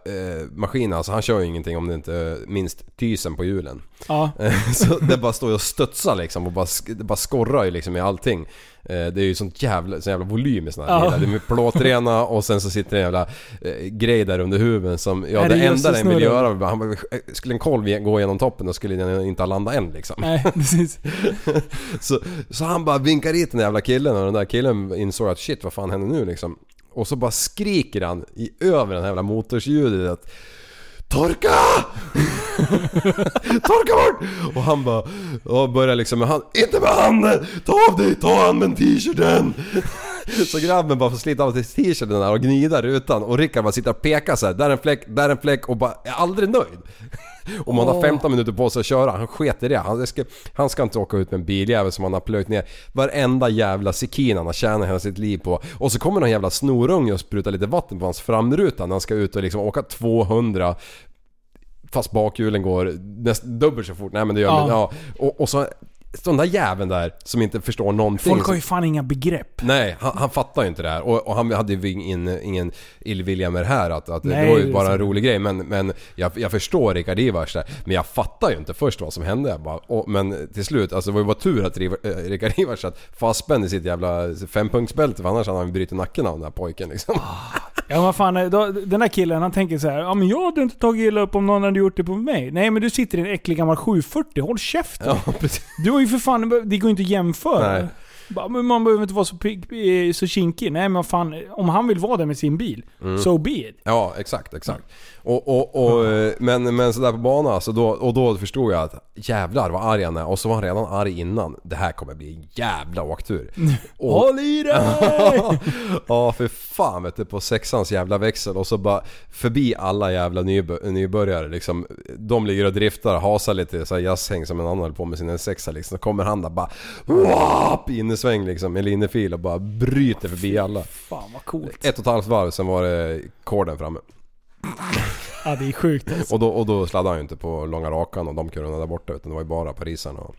S6: maskinen alltså, han kör ju ingenting om det inte är minst tysen på hjulen.
S5: Ja.
S6: så det bara står ju och studsar liksom och bara, sk- det bara skorrar ju liksom i allting. Eh, det är ju sånt jävla, sån jävla volym i såna här
S5: Ja.
S6: bilar. Det är med plåtrena och sen så sitter det en jävla eh, grej där under huven som, ja
S5: Är
S6: det,
S5: det just
S6: enda
S5: det
S6: den vill
S5: snurrar?
S6: göra, han bara, eh, skulle en kolv ge- gå genom toppen då skulle den inte ha landat än liksom.
S5: Nej, precis.
S6: så, så han bara vinkar dit den jävla killen och den där killen insåg att shit vad fan händer nu liksom. Och så bara skriker han i över den här jävla motorsljudet att Torka! Torka bort! Och han bara, och börjar liksom med han Inte med handen! Ta av dig, ta an med t-shirten! Så grabben bara får slita av sig t-shirten där och gnida rutan och Rickard bara sitter och pekar så här. där är en fläck, där är en fläck och bara är aldrig nöjd. Och man har
S5: Åh.
S6: 15 minuter på sig att köra, han sket i det. Han ska, han ska inte åka ut med en biljävel som han har plöjt ner varenda jävla sekin han har tjänat hela sitt liv på. Och så kommer någon jävla snorunge och sprutar lite vatten på hans framruta när han ska ut och liksom åka 200 fast bakhjulen går näst, dubbelt så fort. Nej men det gör
S5: Ja.
S6: men, ja. Och, och så så den där jäveln där som inte förstår någonting.
S5: Folk har ju fan inga begrepp.
S6: Nej, han, han fattar ju inte det här. Och, och han hade ju ingen, ingen illvilja med det här. Att, att
S5: Nej,
S6: det var
S5: det
S6: ju
S5: är
S6: bara en
S5: sant.
S6: rolig grej. Men, men jag, jag förstår Rickard Ivars där. Men jag fattar ju inte först vad som hände. Jag bara, och, men till slut, alltså det var ju bara tur att Riva- eh, Rickard Ivars satt fastspänd i sitt jävla fempunktsbälte. För annars hade han ju brutit nacken av den där pojken liksom.
S5: Ah. Ja vad fan, då, den här killen han tänker så här, ja men jag hade inte tagit illa upp om någon hade gjort det på mig. Nej men du sitter i en äcklig gammal 740, håll käften.
S6: Ja, precis.
S5: Du har ju för fan, det går inte att jämföra.
S6: Nej.
S5: Bara, men Man behöver inte vara så, pigg, eh, så kinkig. Nej men fan, om han vill vara där med sin bil,
S6: Mm.
S5: so be it.
S6: Ja, exakt, exakt. Och, och, och, eh, men, men sådär på banan alltså, då, och då förstod jag att jävlar vad arg han är. Och så var han redan arg innan. Det här kommer bli en jävla åktur. Och-
S5: Håll i dig!
S6: ja för fan vet du på sexans jävla växel och så bara förbi alla jävla nybö- nybörjare liksom. De ligger och driftar, hasar lite så här jazzhäng som en annan höll på med sin sexa liksom. Så kommer han där bara wap, innesväng liksom eller innefil och bara bryter förbi alla.
S5: Fan vad coolt.
S6: Ett och ett halvt varv sen var det korden framme.
S5: Ja det är sjukt alltså.
S6: Och då, och då sladdade han ju inte på långa rakan och de kurvorna där borta utan det var ju bara parisarna. och-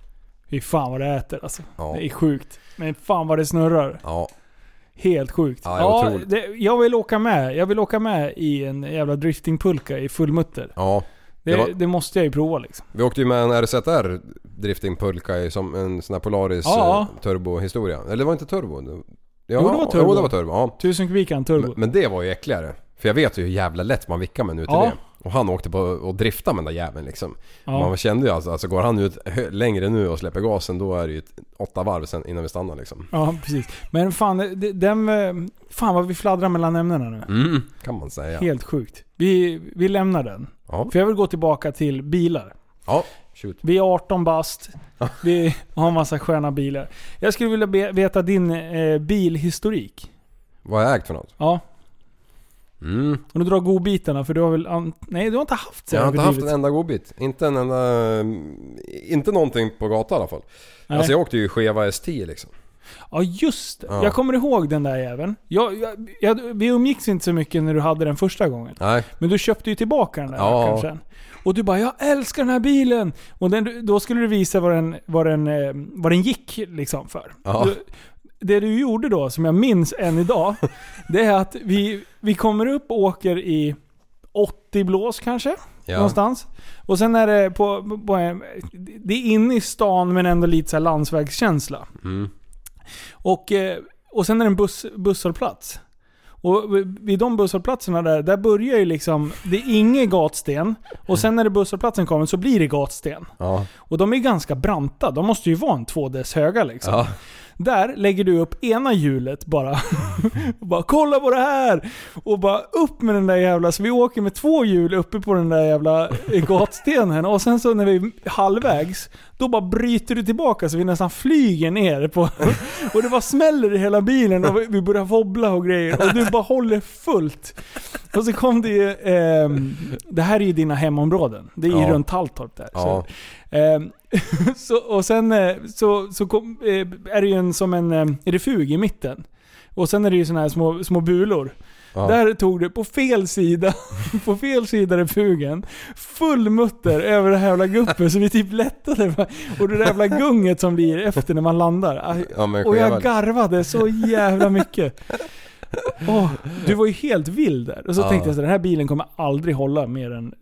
S5: Fy fan vad det äter alltså.
S6: Ja.
S5: Det är sjukt. Men fan vad det snurrar.
S6: Ja.
S5: Helt sjukt.
S6: Ja, det är otroligt.
S5: det, jag vill åka med. Jag vill åka med i en jävla driftingpulka i fullmutter.
S6: Ja.
S5: Det,
S6: Det
S5: det,
S6: var-
S5: måste jag ju prova liksom.
S6: Vi åkte ju med en RZR Drifting Pulka i som en sån här Polaris
S5: Ja.
S6: eh, turbohistoria. Eller det var inte turbo? Det- Ja,
S5: Jo, det var turbo.
S6: det var turbo ja.
S5: 1000 kubikan turbo.
S6: Men, men det var ju äckligare. För jag vet ju hur jävla lätt man vickar med en UTV.
S5: Ja.
S6: Och han åkte på och driftade med den där jäveln liksom.
S5: Ja.
S6: Man kände ju alltså, alltså går han ut hö- längre nu och släpper gasen då är det ju ett- åtta varv sen innan vi stannar liksom.
S5: Ja, precis. Men fan, det- den, eh, fan vad vi fladdrar mellan ämnena nu.
S6: Mm, kan man säga.
S5: Helt sjukt. Vi, vi lämnar den.
S6: Ja.
S5: För jag vill gå tillbaka till bilar.
S6: Ja, shoot.
S5: Vi är 18 bast. Vi har en massa sköna bilar. Jag skulle vilja be- veta din eh, bilhistorik.
S6: Vad har jag ägt för något?
S5: Ja,
S6: Mm.
S5: och du drar godbitarna för du har väl... an- Nej, du har inte haft så
S6: Jag har inte haft en
S5: överdrivet.
S6: enda godbit. Inte en enda... mm, Inte någonting på gatan i alla fall.
S5: Nej.
S6: Alltså jag åkte ju Cheva S10 liksom.
S5: Ja, just det.
S6: Ja.
S5: Jag kommer ihåg den där jäveln. Jag, jag, jag, vi umgicks inte så mycket när du hade den första gången.
S6: Nej.
S5: Men du köpte ju tillbaka den där
S6: Ja.
S5: rackaren sen. Och du bara 'Jag älskar den här bilen!' Och den, då skulle du visa vad den, vad den, eh, vad den gick liksom för.
S6: Ja.
S5: Du, det du gjorde då, som jag minns än idag, det är att vi, vi kommer upp och åker i 80 blås kanske.
S6: Ja.
S5: Någonstans. Och sen är det på, på, på en, Det är inne i stan men ändå lite så här landsvägskänsla.
S6: Mm.
S5: Och, eh, och sen är det en buss, busshållplats. Och vid- vid de busshållplatserna där, där börjar ju liksom... Det är ingen gatsten. Och sen när det busshållplatsen kommer så blir det gatsten.
S6: Ja.
S5: Och de är ganska branta. De måste ju vara en två dess höga liksom.
S6: Ja.
S5: Där lägger du upp ena hjulet bara. och bara kolla på det här! Och bara upp med den där jävla... Så vi åker med två hjul uppe på den där jävla eh, gatstenen. Och sen så när vi är halvvägs, då bara bryter du tillbaka så vi nästan flyger ner på... Och det bara smäller i hela bilen och vi börjar wobbla och grejer. Och du bara håller fullt. Och så kom det ju... ehm, det här är ju dina hemområden. Det är ju
S6: Ja.
S5: runt Halltorp där.
S6: Ja.
S5: Så, ehm, så, och sen eh, så, så kom, eh, är det ju en, som en eh, refug i mitten. Och sen är det ju såna här små, små bulor.
S6: Ja.
S5: Där tog du på fel sida, på fel sida refugen, full mutter över det här jävla guppet så vi typ lättade. Och det där jävla gunget som blir efter när man landar. Ah, Aj,
S6: Ja, men
S5: och jag
S6: skevar.
S5: garvade så jävla mycket. Åh, du var ju helt vild där. Och så
S6: Ja.
S5: tänkte jag så här, den här bilen kommer aldrig hålla mer än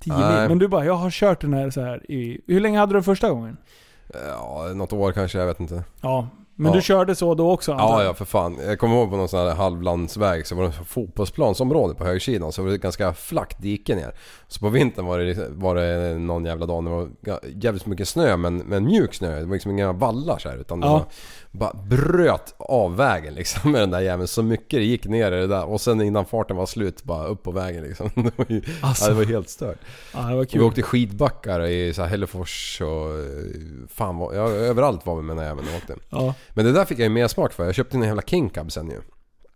S5: 10 mil.
S6: Nej.
S5: Men du bara, jag har kört den här så här i... Hur länge hade du den första gången?
S6: Ja, något år kanske, jag vet inte.
S5: Ja. Men
S6: Ja.
S5: du körde så då också antar
S6: Ja,
S5: jag?
S6: ja för fan. Jag kommer ihåg på någon sån här halvlandsväg så var det fotbollsplansområde på högersidan så var det ett ganska flackt dike ner. Så på vintern var det, liksom- var det någon jävla dag när det var ga- jävligt mycket snö men, men mjuk snö. Det var liksom inga vallar så här utan det
S5: Ja.
S6: var, bara bröt av vägen liksom med den där jäveln. Så mycket det gick ner i det där och sen innan farten var slut bara upp på vägen liksom. Det var, ju,
S5: Alltså.
S6: ja, det var helt stört.
S5: Ja, det var
S6: Och Vi
S5: kul.
S6: åkte skidbackar i så här Hällefors och eh, fan vad, ja, överallt var vi med den här jäveln och åkte.
S5: Ja.
S6: Men det där fick jag ju mer smak för. Jag köpte en jävla kinkab sen ju.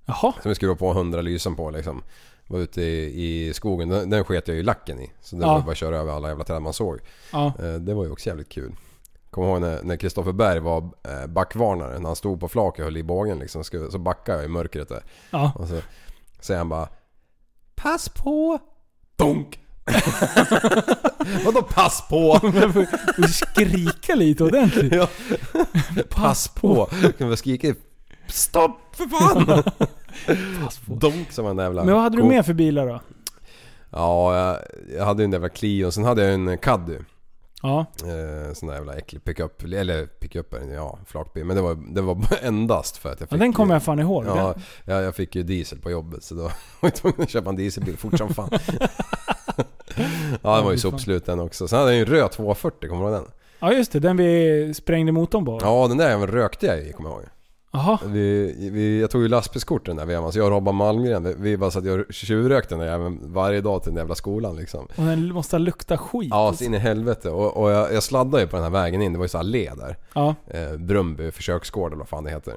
S5: Jaha.
S6: Som vi skruvade på 100 lysen på liksom. Var ute i, i skogen. Den, den sket jag ju lacken i. Så det
S5: Ja.
S6: var bara att köra över alla jävla träd man såg.
S5: Ja.
S6: Eh, Det var ju också jävligt kul. Kommer ihåg när- när Kristoffer Berg var eh, backvarnare. När han stod på flaket och höll i bågen liksom. skulle- Så backade jag i mörkret där.
S5: Ja.
S6: Och så säger han bara Pass på! Donk! Vadå pass på?
S5: Du skrika lite ordentligt.
S6: Ja. Pass på! Kan vi skrika Stopp för fan! Donk som en jävla...
S5: Men vad hade du
S6: ko-
S5: mer för bilar då?
S6: Ja, jag, jag hade ju en jävla Clio. Sen hade jag en Caddy.
S5: Ja.
S6: Eh, sån där jävla äcklig pickup. Eller pickup, ja flakbil. Men det var, det var endast för att jag
S5: Ja,
S6: fick...
S5: den kommer jag fan ihåg.
S6: Ja, jag, jag fick ju diesel på jobbet så då var jag tvungen att köpa en dieselbil fort som fan. ja, den var ju sopslut den också. Sen hade jag ju en röd 240, kommer du ihåg den?
S5: Ja just det, den vi sprängde motorn på.
S6: Ja, den där även rökte jag i, kommer jag ihåg.
S5: Jaha.
S6: Vi, vi, jag tog ju lastbilskort den där vevan, så jag och Robban Malmgren, vi, vi bara satt och tjuvrökte den där jäveln varje dag till den jävla skolan liksom.
S5: Och den måste lukta skit.
S6: Ja, så in i helvete. Och, och jag, jag sladdade ju på den här vägen in, det var ju så här allé där.
S5: Ja.
S6: Eh, Brumby försöksgård eller vad fan det heter.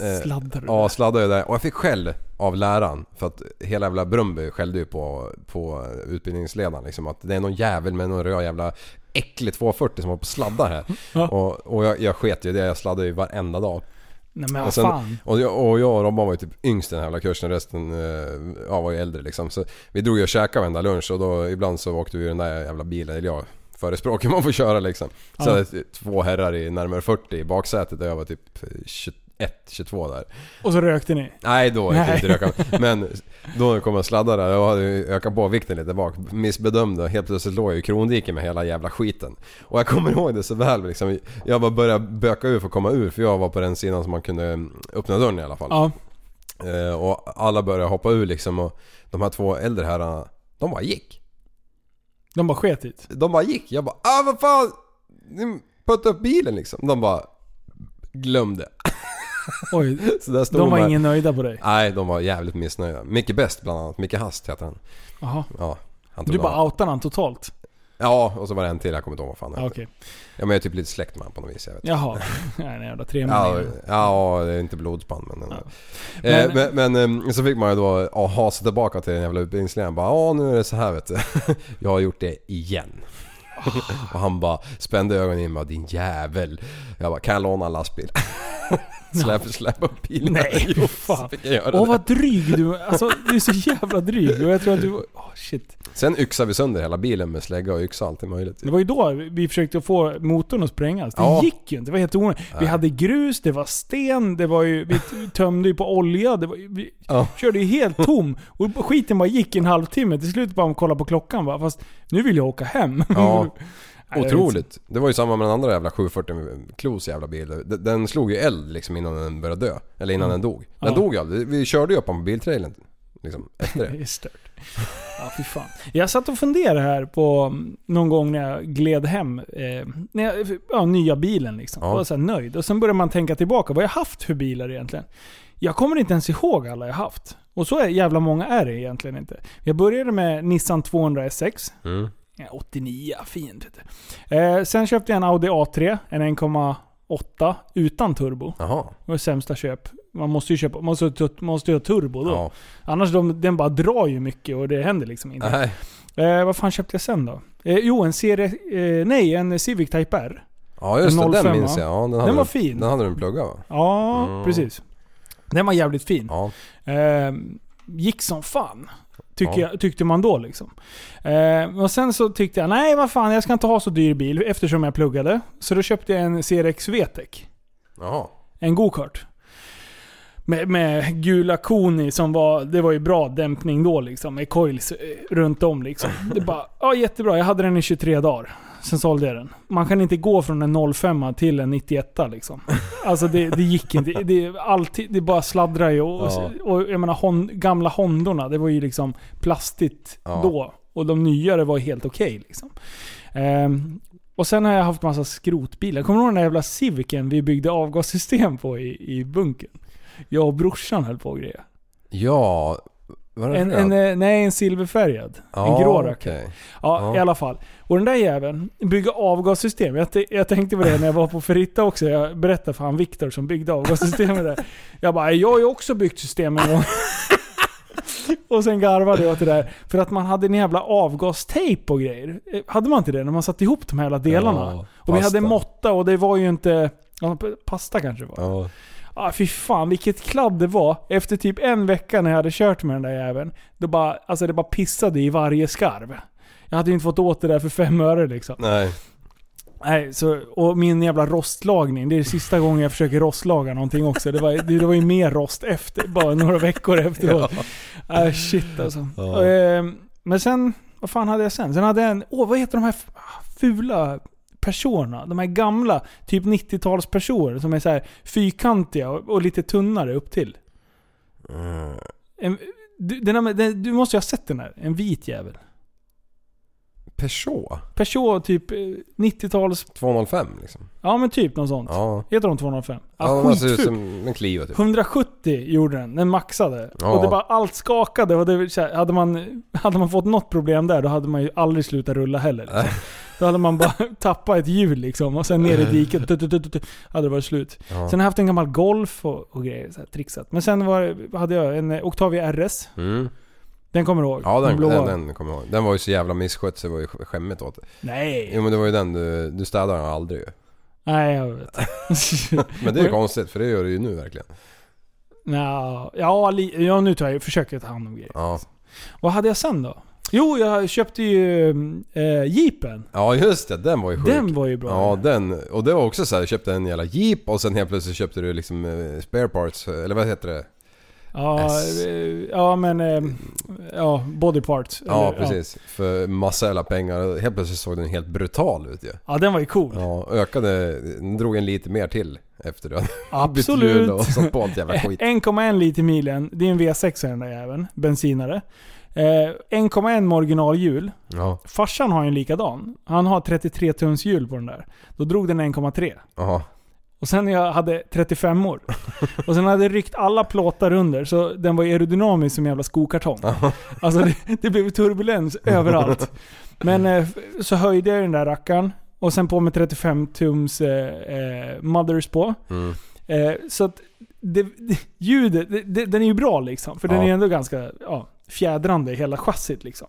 S6: Eh,
S5: sladdar du
S6: Ja, sladdade jag där. Och jag fick skäll av läraren. För att hela jävla Brumby skällde ju på, på utbildningsledaren liksom. Att det är någon jävel med någon röd jävla äcklig 240 som har på och sladdar här. Och, och jag, jag sket ju i det. Jag sladdade ju varenda dag.
S5: Nej men
S6: Och,
S5: vad
S6: sen,
S5: fan.
S6: och, jag, och jag och Robban var ju typ yngst i den här jävla kursen. Resten eh, ja, var ju äldre liksom. Så vi drog ju och käkade varenda lunch och då ibland så åkte vi i den där jävla bilen. Eller jag förespråkar man får köra liksom. Så
S5: Ja.
S6: hade jag typ två herrar i närmare 40 i baksätet och jag var typ 21-22 där.
S5: Och så rökte ni.
S6: Nej, då är det
S5: Nej.
S6: inte röka. Men då kom jag sladda där. Jag hade ju ökat på vikten lite bak. Missbedömde och helt plötsligt låg jag i krondiken med hela jävla skiten. Och jag kommer ihåg det så väl liksom. Jag bara började böka ur för att komma ur för jag var på den sidan som man kunde mm, öppna dörren i alla fall.
S5: Ja.
S6: Eh, Och alla började hoppa ur liksom och de här två äldre herrarna, de bara gick.
S5: De bara sket hit.
S6: De bara gick. Jag bara ah vad fan! Ni puttade upp bilen liksom. De bara glömde.
S5: Oj.
S6: Så där stod
S5: De var
S6: här.
S5: ingen nöjda på dig.
S6: Nej, de var jävligt missnöjda. Micke Best bland annat. Micke Hast heter han.
S5: Jaha.
S6: Ja, han tog
S5: Du
S6: några-
S5: bara outade han totalt.
S6: Ja, och så var det en till. Jag kommer inte ihåg vad fan han
S5: Ja,
S6: hette.
S5: Ah, okej.
S6: Ja, men jag är typ lite släkt med honom på något vis. Jag vet. inte.
S5: Jaha. Nej, nej jävla tre
S6: Ja,
S5: månader.
S6: ja, det är inte blodsband men...
S5: Men-
S6: Eh, men, men ehm, så fick man ju då ja, hasa tillbaka till den jävla utbildningsledaren. Bara ja nu är det så här vet du. Jag har gjort det igen.
S5: Ah.
S6: och han bara spände ögonen i mig och din jävel. Jag bara kan jag låna en lastbil? släpp, släpp upp bilen.
S5: Nej,
S6: Jo,
S5: fan.
S6: fick jag göra
S5: Åh
S6: det.
S5: vad dryg du Alltså du är så jävla dryg. Och jag tror att du... Åh shit.
S6: Sen yxade vi sönder hela bilen med slägga och yxa allt är möjligt.
S5: Det var ju då vi försökte få motorn att sprängas. Det
S6: Ja.
S5: gick ju inte. Det var helt onödigt. Vi
S6: Nej.
S5: hade grus, det var sten, det var ju, vi t- tömde ju på olja. Det var, ju- vi
S6: Ja.
S5: körde ju helt tom. Och skiten bara gick i en halvtimme. Till slut bara kolla på klockan bara. Fast nu vill jag åka hem.
S6: Ja.
S5: Nej,
S6: Otroligt. Det var ju samma med den andra jävla 740 Klos jävla bil. D- Den slog ju eld liksom innan den började dö. Eller innan den dog. Den
S5: Mm. Ja.
S6: dog ju aldrig. Vi körde ju upp honom på biltrailern. Liksom efter
S5: Det
S6: det.
S5: är stört. Ja, fy fan. Jag satt och funderade här på mm, någon gång när jag gled hem. Eh, när jag, ja, nya bilen liksom.
S6: Ja.
S5: Jag var så här nöjd. Och sen började man tänka tillbaka. Vad har jag haft för bilar egentligen? Jag kommer inte ens ihåg alla jag haft. Och så är- jävla många är det egentligen inte. Jag började med Nissan 200 SX.
S6: Mm.
S5: Ja, 89, fint. vet du. Eh, sen köpte jag en Audi A3, en 1,8 utan turbo.
S6: Jaha.
S5: Det var det sämsta köp. Man måste ju köpa, man måste, ju ta- måste ju ha turbo då.
S6: Ja.
S5: Annars de, den bara drar ju mycket och det händer liksom inte.
S6: Nej.
S5: Eh, vad fan köpte jag sen då? Eh, jo, en serie, eh, nej, en Civic Type R.
S6: Ja just
S5: En
S6: det,
S5: 05,
S6: den minns
S5: va?
S6: jag. Ja, den, hade
S5: Den var
S6: du-
S5: fin.
S6: Den hade du en plugga va?
S5: Ja,
S6: Mm.
S5: precis. Den var jävligt fin.
S6: Ja.
S5: Eh, gick som fan. Tycker
S6: Ja.
S5: jag, tyckte man då liksom. Eh, och sen så tyckte jag, nej vad fan jag ska inte ha så dyr bil eftersom jag E pluggade. Så då köpte jag en CRX VTEC.
S6: Jaha.
S5: En go-kart. Med, med gula koni som var, det var ju bra dämpning då liksom. Med coils eh, runt om liksom. Det bara, ja jättebra. Jag hade den i 23 dagar. Sen sålde jag den. Man kan inte gå från en 05 till en 91 liksom. Alltså det, det gick inte. Det, är alltid, det bara sladdrar ju. Och,
S6: Ja.
S5: och jag menar hon, gamla Hondorna, det var ju liksom plastigt
S6: Ja.
S5: då. Och de nyare var helt okej liksom. Ehm, och sen har jag haft massa skrotbilar. Kommer du ihåg den där jävla Civicen vi byggde avgassystem på i, i bunkern? Jag och brorsan höll på och grejer.
S6: Ja, var det
S5: En,
S6: röd?
S5: en, eh, nej, en silverfärgad.
S6: Ja,
S5: en grå rackare.
S6: okej.
S5: Ja,
S6: Ja.
S5: i alla fall. Och den där jäveln, bygga avgassystem. Jag, t- jag tänkte på det när jag var på Ferritta också. Jag berättade för han Viktor som byggde avgassystemet där. Jag bara, jag har ju också byggt system en gång. Och sen garvade jag åt det där. För att man hade en jävla avgastejp och grejer. Eh, Hade man inte det? När man satte ihop de här jävla delarna.
S6: Ja,
S5: och vi hade
S6: pasta.
S5: måtta och det var ju inte... ja, p- Pasta kanske det var.
S6: Ja.
S5: Ah, fy fan vilket kladd det var. Efter typ en vecka när jag hade kört med den där jäveln. Då bara, alltså det bara pissade i varje skarv. Jag hade ju inte fått åt det där för fem öre liksom.
S6: Nej.
S5: Nej, så, och min jävla rostlagning. Det är sista gången jag försöker rostlaga någonting också. Det var, det, det var ju mer rost efter, bara några veckor efteråt. Ah, shit alltså.
S6: Ja.
S5: Och, ehm, men sen, vad fan hade jag sen? Sen hade jag en, åh vad heter de här f- fula personerna? De här gamla, typ 90-talspersoner som är så här fyrkantiga och, och lite tunnare upp till.
S6: Mm.
S5: En, du, den här, med- den, du måste ju ha sett den här, en vit jävel.
S6: Peugeot?
S5: Peugeot typ eh, 90-tals...
S6: 205 liksom.
S5: Ja men typ något sånt.
S6: Ja.
S5: Heter de 205?
S6: Ja,
S5: Ja,
S6: den ser ut
S5: skitful.
S6: som en Clio typ.
S5: 170 gjorde den, den maxade.
S6: Ja.
S5: Och det bara allt skakade och det, var så här, hade, man, hade man fått något problem där då hade man ju aldrig slutat rulla heller. Liksom. Då hade man bara tappat ett hjul liksom och sen ner i diket. Tut, tut, tut, tut, hade det varit slut.
S6: Ja.
S5: Sen har jag haft en gammal Golf och, och grejer, så här, trixat. Men sen var, det- hade jag en eh, Octavia RS.
S6: Mm.
S5: Den kommer du ihåg?
S6: Ja den,
S5: blåa.
S6: den, den kommer jag ihåg. Den var ju så jävla misskött så det var ju skämmigt åt det.
S5: Nej.
S6: Jo men det var ju den du, du städade den aldrig ju.
S5: Nej, jag vet.
S6: Men det är ju konstigt för det gör du ju nu verkligen.
S5: Nja, ja, li, ja, nu tar jag, försöker jag ta hand om grejer.
S6: Ja,
S5: Vad hade jag sen då? Jo, jag köpte ju eh, Jeepen.
S6: ja just det, den var ju sjuk.
S5: Den var ju bra.
S6: Ja den, och det var också så här, du köpte en jävla jeep och sen helt plötsligt köpte du liksom eh, spare parts, eller vad heter det?
S5: Ja,
S6: S.
S5: eh, ja men... eh, Ja, body parts.
S6: Ja
S5: Eller,
S6: precis, för massa jävla pengar och helt plötsligt såg den helt brutal ut ju.
S5: Ja. ja, den var ju cool.
S6: Ja, ökade, den drog en lite mer till efter du hade bytt hjul
S5: Absolut.
S6: och satt på allt jävla skit.
S5: 1,1 liter milen. Det är en V6 i den där jäveln. Bensinare. Eh, 1,1 med originalhjul.
S6: Ja,
S5: Farsan har ju en likadan. Han har 33 tums hjul på den där. Då drog den 1,3.
S6: ja.
S5: Och sen när jag hade 35 år. Och sen hade jag ryckt alla plåtar under, så den var aerodynamisk som en jävla skokartong. Alltså det, det blev turbulens överallt. Men eh, f- så höjde jag den där rackaren. Och sen på med 35 tums eh, eh, mothers på.
S6: Mm.
S5: Eh, så att det, det, ljudet, det, det, den är ju bra liksom. För den
S6: Ja.
S5: är ändå ganska ja, fjädrande i hela chassit liksom.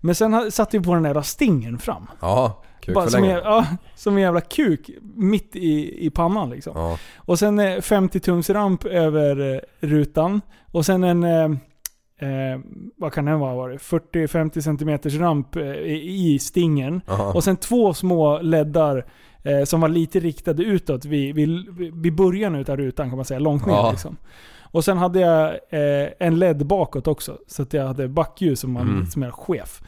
S5: Men sen ha- satte vi på den där jävla stingen fram.
S6: Ja, kuk
S5: Bara
S6: för
S5: som, en,
S6: länge.
S5: ja, som en jävla kuk mitt i, i pannan liksom.
S6: Ja.
S5: Och sen eh, 50 tums ramp över eh, rutan. Och sen en, eh, eh, vad kan den vara, var det? 40-50 cm ramp eh, i i stingen.
S6: Aha.
S5: Och sen två små leddar eh, som var lite riktade utåt vid, vid, vid början utav rutan kan man säga, långt ner
S6: Ja.
S5: liksom. Och sen hade jag eh, en LED bakåt också, så att jag hade backljus som, man,
S6: Mm.
S5: som jag chef.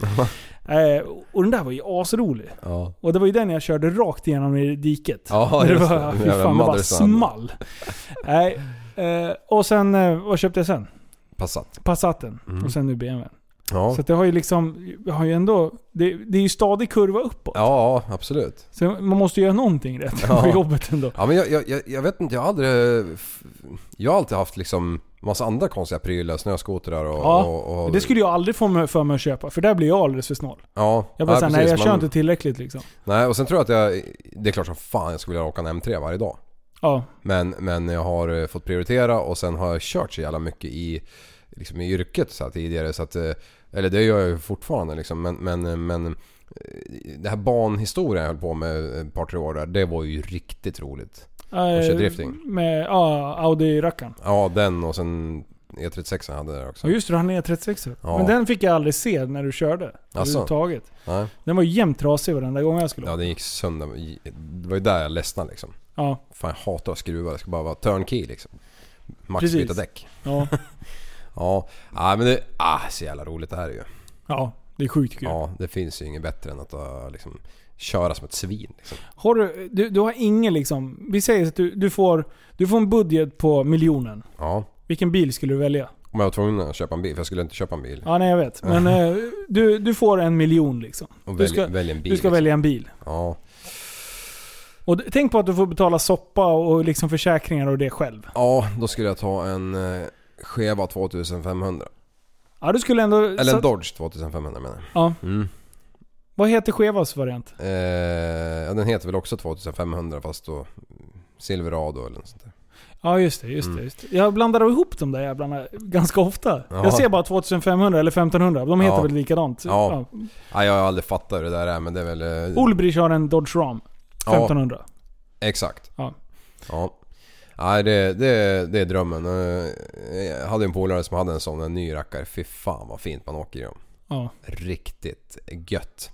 S5: eh, och den där var ju asrolig.
S6: Ja.
S5: Och det var ju den jag körde rakt igenom i diket.
S6: Ja,
S5: När det
S6: just
S5: var,
S6: det. Den
S5: Fy
S6: jävla
S5: fan, det bara
S6: mothersan.
S5: small. Nej. Eh, och sen, eh, vad köpte jag sen?
S6: Passat.
S5: Passaten.
S6: Mm.
S5: Och sen nu BMWn.
S6: Ja.
S5: Så att det har ju liksom, jag har ju ändå, det, det är ju stadig kurva uppåt.
S6: ja, absolut.
S5: Så man måste göra någonting rätt
S6: Ja.
S5: på jobbet ändå.
S6: Ja men jag, jag- jag, jag vet inte, jag har aldrig... Jag har alltid haft liksom massa andra konstiga prylar, snöskotrar och...
S5: Ja,
S6: och, och
S5: Det skulle jag aldrig få mig för mig att köpa, för där blir jag alldeles för snål.
S6: Ja,
S5: Jag bara
S6: ja,
S5: såhär,
S6: precis,
S5: nej jag
S6: man-
S5: kör inte tillräckligt liksom.
S6: Nej, och sen tror jag att jag... Det är klart som fan jag skulle vilja åka en M3 varje dag.
S5: Ja.
S6: Men, men jag har eh, fått prioritera och sen har jag kört så jävla mycket i, liksom i yrket så här tidigare. Så att, eh, eller det gör jag ju fortfarande liksom. Men, men, eh, men eh, det här banhistorien jag höll på med ett par tre år där. Det var ju riktigt roligt. Och kör
S5: Eh,
S6: drifting.
S5: Med, ja, Audi-rackaren.
S6: Ja den och sen E36 hade jag också.
S5: Ja just det, han är 36
S6: Ja.
S5: Men den fick jag aldrig se när du körde. Överhuvudtaget.
S6: Nej.
S5: Den var ju jämt trasig varenda gång jag skulle
S6: Ja den gick sönder. Det var ju där jag ledsnade liksom.
S5: Ja.
S6: Fan jag hatar att skruva. Det ska bara vara turnkey liksom. Max
S5: Precis.
S6: byta däck.
S5: Ja.
S6: ja, ah, men det... Ah, så jävla roligt det här är ju.
S5: Ja, det är sjukt kul.
S6: Ja, det finns ju inget bättre än att ah, liksom, köra som ett svin. Liksom.
S5: Har du, du, du har ingen liksom... Vi säger att du, du, får, du får en budget på miljonen.
S6: Ja.
S5: Vilken bil skulle du välja?
S6: Om jag var tvungen att köpa en bil, för jag skulle inte köpa en bil.
S5: Ja, nej jag vet. Men eh, du, du får en miljon liksom.
S6: Och
S5: du
S6: välj-
S5: ska,
S6: välj en bil,
S5: Du ska
S6: liksom.
S5: välja en bil.
S6: Ja.
S5: Och d- tänk på att du får betala soppa och liksom försäkringar och det själv.
S6: ja, då skulle jag ta en eh, Cheva 2500.
S5: Ja, du skulle ändå...
S6: Eller en Dodge 2500 menar jag.
S5: Ja.
S6: Mm.
S5: Vad heter Chevas variant?
S6: Eh, ja, den heter väl också 2500 fast då Silverado eller något sånt där.
S5: Ja, just det. Just det, just det. Jag blandar ihop de där jävlarna ganska ofta.
S6: Mm. Ja.
S5: Jag ser bara 2500 eller 1500. De heter
S6: Ja.
S5: väl likadant?
S6: Ja. Nej, jag har aldrig fattat hur det där är men det är väl... eh,
S5: Ulbrich har en Dodge Ram. 1500.
S6: Exakt.
S5: Ja.
S6: Ja. Nej, det, det, det är drömmen. Eh, Jag hade en polare som hade en sån, en ny rackare. Fy fan vad fint man åker i dem.
S5: Ja.
S6: Riktigt gött.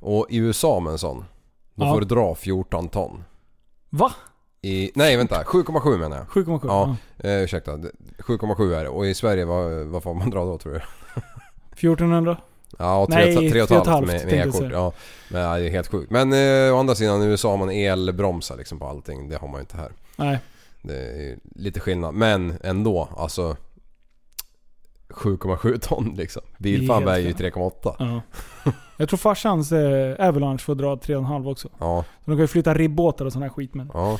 S6: Och i USA med en sån, då
S5: Ja.
S6: får du dra 14 ton.
S5: Va?
S6: I, nej vänta, 7,7 menar jag.
S5: 7,7,
S6: Ja, eh, ursäkta. Det- 7,7 är det. Och i Sverige, vad, vad får man dra då tror du?
S5: 1400?
S6: Ja, och
S5: Nej,
S6: tre, tre, tre och ett halvt med,
S5: tänkte jag
S6: med e-kort.
S5: säga.
S6: Ja, men ja, det är helt sjukt. Men eh, å andra sidan, i USA har man elbromsar liksom på allting. Det har man ju inte här.
S5: Nej.
S6: Det är ju lite skillnad. Men ändå, alltså 7,7 ton liksom. Bilfan
S5: Helt
S6: väger ju
S5: klart.
S6: 3,8.
S5: Ja. Jag tror farsans eh, Avalanche får dra 3,5 också.
S6: Ja,
S5: Så de kan ju flytta ribbåtar och sån här skit med.
S6: ja.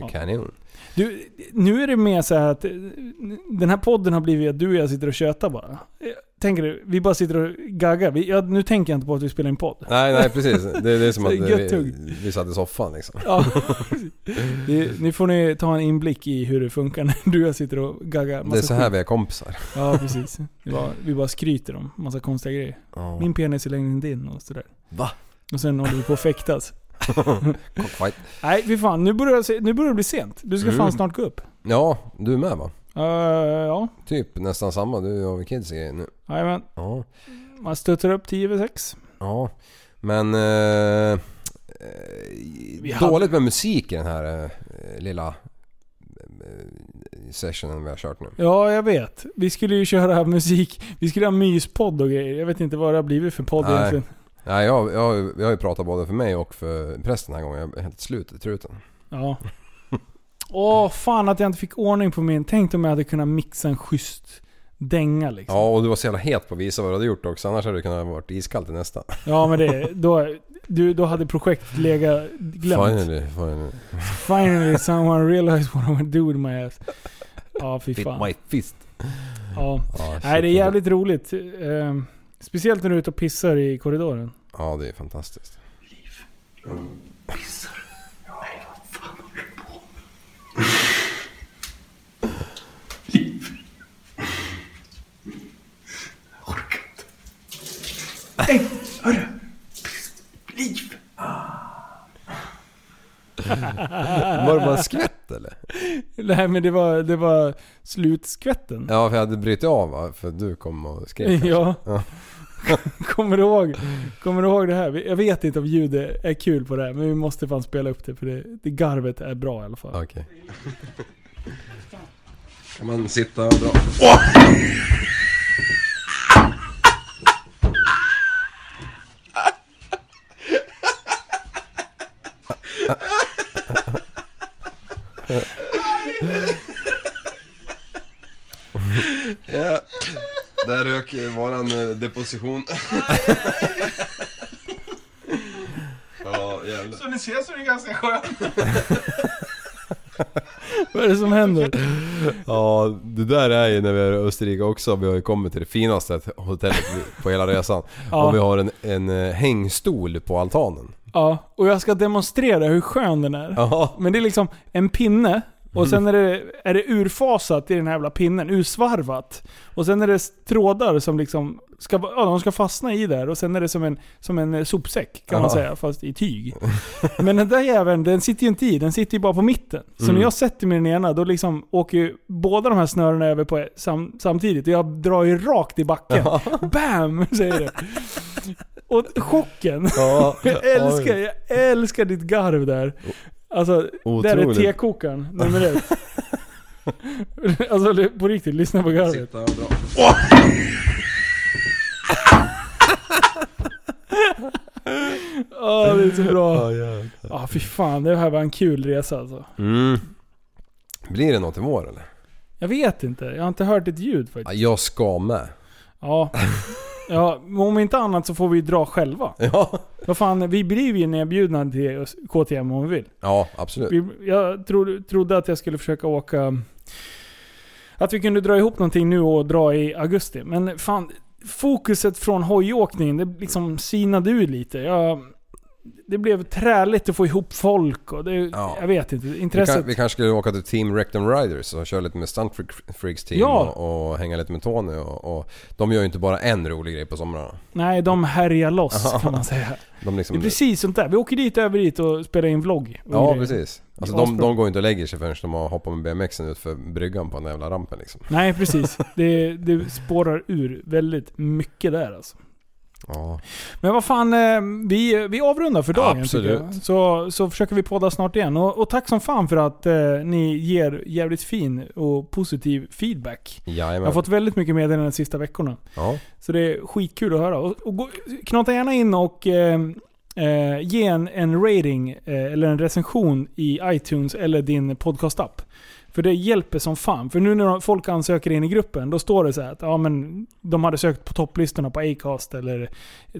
S5: Ja.
S6: Kanon.
S5: Du, nu är det mer så här att eh, den här podden har blivit att du och jag sitter och tjötar bara. Eh, Tänker du? Vi bara sitter och gaggar. Vi, ja, nu tänker jag inte på att vi spelar in podd.
S6: Nej, nej precis. Det, det är som
S5: Så
S6: att
S5: gött
S6: vi,
S5: tugg.
S6: vi satt i soffan liksom.
S5: Ja. Det, nu får ni ta en inblick i hur det funkar när du och jag sitter och gaggar.
S6: Det är
S5: massa
S6: så här
S5: skit.
S6: vi är kompisar.
S5: Ja, precis. Vi bara, vi bara skryter om massa konstiga grejer.
S6: Ja.
S5: Min penis är längre än din och sådär.
S6: Va?
S5: Och sen håller vi på att fäktas.
S6: Cockfight.
S5: Nej, fy fan. Nu börjar, det se- nu börjar det bli sent. Du ska
S6: Mm.
S5: fan snart gå upp.
S6: Ja, du är med va?
S5: Uh, ja,
S6: Typ nästan samma. Du har väl kids i grejer nu?
S5: jajamän.
S6: Ja.
S5: Man stöter upp 10 över 6.
S6: Ja, men... Eh,
S5: Vi
S6: eh,
S5: hade-
S6: dåligt med musik i den här eh, lilla eh, sessionen vi har kört nu.
S5: Ja, jag vet. Vi skulle ju köra musik. Vi skulle ha myspodd och grejer. Jag vet inte vad det har blivit för podd
S6: Nej.
S5: egentligen.
S6: Nej, jag, jag, har ju- jag har ju pratat både för mig och för prästen den här gången. Jag är helt slut i truten.
S5: Ja. Åh, fan att jag inte fick ordning på min. Tänk om jag hade kunnat mixa en schysst dänga liksom.
S6: Ja, och du var så jävla het på att visa vad du hade gjort också. Annars hade du kunnat varit iskall till nästa.
S5: Ja, men det... Då, du, då hade projektet legat glömt.
S6: Finally, finally.
S5: Finally someone realized what I would do with my ass. Ja, fy
S6: Fit
S5: fan.
S6: my fist.
S5: Ja.
S6: Ja, shit.
S5: Nej, det är jävligt roligt. Ehm, speciellt när du är ute och pissar i korridoren.
S6: Ja, det är fantastiskt.
S12: Mm. Hej, hörru! Liv!
S6: Var det bara en skvätt eller?
S5: Nej, men det var, det var slutskvätten.
S6: Ja, för jag hade brutit av va? För du kom och skrek kanske.
S5: Ja.
S6: ja.
S5: Kommer du, ihåg, kommer du ihåg det här? Jag vet inte om ljudet är kul på det här, men vi måste fan spela upp det för det, det garvet är bra i alla fall.
S6: Okej. Kan man sitta och dra... Ja, där rök eh, våran eh, deposition. ja, jävlar.
S12: Så ni ser så är det ganska skönt.
S5: Vad är det som händer?
S6: Ja, det där är ju när vi är i Österrike också. Vi har ju kommit till det finaste hotellet på hela resan.
S5: Ja.
S6: Och vi har en, en eh, hängstol på altanen.
S5: Ja, och jag ska demonstrera hur skön den är.
S6: Ja.
S5: Men det är liksom en pinne
S6: Mm.
S5: och sen är det, är det urfasat i den här jävla pinnen, ursvarvat. Och sen är det trådar som liksom ska, ja, de ska fastna i där och sen är det som en, som en eh, sopsäck kan man
S6: Ja.
S5: säga, fast i tyg. Men den där jäveln, den sitter ju inte i, den sitter ju bara på mitten. Så
S6: Mm.
S5: när jag sätter mig i den ena, då liksom åker ju båda de här snörena över på sam, samtidigt. Och jag drar ju rakt i backen. Bam! Säger det. Och chocken.
S6: Ja.
S5: Jag älskar, jag älskar ditt garv där. Alltså, där är
S6: Otroligt.
S5: tekokaren nummer ett. Alltså li- på riktigt, lyssna på garvet.
S13: Sitta och dra.
S5: Åh, det är så bra.
S6: Ja,
S5: Ja,
S6: jävlar.
S5: fy fan. Det här var en kul resa alltså.
S6: Mm. Blir det något i vår eller?
S5: Jag vet inte. Jag har inte hört ett ljud faktiskt.
S6: Ja, jag ska med.
S5: Ja. Ja, men om inte annat så får vi dra själva.
S6: Ja.
S5: Vad fan, vi blir ju nedbjudna till KTM om vi vill.
S6: Ja, absolut.
S5: Vi, jag tro, trodde att jag skulle försöka åka... Att vi kunde dra ihop någonting nu och dra i augusti. Men fan, fokuset från hojåkningen, det liksom sinade ur lite. Jag, det blev träligt att få ihop folk och det, jag vet inte.
S6: Vi,
S5: Intresset...
S6: kan, vi kanske skulle åka till Team Rectum Riders och köra lite med Stunt Freak- Freaks team
S5: Ja.
S6: och, och hänga lite med Tony och, och De gör ju inte bara en rolig grej på somrarna.
S5: Nej, de härjar loss
S6: Ja.
S5: kan man säga.
S6: De
S5: Det är
S6: liksom...
S5: precis sånt där. Vi åker dit, över dit och spelar in vlogg. och
S6: Ja
S5: grejer.
S6: precis. Alltså
S5: Det är
S6: de,
S5: asbra.
S6: de går ju inte och lägger sig förrän de har hoppat med BMXen ut för bryggan på den jävla rampen liksom.
S5: Nej, precis. Det, det spårar ur väldigt mycket där alltså.
S6: Ja.
S5: Men vad fan, eh, vi, vi avrundar för dagen tycker jag.
S6: Absolut.
S5: Så, så försöker vi podda snart igen. Och, och tack som fan för att eh, ni ger jävligt fin och positiv feedback. Jag har
S6: Jajamän.
S5: fått väldigt mycket meddelanden de sista veckorna.
S6: Ja.
S5: Så det är skitkul att höra. Och, och gå, knata gärna in och eh, eh, ge en, en rating eh, eller en recension i iTunes eller din podcast-app. För det hjälper som fan. För nu när de- folk ansöker in i gruppen, då står det så här att ja, men de hade sökt på topplistorna på Acast eller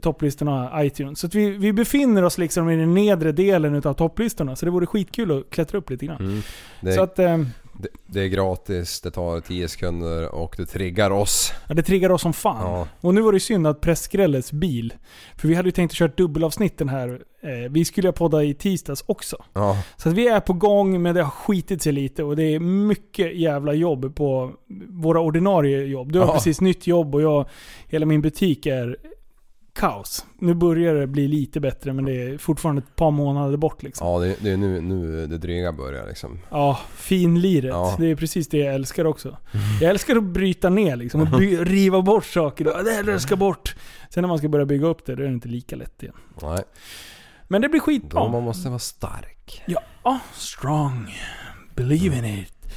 S5: topplistorna iTunes. Så att vi, vi befinner oss liksom i den nedre delen utav topplistorna. Så det vore skitkul att klättra upp lite grann.
S6: Mm. Det,
S5: Så att, eh,
S6: det, det är gratis, det tar 10 sekunder och det triggar oss.
S5: Ja, det triggar oss som fan.
S6: Ja.
S5: Och nu var det ju synd att Pressgrällets bil, för vi hade ju tänkt att köra dubbelavsnitten här. Eh, vi skulle ju podda i tisdags också.
S6: Ja.
S5: Så att vi är på gång, men det har skitit sig lite och det är mycket jävla jobb på våra ordinarie jobb. Du har
S6: Ja.
S5: precis nytt jobb och jag, hela min butik är kaos. Nu börjar det bli lite bättre, men det är fortfarande ett par månader bort liksom.
S6: Ja det, det är nu, nu det dryga börjar liksom.
S5: Ja, finliret.
S6: Ja. Mm.
S5: Det är precis det jag älskar också. Jag älskar att bryta ner liksom och by- riva bort saker. Ja, Det här där ska bort. Sen när man ska börja bygga upp det, då är det inte lika lätt igen.
S6: Nej.
S5: Men det blir
S6: Då
S5: skitbra.
S6: man måste vara stark.
S5: Ja, ah, strong. Believe in it.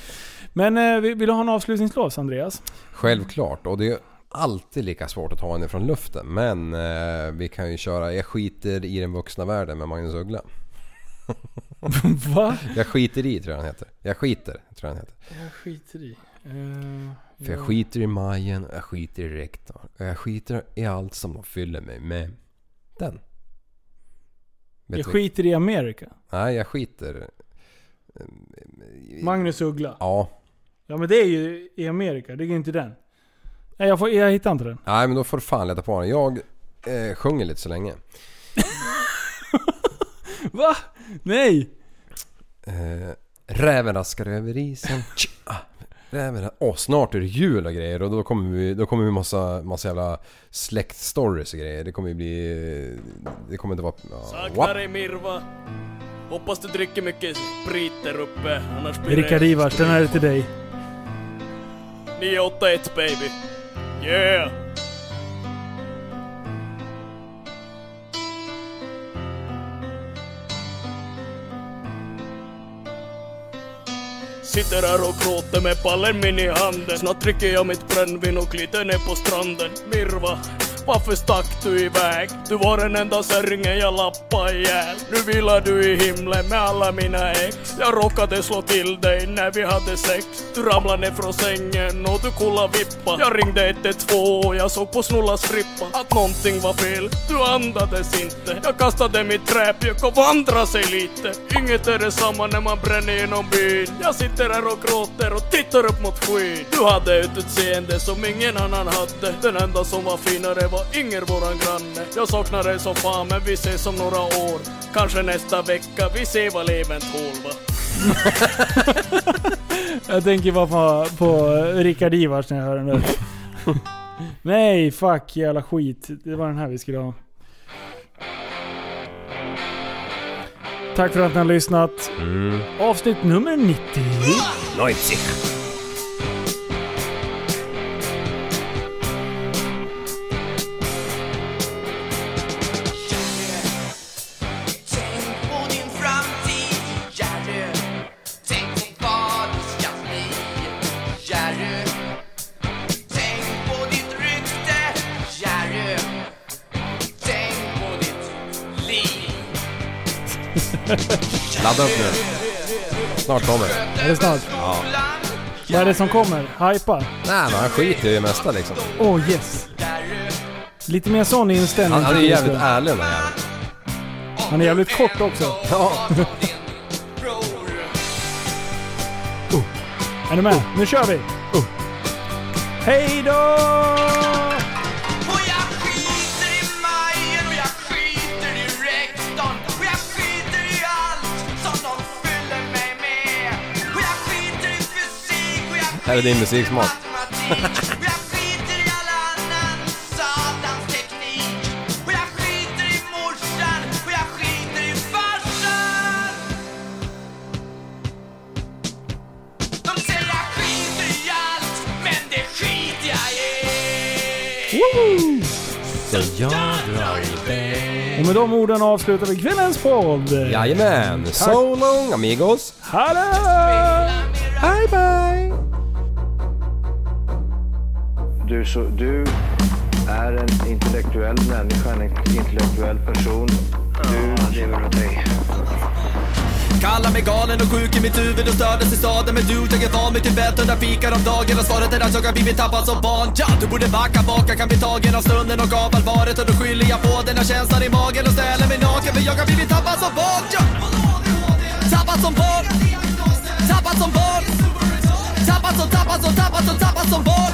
S5: Men eh, vi- vill du ha en avslutningslås Andreas?
S6: Självklart och det är alltid lika svårt att ta henne från luften. Men eh, vi kan ju köra Jag skiter i den vuxna världen med Magnus Uggla.
S5: Va?
S6: Jag skiter i tror jag han heter. Jag skiter tror jag han heter.
S5: Jag skiter i. Eh,
S6: För
S5: Mm.
S6: jag skiter i Majen och jag skiter i rektorn. Och jag skiter i allt som de fyller mig med. Den. Vet
S5: jag
S6: du-
S5: skiter i Amerika.
S6: Nej, jag skiter...
S5: Magnus Uggla.
S6: Ja.
S5: Ja men det är ju i Amerika, det är ju inte den. Nej jag, får, jag hittar inte den.
S6: Nej, men då får du fan leta på den. Jag eh, sjunger lite så länge.
S5: Va? Nej!
S6: Eh, räven raskar över isen. Tja, ah, Räven... ra- Åh, snart är det jul och grejer och då kommer vi... Då kommer vi massa, massa jävla släktstories och grejer. Det kommer ju bli... eh, Det kommer inte vara... Ja,
S8: Saknar
S6: wap.
S8: dig Mirva. Hoppas du dricker mycket sprit där uppe, annars blir det...
S5: Rickard Ivars, den här är till dig.
S8: 981 baby. Yeah! Sitter här och gråter med pallen min i handen Snart dricker jag mitt brännvin och glider ner på stranden Mirva, varför stack du iväg? Du var den enda särringen jag lappade ihjäl Nu vilar du i himlen med alla mina ex Jag råkade slå till dig när vi hade sex Du ramlade ner från sängen och du kolla vippa Jag ringde 112 och jag såg på Snollas frippa Att någonting var fel, du andades inte Jag kastade mitt träpjök och vandrade sig lite Inget är detsamma när man bränner genom byn Jag sitter här och gråter och tittar upp mot skyn Du hade ett utseende som ingen annan hade Den enda som var finare var Inger, våran granne Jag saknar dig som fan men vi ses om några år Kanske nästa vecka, vi ser vad levern tål va?
S5: Jag tänker bara på, på Rickard Ivars när jag hör den där. Nej, fuck jävla skit. Det var den här vi skulle ha. Tack för att ni har lyssnat.
S6: Mm.
S5: Avsnitt nummer 90.
S6: 90.
S14: Tänk på din framtid, Jerry. Tänk på vad du ska bli.
S6: Ladda upp nu. Snart kommer det.
S5: Är det snart?
S6: Ja.
S5: Vad är det som kommer? Hypa?
S6: Nej men han skiter ju i det mesta liksom.
S5: Oh yes. Lite mer sån inställning.
S6: Han, han är ju
S5: till
S6: jävligt
S5: Christer.
S6: ärlig den där jäveln.
S5: Han är jävligt kort också.
S6: Ja.
S5: Är ni med?
S6: Oh.
S5: Nu kör vi! Hej då!
S6: Här är din musiksmak. Så jag drar iväg.
S5: Och med de orden avslutar vi kvällens podd.
S6: Jajamän.
S5: Tack.
S6: So long amigos.
S5: Hallå! Bye bye!
S1: Du, så, du är en intellektuell människa, en intellektuell person. Du lever åt dig.
S2: Kallar mig galen och sjuk i mitt huvud och stördes i staden Men du, jag är van vid Tibet och där fikar om dagen Och svaret är att jag har blivit tappad som barn ja, Du borde backa bak, jag kan bli tagen av stunden och av allvaret Och då skyller jag på den här känslan i magen och ställer mig naken För jag har blivit tappad som barn ja. Tappad som barn Tappad som barn Tappad som, tappad som, tappad som, tappad som barn